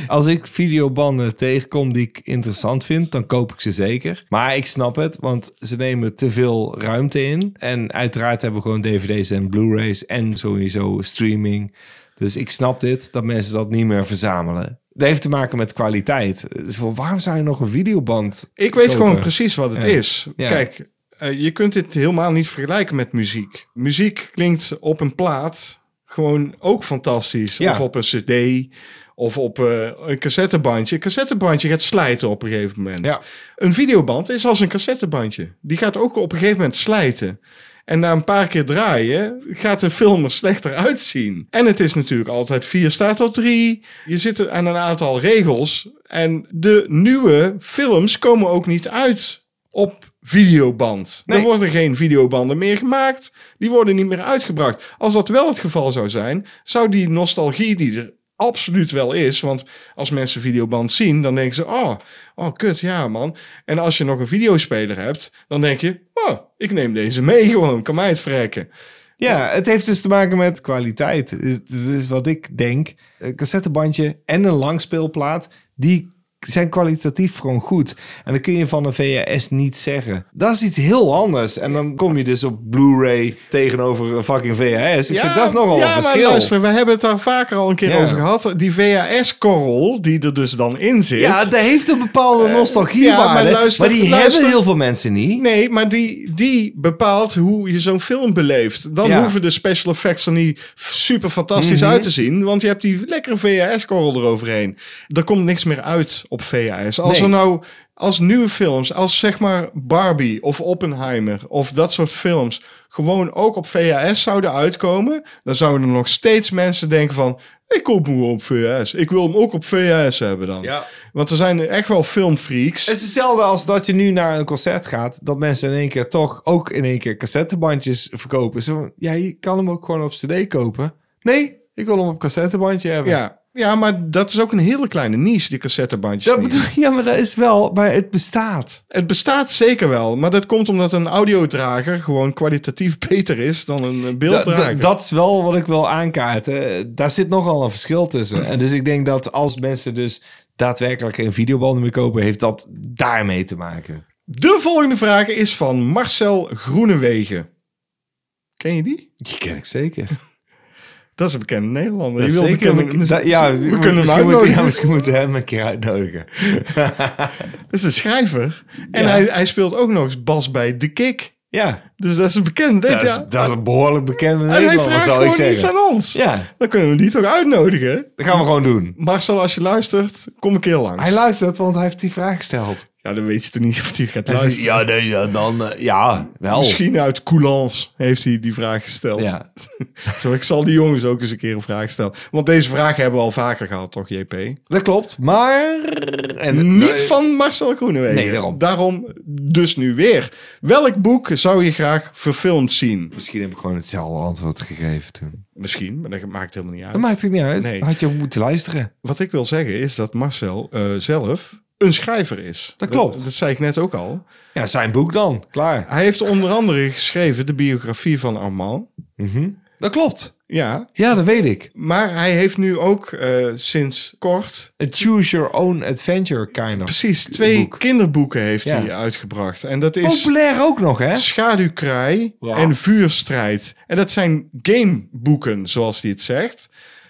Speaker 2: Als ik videobanden tegenkom die ik interessant vind, dan koop ik ze zeker. Maar ik snap het, want ze nemen te veel ruimte in. En uiteraard hebben we gewoon DVD's en Blu-rays en sowieso streaming. Dus ik snap dit, dat mensen dat niet meer verzamelen. Dat heeft te maken met kwaliteit. Het is van, waarom zou je nog een videoband
Speaker 1: Ik weet
Speaker 2: kopen?
Speaker 1: gewoon precies wat het
Speaker 2: Ja.
Speaker 1: is.
Speaker 2: Ja.
Speaker 1: Kijk, eh, je kunt dit helemaal niet vergelijken met muziek. Muziek klinkt op een plaat gewoon ook fantastisch.
Speaker 2: Ja.
Speaker 1: Of op een cd of op eh, een cassettebandje. Een cassettebandje gaat slijten op een gegeven moment.
Speaker 2: Ja.
Speaker 1: Een videoband is als een cassettebandje. Die gaat ook op een gegeven moment slijten. En na een paar keer draaien gaat de film er slechter uitzien. En het is natuurlijk altijd 4 staat tot 3. Je zit aan een aantal regels. En de nieuwe films komen ook niet uit op videoband. Er
Speaker 2: Nee.
Speaker 1: worden geen videobanden meer gemaakt. Die worden niet meer uitgebracht. Als dat wel het geval zou zijn, zou die nostalgie die er absoluut wel is. Want als mensen videoband zien, dan denken ze... Oh, oh kut, ja man. En als je nog een videospeler hebt, dan denk je... Oh, ik neem deze mee gewoon, kan mij het verrekken.
Speaker 2: Ja, het heeft dus te maken met kwaliteit. Is- Dat is wat ik denk. Een cassettebandje en een langspeelplaat, die zijn kwalitatief gewoon goed. En dat kun je van een VHS niet zeggen. Dat is iets heel anders. En dan kom je dus op Blu-ray tegenover een fucking VHS. Ik zeg, dat is nogal
Speaker 1: ja,
Speaker 2: een
Speaker 1: maar
Speaker 2: verschil.
Speaker 1: luister, we hebben het daar vaker al een keer
Speaker 2: Ja.
Speaker 1: over gehad. Die VHS-korrel, die er dus dan in zit...
Speaker 2: ja, dat heeft een bepaalde nostalgie
Speaker 1: Eh, ja, maar
Speaker 2: maar,
Speaker 1: luister-
Speaker 2: maar die
Speaker 1: luister-
Speaker 2: hebben heel veel mensen niet.
Speaker 1: Nee, maar die, die bepaalt hoe je zo'n film beleeft. Dan
Speaker 2: Ja. Mhm.
Speaker 1: hoeven de special effects er niet super fantastisch uit te zien. Want je hebt die lekkere VHS-korrel eroverheen. Er komt niks meer uit op VHS. Als
Speaker 2: Nee.
Speaker 1: er nou, als nieuwe films, als zeg maar Barbie of Oppenheimer of dat soort films... gewoon ook op VHS zouden uitkomen... dan zouden er nog steeds mensen denken van... ik koop hem wel op VHS. Ik wil hem ook op VHS hebben dan.
Speaker 2: Ja.
Speaker 1: Want er zijn echt wel filmfreaks.
Speaker 2: Het is hetzelfde als dat je nu naar een concert gaat. Dat mensen in één keer toch ook in één keer cassettebandjes verkopen. Zo, van, ja, je kan hem ook gewoon op cd kopen. Nee, ik wil hem op cassettebandje hebben.
Speaker 1: Ja. ja, maar dat is ook een hele kleine niche, die cassettebandjes.
Speaker 2: Dat
Speaker 1: niche.
Speaker 2: bedoel, ja, maar dat is wel... Maar het bestaat.
Speaker 1: Het bestaat zeker wel, maar dat komt omdat een audiodrager gewoon kwalitatief beter is dan een eh,
Speaker 2: Da- da-
Speaker 1: beelddrager.
Speaker 2: dat is wel wat ik wil aankaarten. Daar zit nogal een verschil tussen. En dus ik denk dat als mensen dus daadwerkelijk geen videobanden meer kopen... heeft dat daarmee te maken.
Speaker 1: De volgende vraag is van Marcel Groenewegen. Ken je die?
Speaker 2: Die ken ik zeker.
Speaker 1: Dat is een bekende Nederlander.
Speaker 2: Dat
Speaker 1: Je wil
Speaker 2: is zeker
Speaker 1: bekende-
Speaker 2: een- dat- ja,
Speaker 1: we kunnen hem
Speaker 2: misschien moeten- ja,
Speaker 1: uitnodigen.
Speaker 2: misschien moeten we hem een keer uitnodigen.
Speaker 1: Dat is een schrijver. En
Speaker 2: Ja.
Speaker 1: hij, hij speelt ook nog eens bas bij The Kick.
Speaker 2: Ja,
Speaker 1: Dus dat is een bekende.
Speaker 2: Dat is,
Speaker 1: ja.
Speaker 2: dat is een behoorlijk bekende
Speaker 1: en hij
Speaker 2: Nederlander,
Speaker 1: vraagt
Speaker 2: zou ik
Speaker 1: gewoon iets
Speaker 2: zeggen.
Speaker 1: aan ons.
Speaker 2: Ja,
Speaker 1: Dan kunnen we die toch uitnodigen?
Speaker 2: dat gaan we gewoon doen.
Speaker 1: Marcel, als je luistert, kom een keer langs.
Speaker 2: Hij luistert, want hij heeft die vraag gesteld.
Speaker 1: Ja, dan weet je toch niet of hij gaat
Speaker 2: Hij zegt,
Speaker 1: luisteren.
Speaker 2: ja, nee, ja, dan, eh, ja, wel.
Speaker 1: Misschien uit coulance heeft hij die vraag gesteld.
Speaker 2: Ja.
Speaker 1: Zo, ik zal die jongens ook eens een keer een vraag stellen. Want deze vraag hebben we al vaker gehad, toch, JP?
Speaker 2: Dat klopt, maar... En,
Speaker 1: Niet van Marcel Groenewegen.
Speaker 2: eh, Nee, daarom.
Speaker 1: dus nu weer. Welk boek zou je graag verfilmd zien?
Speaker 2: Misschien heb ik gewoon hetzelfde antwoord gegeven toen.
Speaker 1: Misschien, maar dat maakt helemaal niet uit.
Speaker 2: Dat maakt het niet uit.
Speaker 1: Nee.
Speaker 2: Had je moeten luisteren.
Speaker 1: Wat ik wil zeggen is dat Marcel eh, zelf een schrijver is.
Speaker 2: Dat klopt.
Speaker 1: Dat, dat zei ik net ook al.
Speaker 2: Ja, zijn boek dan. Klaar.
Speaker 1: Hij heeft onder andere geschreven de biografie van Armand.
Speaker 2: Dat klopt.
Speaker 1: Ja,
Speaker 2: Ja, dat weet ik.
Speaker 1: maar hij heeft nu ook eh, sinds kort
Speaker 2: A choose your own adventure, kind of.
Speaker 1: precies twee
Speaker 2: Boek.
Speaker 1: kinderboeken heeft
Speaker 2: Ja.
Speaker 1: hij uitgebracht. En dat is
Speaker 2: Populair ook nog, hè?
Speaker 1: Schaduwkraai
Speaker 2: Ja.
Speaker 1: en Vuurstrijd. En dat zijn gameboeken, zoals hij het zegt.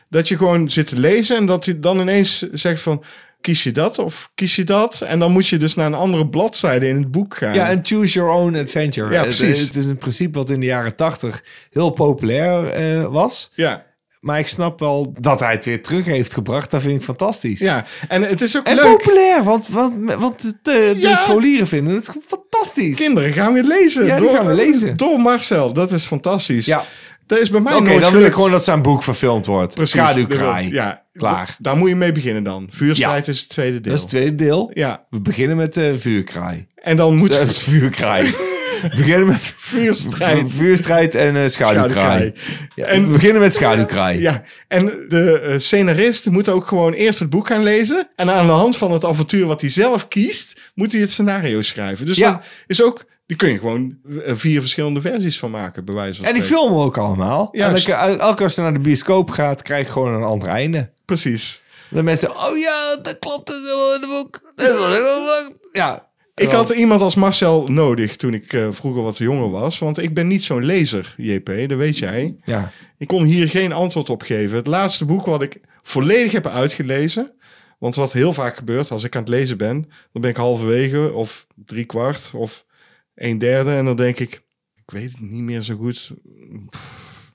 Speaker 1: Dat je gewoon zit te lezen en dat hij dan ineens zegt van... Kies je dat of kies je dat? En dan moet je dus naar een andere bladzijde in het boek gaan.
Speaker 2: Ja, en choose your own adventure.
Speaker 1: Ja,
Speaker 2: Het-
Speaker 1: precies.
Speaker 2: Het, is een principe wat in de jaren tachtig heel populair eh, was.
Speaker 1: ja.
Speaker 2: Maar ik snap wel dat hij het weer terug heeft gebracht. Dat vind ik fantastisch.
Speaker 1: ja. en het is ook
Speaker 2: En
Speaker 1: leuk.
Speaker 2: populair, want, want, want de, de
Speaker 1: Ja.
Speaker 2: scholieren vinden het fantastisch.
Speaker 1: Kinderen gaan weer lezen.
Speaker 2: Ja, die gaan weer lezen.
Speaker 1: Door Marcel, dat is fantastisch.
Speaker 2: Ja.
Speaker 1: Dat is bij mij
Speaker 2: Oké,
Speaker 1: nooit
Speaker 2: dan wil ik
Speaker 1: gelukt.
Speaker 2: gewoon dat zijn boek verfilmd wordt.
Speaker 1: Precies.
Speaker 2: Schaduwkraai.
Speaker 1: Ja,
Speaker 2: Klaar.
Speaker 1: Daar moet je mee beginnen dan. Vuurstrijd is het tweede deel.
Speaker 2: Dat is het tweede deel.
Speaker 1: Ja,
Speaker 2: We beginnen met eh vuurkraai.
Speaker 1: en dan moet
Speaker 2: Eh,
Speaker 1: je...
Speaker 2: vuurkraai. We beginnen met
Speaker 1: Vuurstrijd.
Speaker 2: vuurstrijd en eh, schaduwkraai. Ja,
Speaker 1: En-
Speaker 2: we beginnen met schaduwkraai.
Speaker 1: Ja, en de eh, scenarist moet ook gewoon eerst het boek gaan lezen. En aan de hand van het avontuur wat hij zelf kiest, moet hij het scenario schrijven. Dus
Speaker 2: Ja.
Speaker 1: dat is ook, die kun je gewoon eh, vier verschillende versies van maken, bij wijze van
Speaker 2: En die
Speaker 1: spreken.
Speaker 2: filmen we ook allemaal.
Speaker 1: Juist.
Speaker 2: En elke, elke als je naar de bioscoop gaat, krijg je gewoon een ander einde.
Speaker 1: Precies.
Speaker 2: De mensen, oh ja, dat klopt, dat is wel in het boek. Dat is wel in het boek. Ja.
Speaker 1: Ik had iemand als Marcel nodig toen ik eh, vroeger wat jonger was. Want ik ben niet zo'n lezer, JP, dat weet jij.
Speaker 2: Ja.
Speaker 1: Ik kon hier geen antwoord op geven. Het laatste boek wat ik volledig heb uitgelezen. Want wat heel vaak gebeurt als ik aan het lezen ben, dan ben ik halverwege of drie kwart of een derde. En dan denk ik, ik weet het niet meer zo goed. Pff.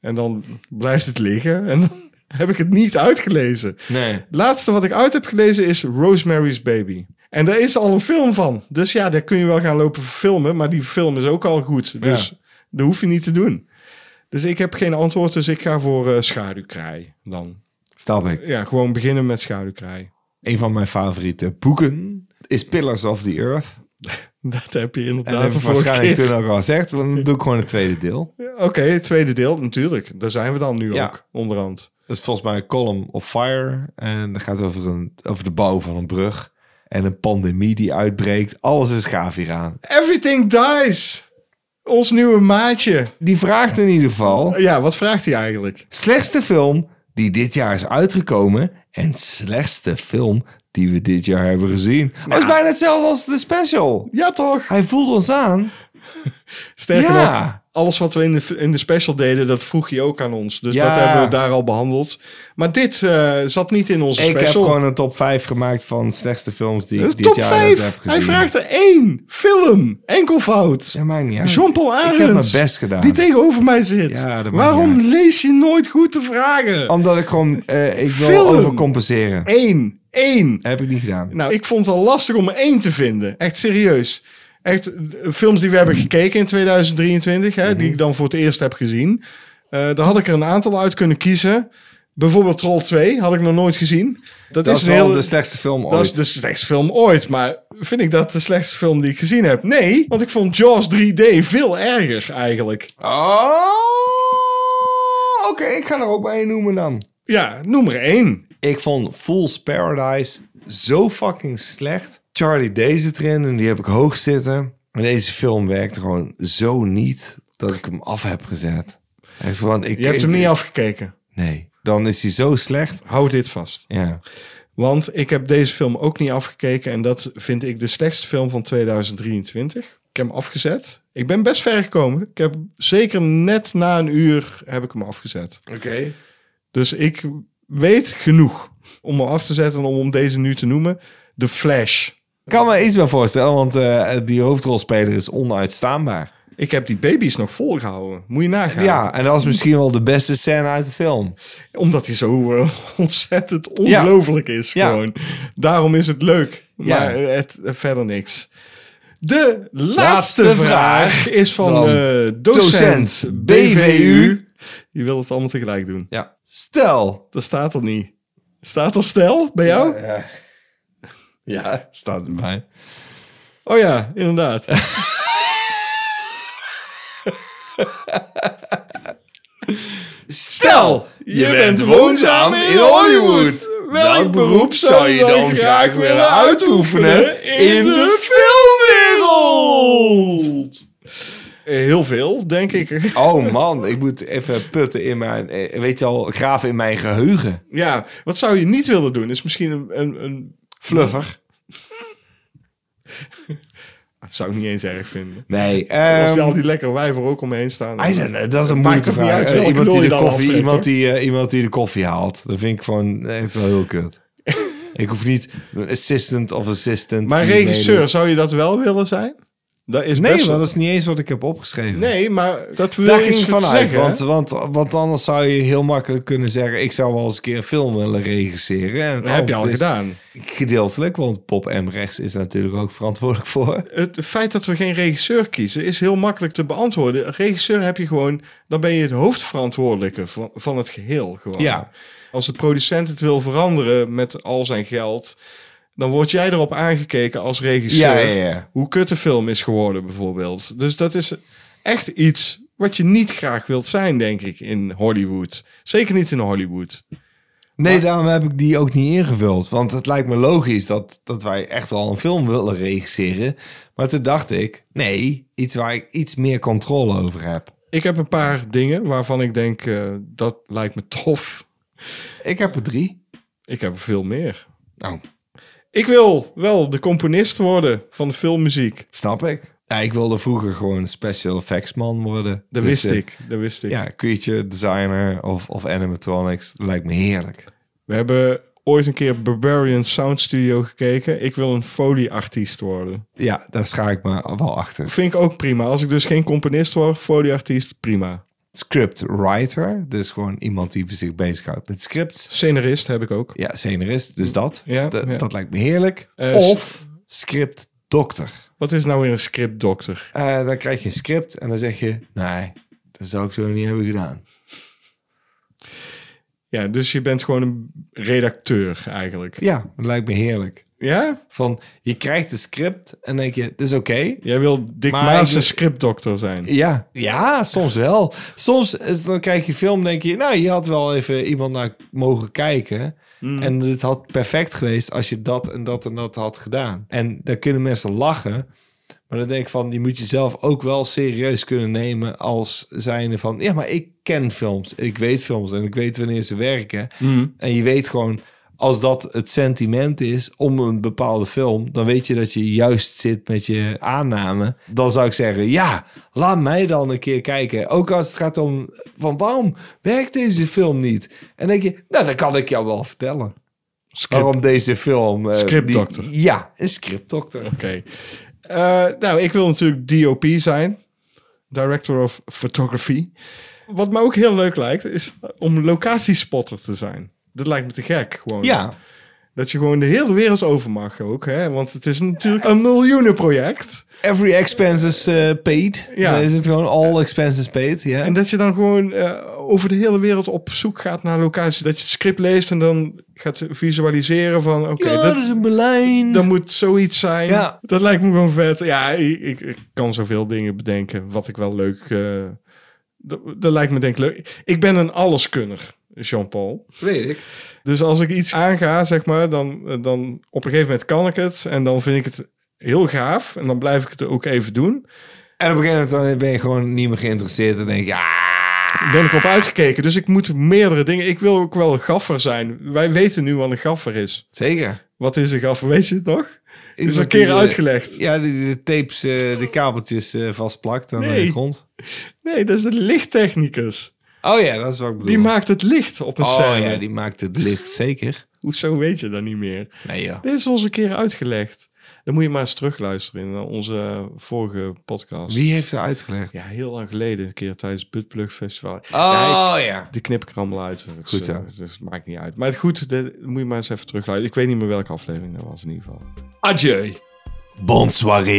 Speaker 1: En dan blijft het liggen en dan heb ik het niet uitgelezen.
Speaker 2: Nee.
Speaker 1: Laatste wat ik uit heb gelezen is Rosemary's Baby. En daar is al een film van. Dus ja, daar kun je wel gaan lopen filmen, maar die film is ook al goed. Dus dat hoef je niet te doen. Dus ik heb geen antwoord, dus ik ga voor eh, schaduwkraai dan.
Speaker 2: Snap ik.
Speaker 1: Ja, gewoon beginnen met schaduwkraai.
Speaker 2: Een van mijn favoriete boeken is Pillars of the Earth.
Speaker 1: Dat heb je
Speaker 2: En dat
Speaker 1: inderdaad
Speaker 2: heb
Speaker 1: de
Speaker 2: ik
Speaker 1: vorige
Speaker 2: waarschijnlijk
Speaker 1: keer.
Speaker 2: toen ook al gezegd. want Dan doe ik gewoon het tweede deel.
Speaker 1: Oké, het tweede deel, natuurlijk. Daar zijn we dan nu
Speaker 2: Ja.
Speaker 1: ook, onderhand.
Speaker 2: Dat is volgens mij een column of fire. En dat gaat over, een, over de bouw van een brug. En een pandemie die uitbreekt. Alles is gaaf hieraan.
Speaker 1: Everything dies! Ons nieuwe maatje.
Speaker 2: Die vraagt in ieder geval...
Speaker 1: Ja, wat vraagt hij eigenlijk?
Speaker 2: Slechtste film die dit jaar is uitgekomen. En slechtste film die we dit jaar hebben gezien. Dat is bijna hetzelfde als de special.
Speaker 1: Ja, toch?
Speaker 2: Hij voelt ons aan.
Speaker 1: Sterker
Speaker 2: Ja.
Speaker 1: nog, alles wat we in de, in de special deden, dat vroeg je ook aan ons. Dus
Speaker 2: Ja.
Speaker 1: dat hebben we daar al behandeld. Maar dit eh, zat niet in onze
Speaker 2: Ik heb
Speaker 1: special.
Speaker 2: gewoon een top 5 gemaakt van slechtste films die
Speaker 1: Een
Speaker 2: ik dit
Speaker 1: top
Speaker 2: jaar
Speaker 1: 5.
Speaker 2: heb gezien.
Speaker 1: Hij vraagt er één film. Enkelvoud.
Speaker 2: Ja, maakt niet uit.
Speaker 1: Jean-Paul Arends.
Speaker 2: Ik heb mijn best gedaan.
Speaker 1: Die tegenover mij zit.
Speaker 2: Ja, dat maakt
Speaker 1: Waarom
Speaker 2: niet
Speaker 1: lees je nooit goed de vragen?
Speaker 2: Omdat ik gewoon... eh, ik wil
Speaker 1: Film.
Speaker 2: overcompenseren.
Speaker 1: Eén. Eén.
Speaker 2: Heb ik niet gedaan.
Speaker 1: Nou, ik vond het al lastig om er één te vinden. Echt serieus. Echt eh, films die we hebben gekeken in 2023, hè,
Speaker 2: Mhm.
Speaker 1: die ik dan voor het eerst heb gezien. Eh, daar had ik er een aantal uit kunnen kiezen. Bijvoorbeeld Troll 2 had ik nog nooit gezien. Dat,
Speaker 2: Dat
Speaker 1: is
Speaker 2: is
Speaker 1: een
Speaker 2: wel
Speaker 1: heel.
Speaker 2: de slechtste film
Speaker 1: dat is
Speaker 2: ooit.
Speaker 1: de slechtste film ooit. Maar vind ik dat de slechtste film die ik gezien heb? Nee, want ik vond Jaws 3D veel erger eigenlijk.
Speaker 2: Oh, oké. ik ga er ook maar één noemen dan.
Speaker 1: Ja, noem er één.
Speaker 2: Ik vond Fool's Paradise zo fucking slecht. Charlie Days zit erin en die heb ik hoog zitten. Maar deze film werkt gewoon zo niet dat ik hem af heb gezet. Echt gewoon, ik,
Speaker 1: Je hebt
Speaker 2: ik-
Speaker 1: hem niet afgekeken.
Speaker 2: Nee. Dan is hij zo slecht.
Speaker 1: Hou dit vast.
Speaker 2: Ja.
Speaker 1: Want ik heb deze film ook niet afgekeken. En dat vind ik de slechtste film van 2023. Ik heb hem afgezet. Ik ben best ver gekomen. Ik heb zeker net na een uur heb ik hem afgezet.
Speaker 2: Oké.
Speaker 1: Dus ik weet genoeg om hem af te zetten en om hem deze nu te noemen. The Flash.
Speaker 2: Ik kan me iets bij voorstellen, want eh, die hoofdrolspeler is onuitstaanbaar.
Speaker 1: Ik heb die baby's nog volgehouden. Moet je
Speaker 2: Ja.
Speaker 1: nagaan.
Speaker 2: en dat is misschien wel de beste scène uit de film.
Speaker 1: Omdat hij zo eh, ontzettend ongelooflijk is.
Speaker 2: Ja.
Speaker 1: Gewoon. Daarom is het leuk.
Speaker 2: Ja.
Speaker 1: Maar het, eh, verder niks. De laatste,
Speaker 2: Laatste
Speaker 1: vraag,
Speaker 2: vraag
Speaker 1: is van,
Speaker 2: van
Speaker 1: eh, docent,
Speaker 2: docent
Speaker 1: BVU. Je wil het allemaal tegelijk doen.
Speaker 2: Ja. Stel.
Speaker 1: Dat staat er niet. Staat er stel bij jou?
Speaker 2: Ja. ja, staat erbij.
Speaker 1: Oh ja, inderdaad.
Speaker 2: Stel,
Speaker 1: Je bent woonzaam in Hollywood. Welk beroep zou je dan graag willen uitoefenen in de filmwereld? Eh, Heel heel veel, denk ik.
Speaker 2: Oh man, ik moet even putten in mijn, eh, weet je al, graven in mijn geheugen.
Speaker 1: Ja, wat zou je niet willen doen? Is misschien een... een, een...
Speaker 2: Fluffer.
Speaker 1: Dat zou ik niet eens erg vinden.
Speaker 2: Nee,
Speaker 1: Als
Speaker 2: ehm,
Speaker 1: al die lekkere wijven ook omheen staan.
Speaker 2: I don't know, dat is een
Speaker 1: Maakt
Speaker 2: moeilijke
Speaker 1: toch niet
Speaker 2: vraag.
Speaker 1: uit
Speaker 2: Eh,
Speaker 1: welke
Speaker 2: iemand,
Speaker 1: knol
Speaker 2: die
Speaker 1: je
Speaker 2: de
Speaker 1: dan
Speaker 2: koffie,
Speaker 1: aftrekt,
Speaker 2: iemand, die, eh, iemand die de koffie haalt. Dat vind ik gewoon echt wel heel kut. ik hoef niet een assistant of assistant.
Speaker 1: Maar
Speaker 2: die meedoet.
Speaker 1: regisseur, zou je dat wel willen zijn? Dat is
Speaker 2: Nee,
Speaker 1: best...
Speaker 2: want dat is niet eens wat ik heb opgeschreven.
Speaker 1: Nee, maar dat wil
Speaker 2: Daar
Speaker 1: je
Speaker 2: ging ik
Speaker 1: iets van
Speaker 2: vanuit,
Speaker 1: zeggen.
Speaker 2: want,
Speaker 1: hè?
Speaker 2: want, want anders zou je heel makkelijk kunnen zeggen... ik zou wel eens een keer een film willen regisseren. En het
Speaker 1: Dat heb je al
Speaker 2: antwoord is
Speaker 1: gedaan.
Speaker 2: Gedeeltelijk, want Pop M. Rechts is natuurlijk ook verantwoordelijk voor.
Speaker 1: Het feit dat we geen regisseur kiezen is heel makkelijk te beantwoorden. Een regisseur heb je gewoon, dan ben je het hoofdverantwoordelijke van, van het geheel. Gewoon.
Speaker 2: Ja.
Speaker 1: Als de producent het wil veranderen met al zijn geld, dan word jij erop aangekeken als regisseur.
Speaker 2: Ja, ja, ja.
Speaker 1: Hoe kut de film is geworden, bijvoorbeeld. Dus dat is echt iets wat je niet graag wilt zijn, denk ik, in Hollywood. Zeker niet in Hollywood.
Speaker 2: Nee, daarom heb ik die ook niet ingevuld. Want het lijkt me logisch dat, dat wij echt al een film willen regisseren. Maar toen dacht ik, nee, iets waar ik iets meer controle over heb.
Speaker 1: Ik heb een paar dingen waarvan ik denk, eh, dat lijkt me tof.
Speaker 2: Ik heb er drie.
Speaker 1: Ik heb er veel meer.
Speaker 2: Nou,
Speaker 1: Ik wil wel de componist worden van de filmmuziek.
Speaker 2: snap ik. Ja, ik wilde vroeger gewoon een special effects man worden.
Speaker 1: Dat
Speaker 2: Dus,
Speaker 1: wist
Speaker 2: eh,
Speaker 1: ik. Dat wist ik.
Speaker 2: Ja, creature designer of, of animatronics. Dat lijkt me heerlijk.
Speaker 1: We hebben ooit een keer Barbarian Sound Studio gekeken. Ik wil een folieartiest worden.
Speaker 2: Ja, daar scha ik me wel achter.
Speaker 1: Vind ik ook prima. Als ik dus geen componist word, folieartiest, prima.
Speaker 2: Scriptwriter, dus gewoon iemand die zich bezighoudt met scripts.
Speaker 1: Scenarist heb ik ook.
Speaker 2: Ja, scenarist, dus dat.
Speaker 1: Ja,
Speaker 2: Dat-
Speaker 1: ja.
Speaker 2: Dat lijkt me heerlijk.
Speaker 1: Eh,
Speaker 2: of scriptdokter.
Speaker 1: Wat is nou weer een scriptdokter?
Speaker 2: Eh dan krijg je een script en dan zeg je... Nee, dat zou ik zo niet hebben gedaan.
Speaker 1: Ja, dus je bent gewoon een redacteur eigenlijk.
Speaker 2: Ja, dat lijkt me heerlijk.
Speaker 1: Ja?
Speaker 2: Van, je krijgt een script en denk je, dit is oké.
Speaker 1: Jij wil Dick
Speaker 2: Maar
Speaker 1: Maas
Speaker 2: ik-
Speaker 1: een scriptdokter zijn.
Speaker 2: Ja. ja, soms wel. Soms is- dan krijg je film denk je... Nou, je had wel even iemand naar mogen kijken. En het had perfect geweest als je dat en dat en dat had gedaan. En dan kunnen mensen lachen. Maar dan denk ik van, die moet je zelf ook wel serieus kunnen nemen als zijnde van... Ja, maar ik ken films. en Ik weet films en ik weet wanneer ze werken. En je weet gewoon, als dat het sentiment is om een bepaalde film... dan weet je dat je juist zit met je aanname. Dan zou ik zeggen, ja, laat mij dan een keer kijken. Ook als het gaat om, van waarom werkt deze film niet? En dan denk je, nou, dat kan ik jou wel vertellen.
Speaker 1: Script-
Speaker 2: Waarom deze film... eh,
Speaker 1: Scriptdokter.
Speaker 2: die- Ja, een scriptdokter.
Speaker 1: Oké. Eh, nou, ik wil natuurlijk DOP zijn. Director of Photography. Wat me ook heel leuk lijkt, is om locatiespotter te zijn. Dat lijkt me te gek. Gewoon.
Speaker 2: Ja,
Speaker 1: Dat je gewoon de hele wereld over mag ook. Hè? Want het is natuurlijk een miljoenenproject.
Speaker 2: Every expense is eh, paid.
Speaker 1: Ja.
Speaker 2: Ja. is het gewoon all expenses paid. Ja.
Speaker 1: En dat je dan gewoon eh, over de hele wereld op zoek gaat naar locaties. Dat je het script leest en dan gaat visualiseren van... Oké,
Speaker 2: ja,
Speaker 1: dat,
Speaker 2: dat is een Berlijn.
Speaker 1: Dat moet zoiets zijn.
Speaker 2: Ja.
Speaker 1: Dat lijkt me gewoon vet. Ja, ik, ik, ik kan zoveel dingen bedenken. Wat ik wel leuk... eh, dat, dat lijkt me denk ik leuk. Ik ben een alleskunner, Jean-Paul.
Speaker 2: weet ik.
Speaker 1: Dus als ik iets aanga, zeg maar, dan, eh, dan op een gegeven moment kan ik het. En dan vind ik het heel gaaf. En dan blijf ik het ook even doen.
Speaker 2: En op een gegeven moment dan ben je gewoon niet meer geïnteresseerd. En denk je, ah.
Speaker 1: Ben ik op uitgekeken. Dus ik moet meerdere dingen... Ik wil ook wel een gaffer zijn. Wij weten nu wat een gaffer is.
Speaker 2: Zeker.
Speaker 1: Wat is een gaffer? Weet je het nog?
Speaker 2: Is
Speaker 1: een keer uitgelegd.
Speaker 2: Ja, die de tapes, eh, de kabeltjes eh, vastplakt aan
Speaker 1: Nee.
Speaker 2: de grond.
Speaker 1: Nee, dat is de lichttechnicus.
Speaker 2: Oh ja, dat is wat ik bedoel.
Speaker 1: Die maakt het licht op een
Speaker 2: oh
Speaker 1: scène.
Speaker 2: ja, die maakt het licht, zeker.
Speaker 1: Hoezo weet je dat niet meer?
Speaker 2: Nee ja.
Speaker 1: Dit is ons een keer uitgelegd. Dan moet je maar eens terugluisteren in eh, onze vorige podcast.
Speaker 2: Wie heeft ze uitgelegd?
Speaker 1: Ja, heel lang geleden. Een keer tijdens het Buttplug Festival. Ja, ik-
Speaker 2: Oh ja.
Speaker 1: die knip ik er allemaal uit. Dus,
Speaker 2: Goed zo.
Speaker 1: eh, Dus, het maakt niet uit. Maar goed, dat moet je maar eens even terugluisteren. Ik weet niet meer welke aflevering dat was in ieder geval.
Speaker 2: Adieu. Bonsoiré.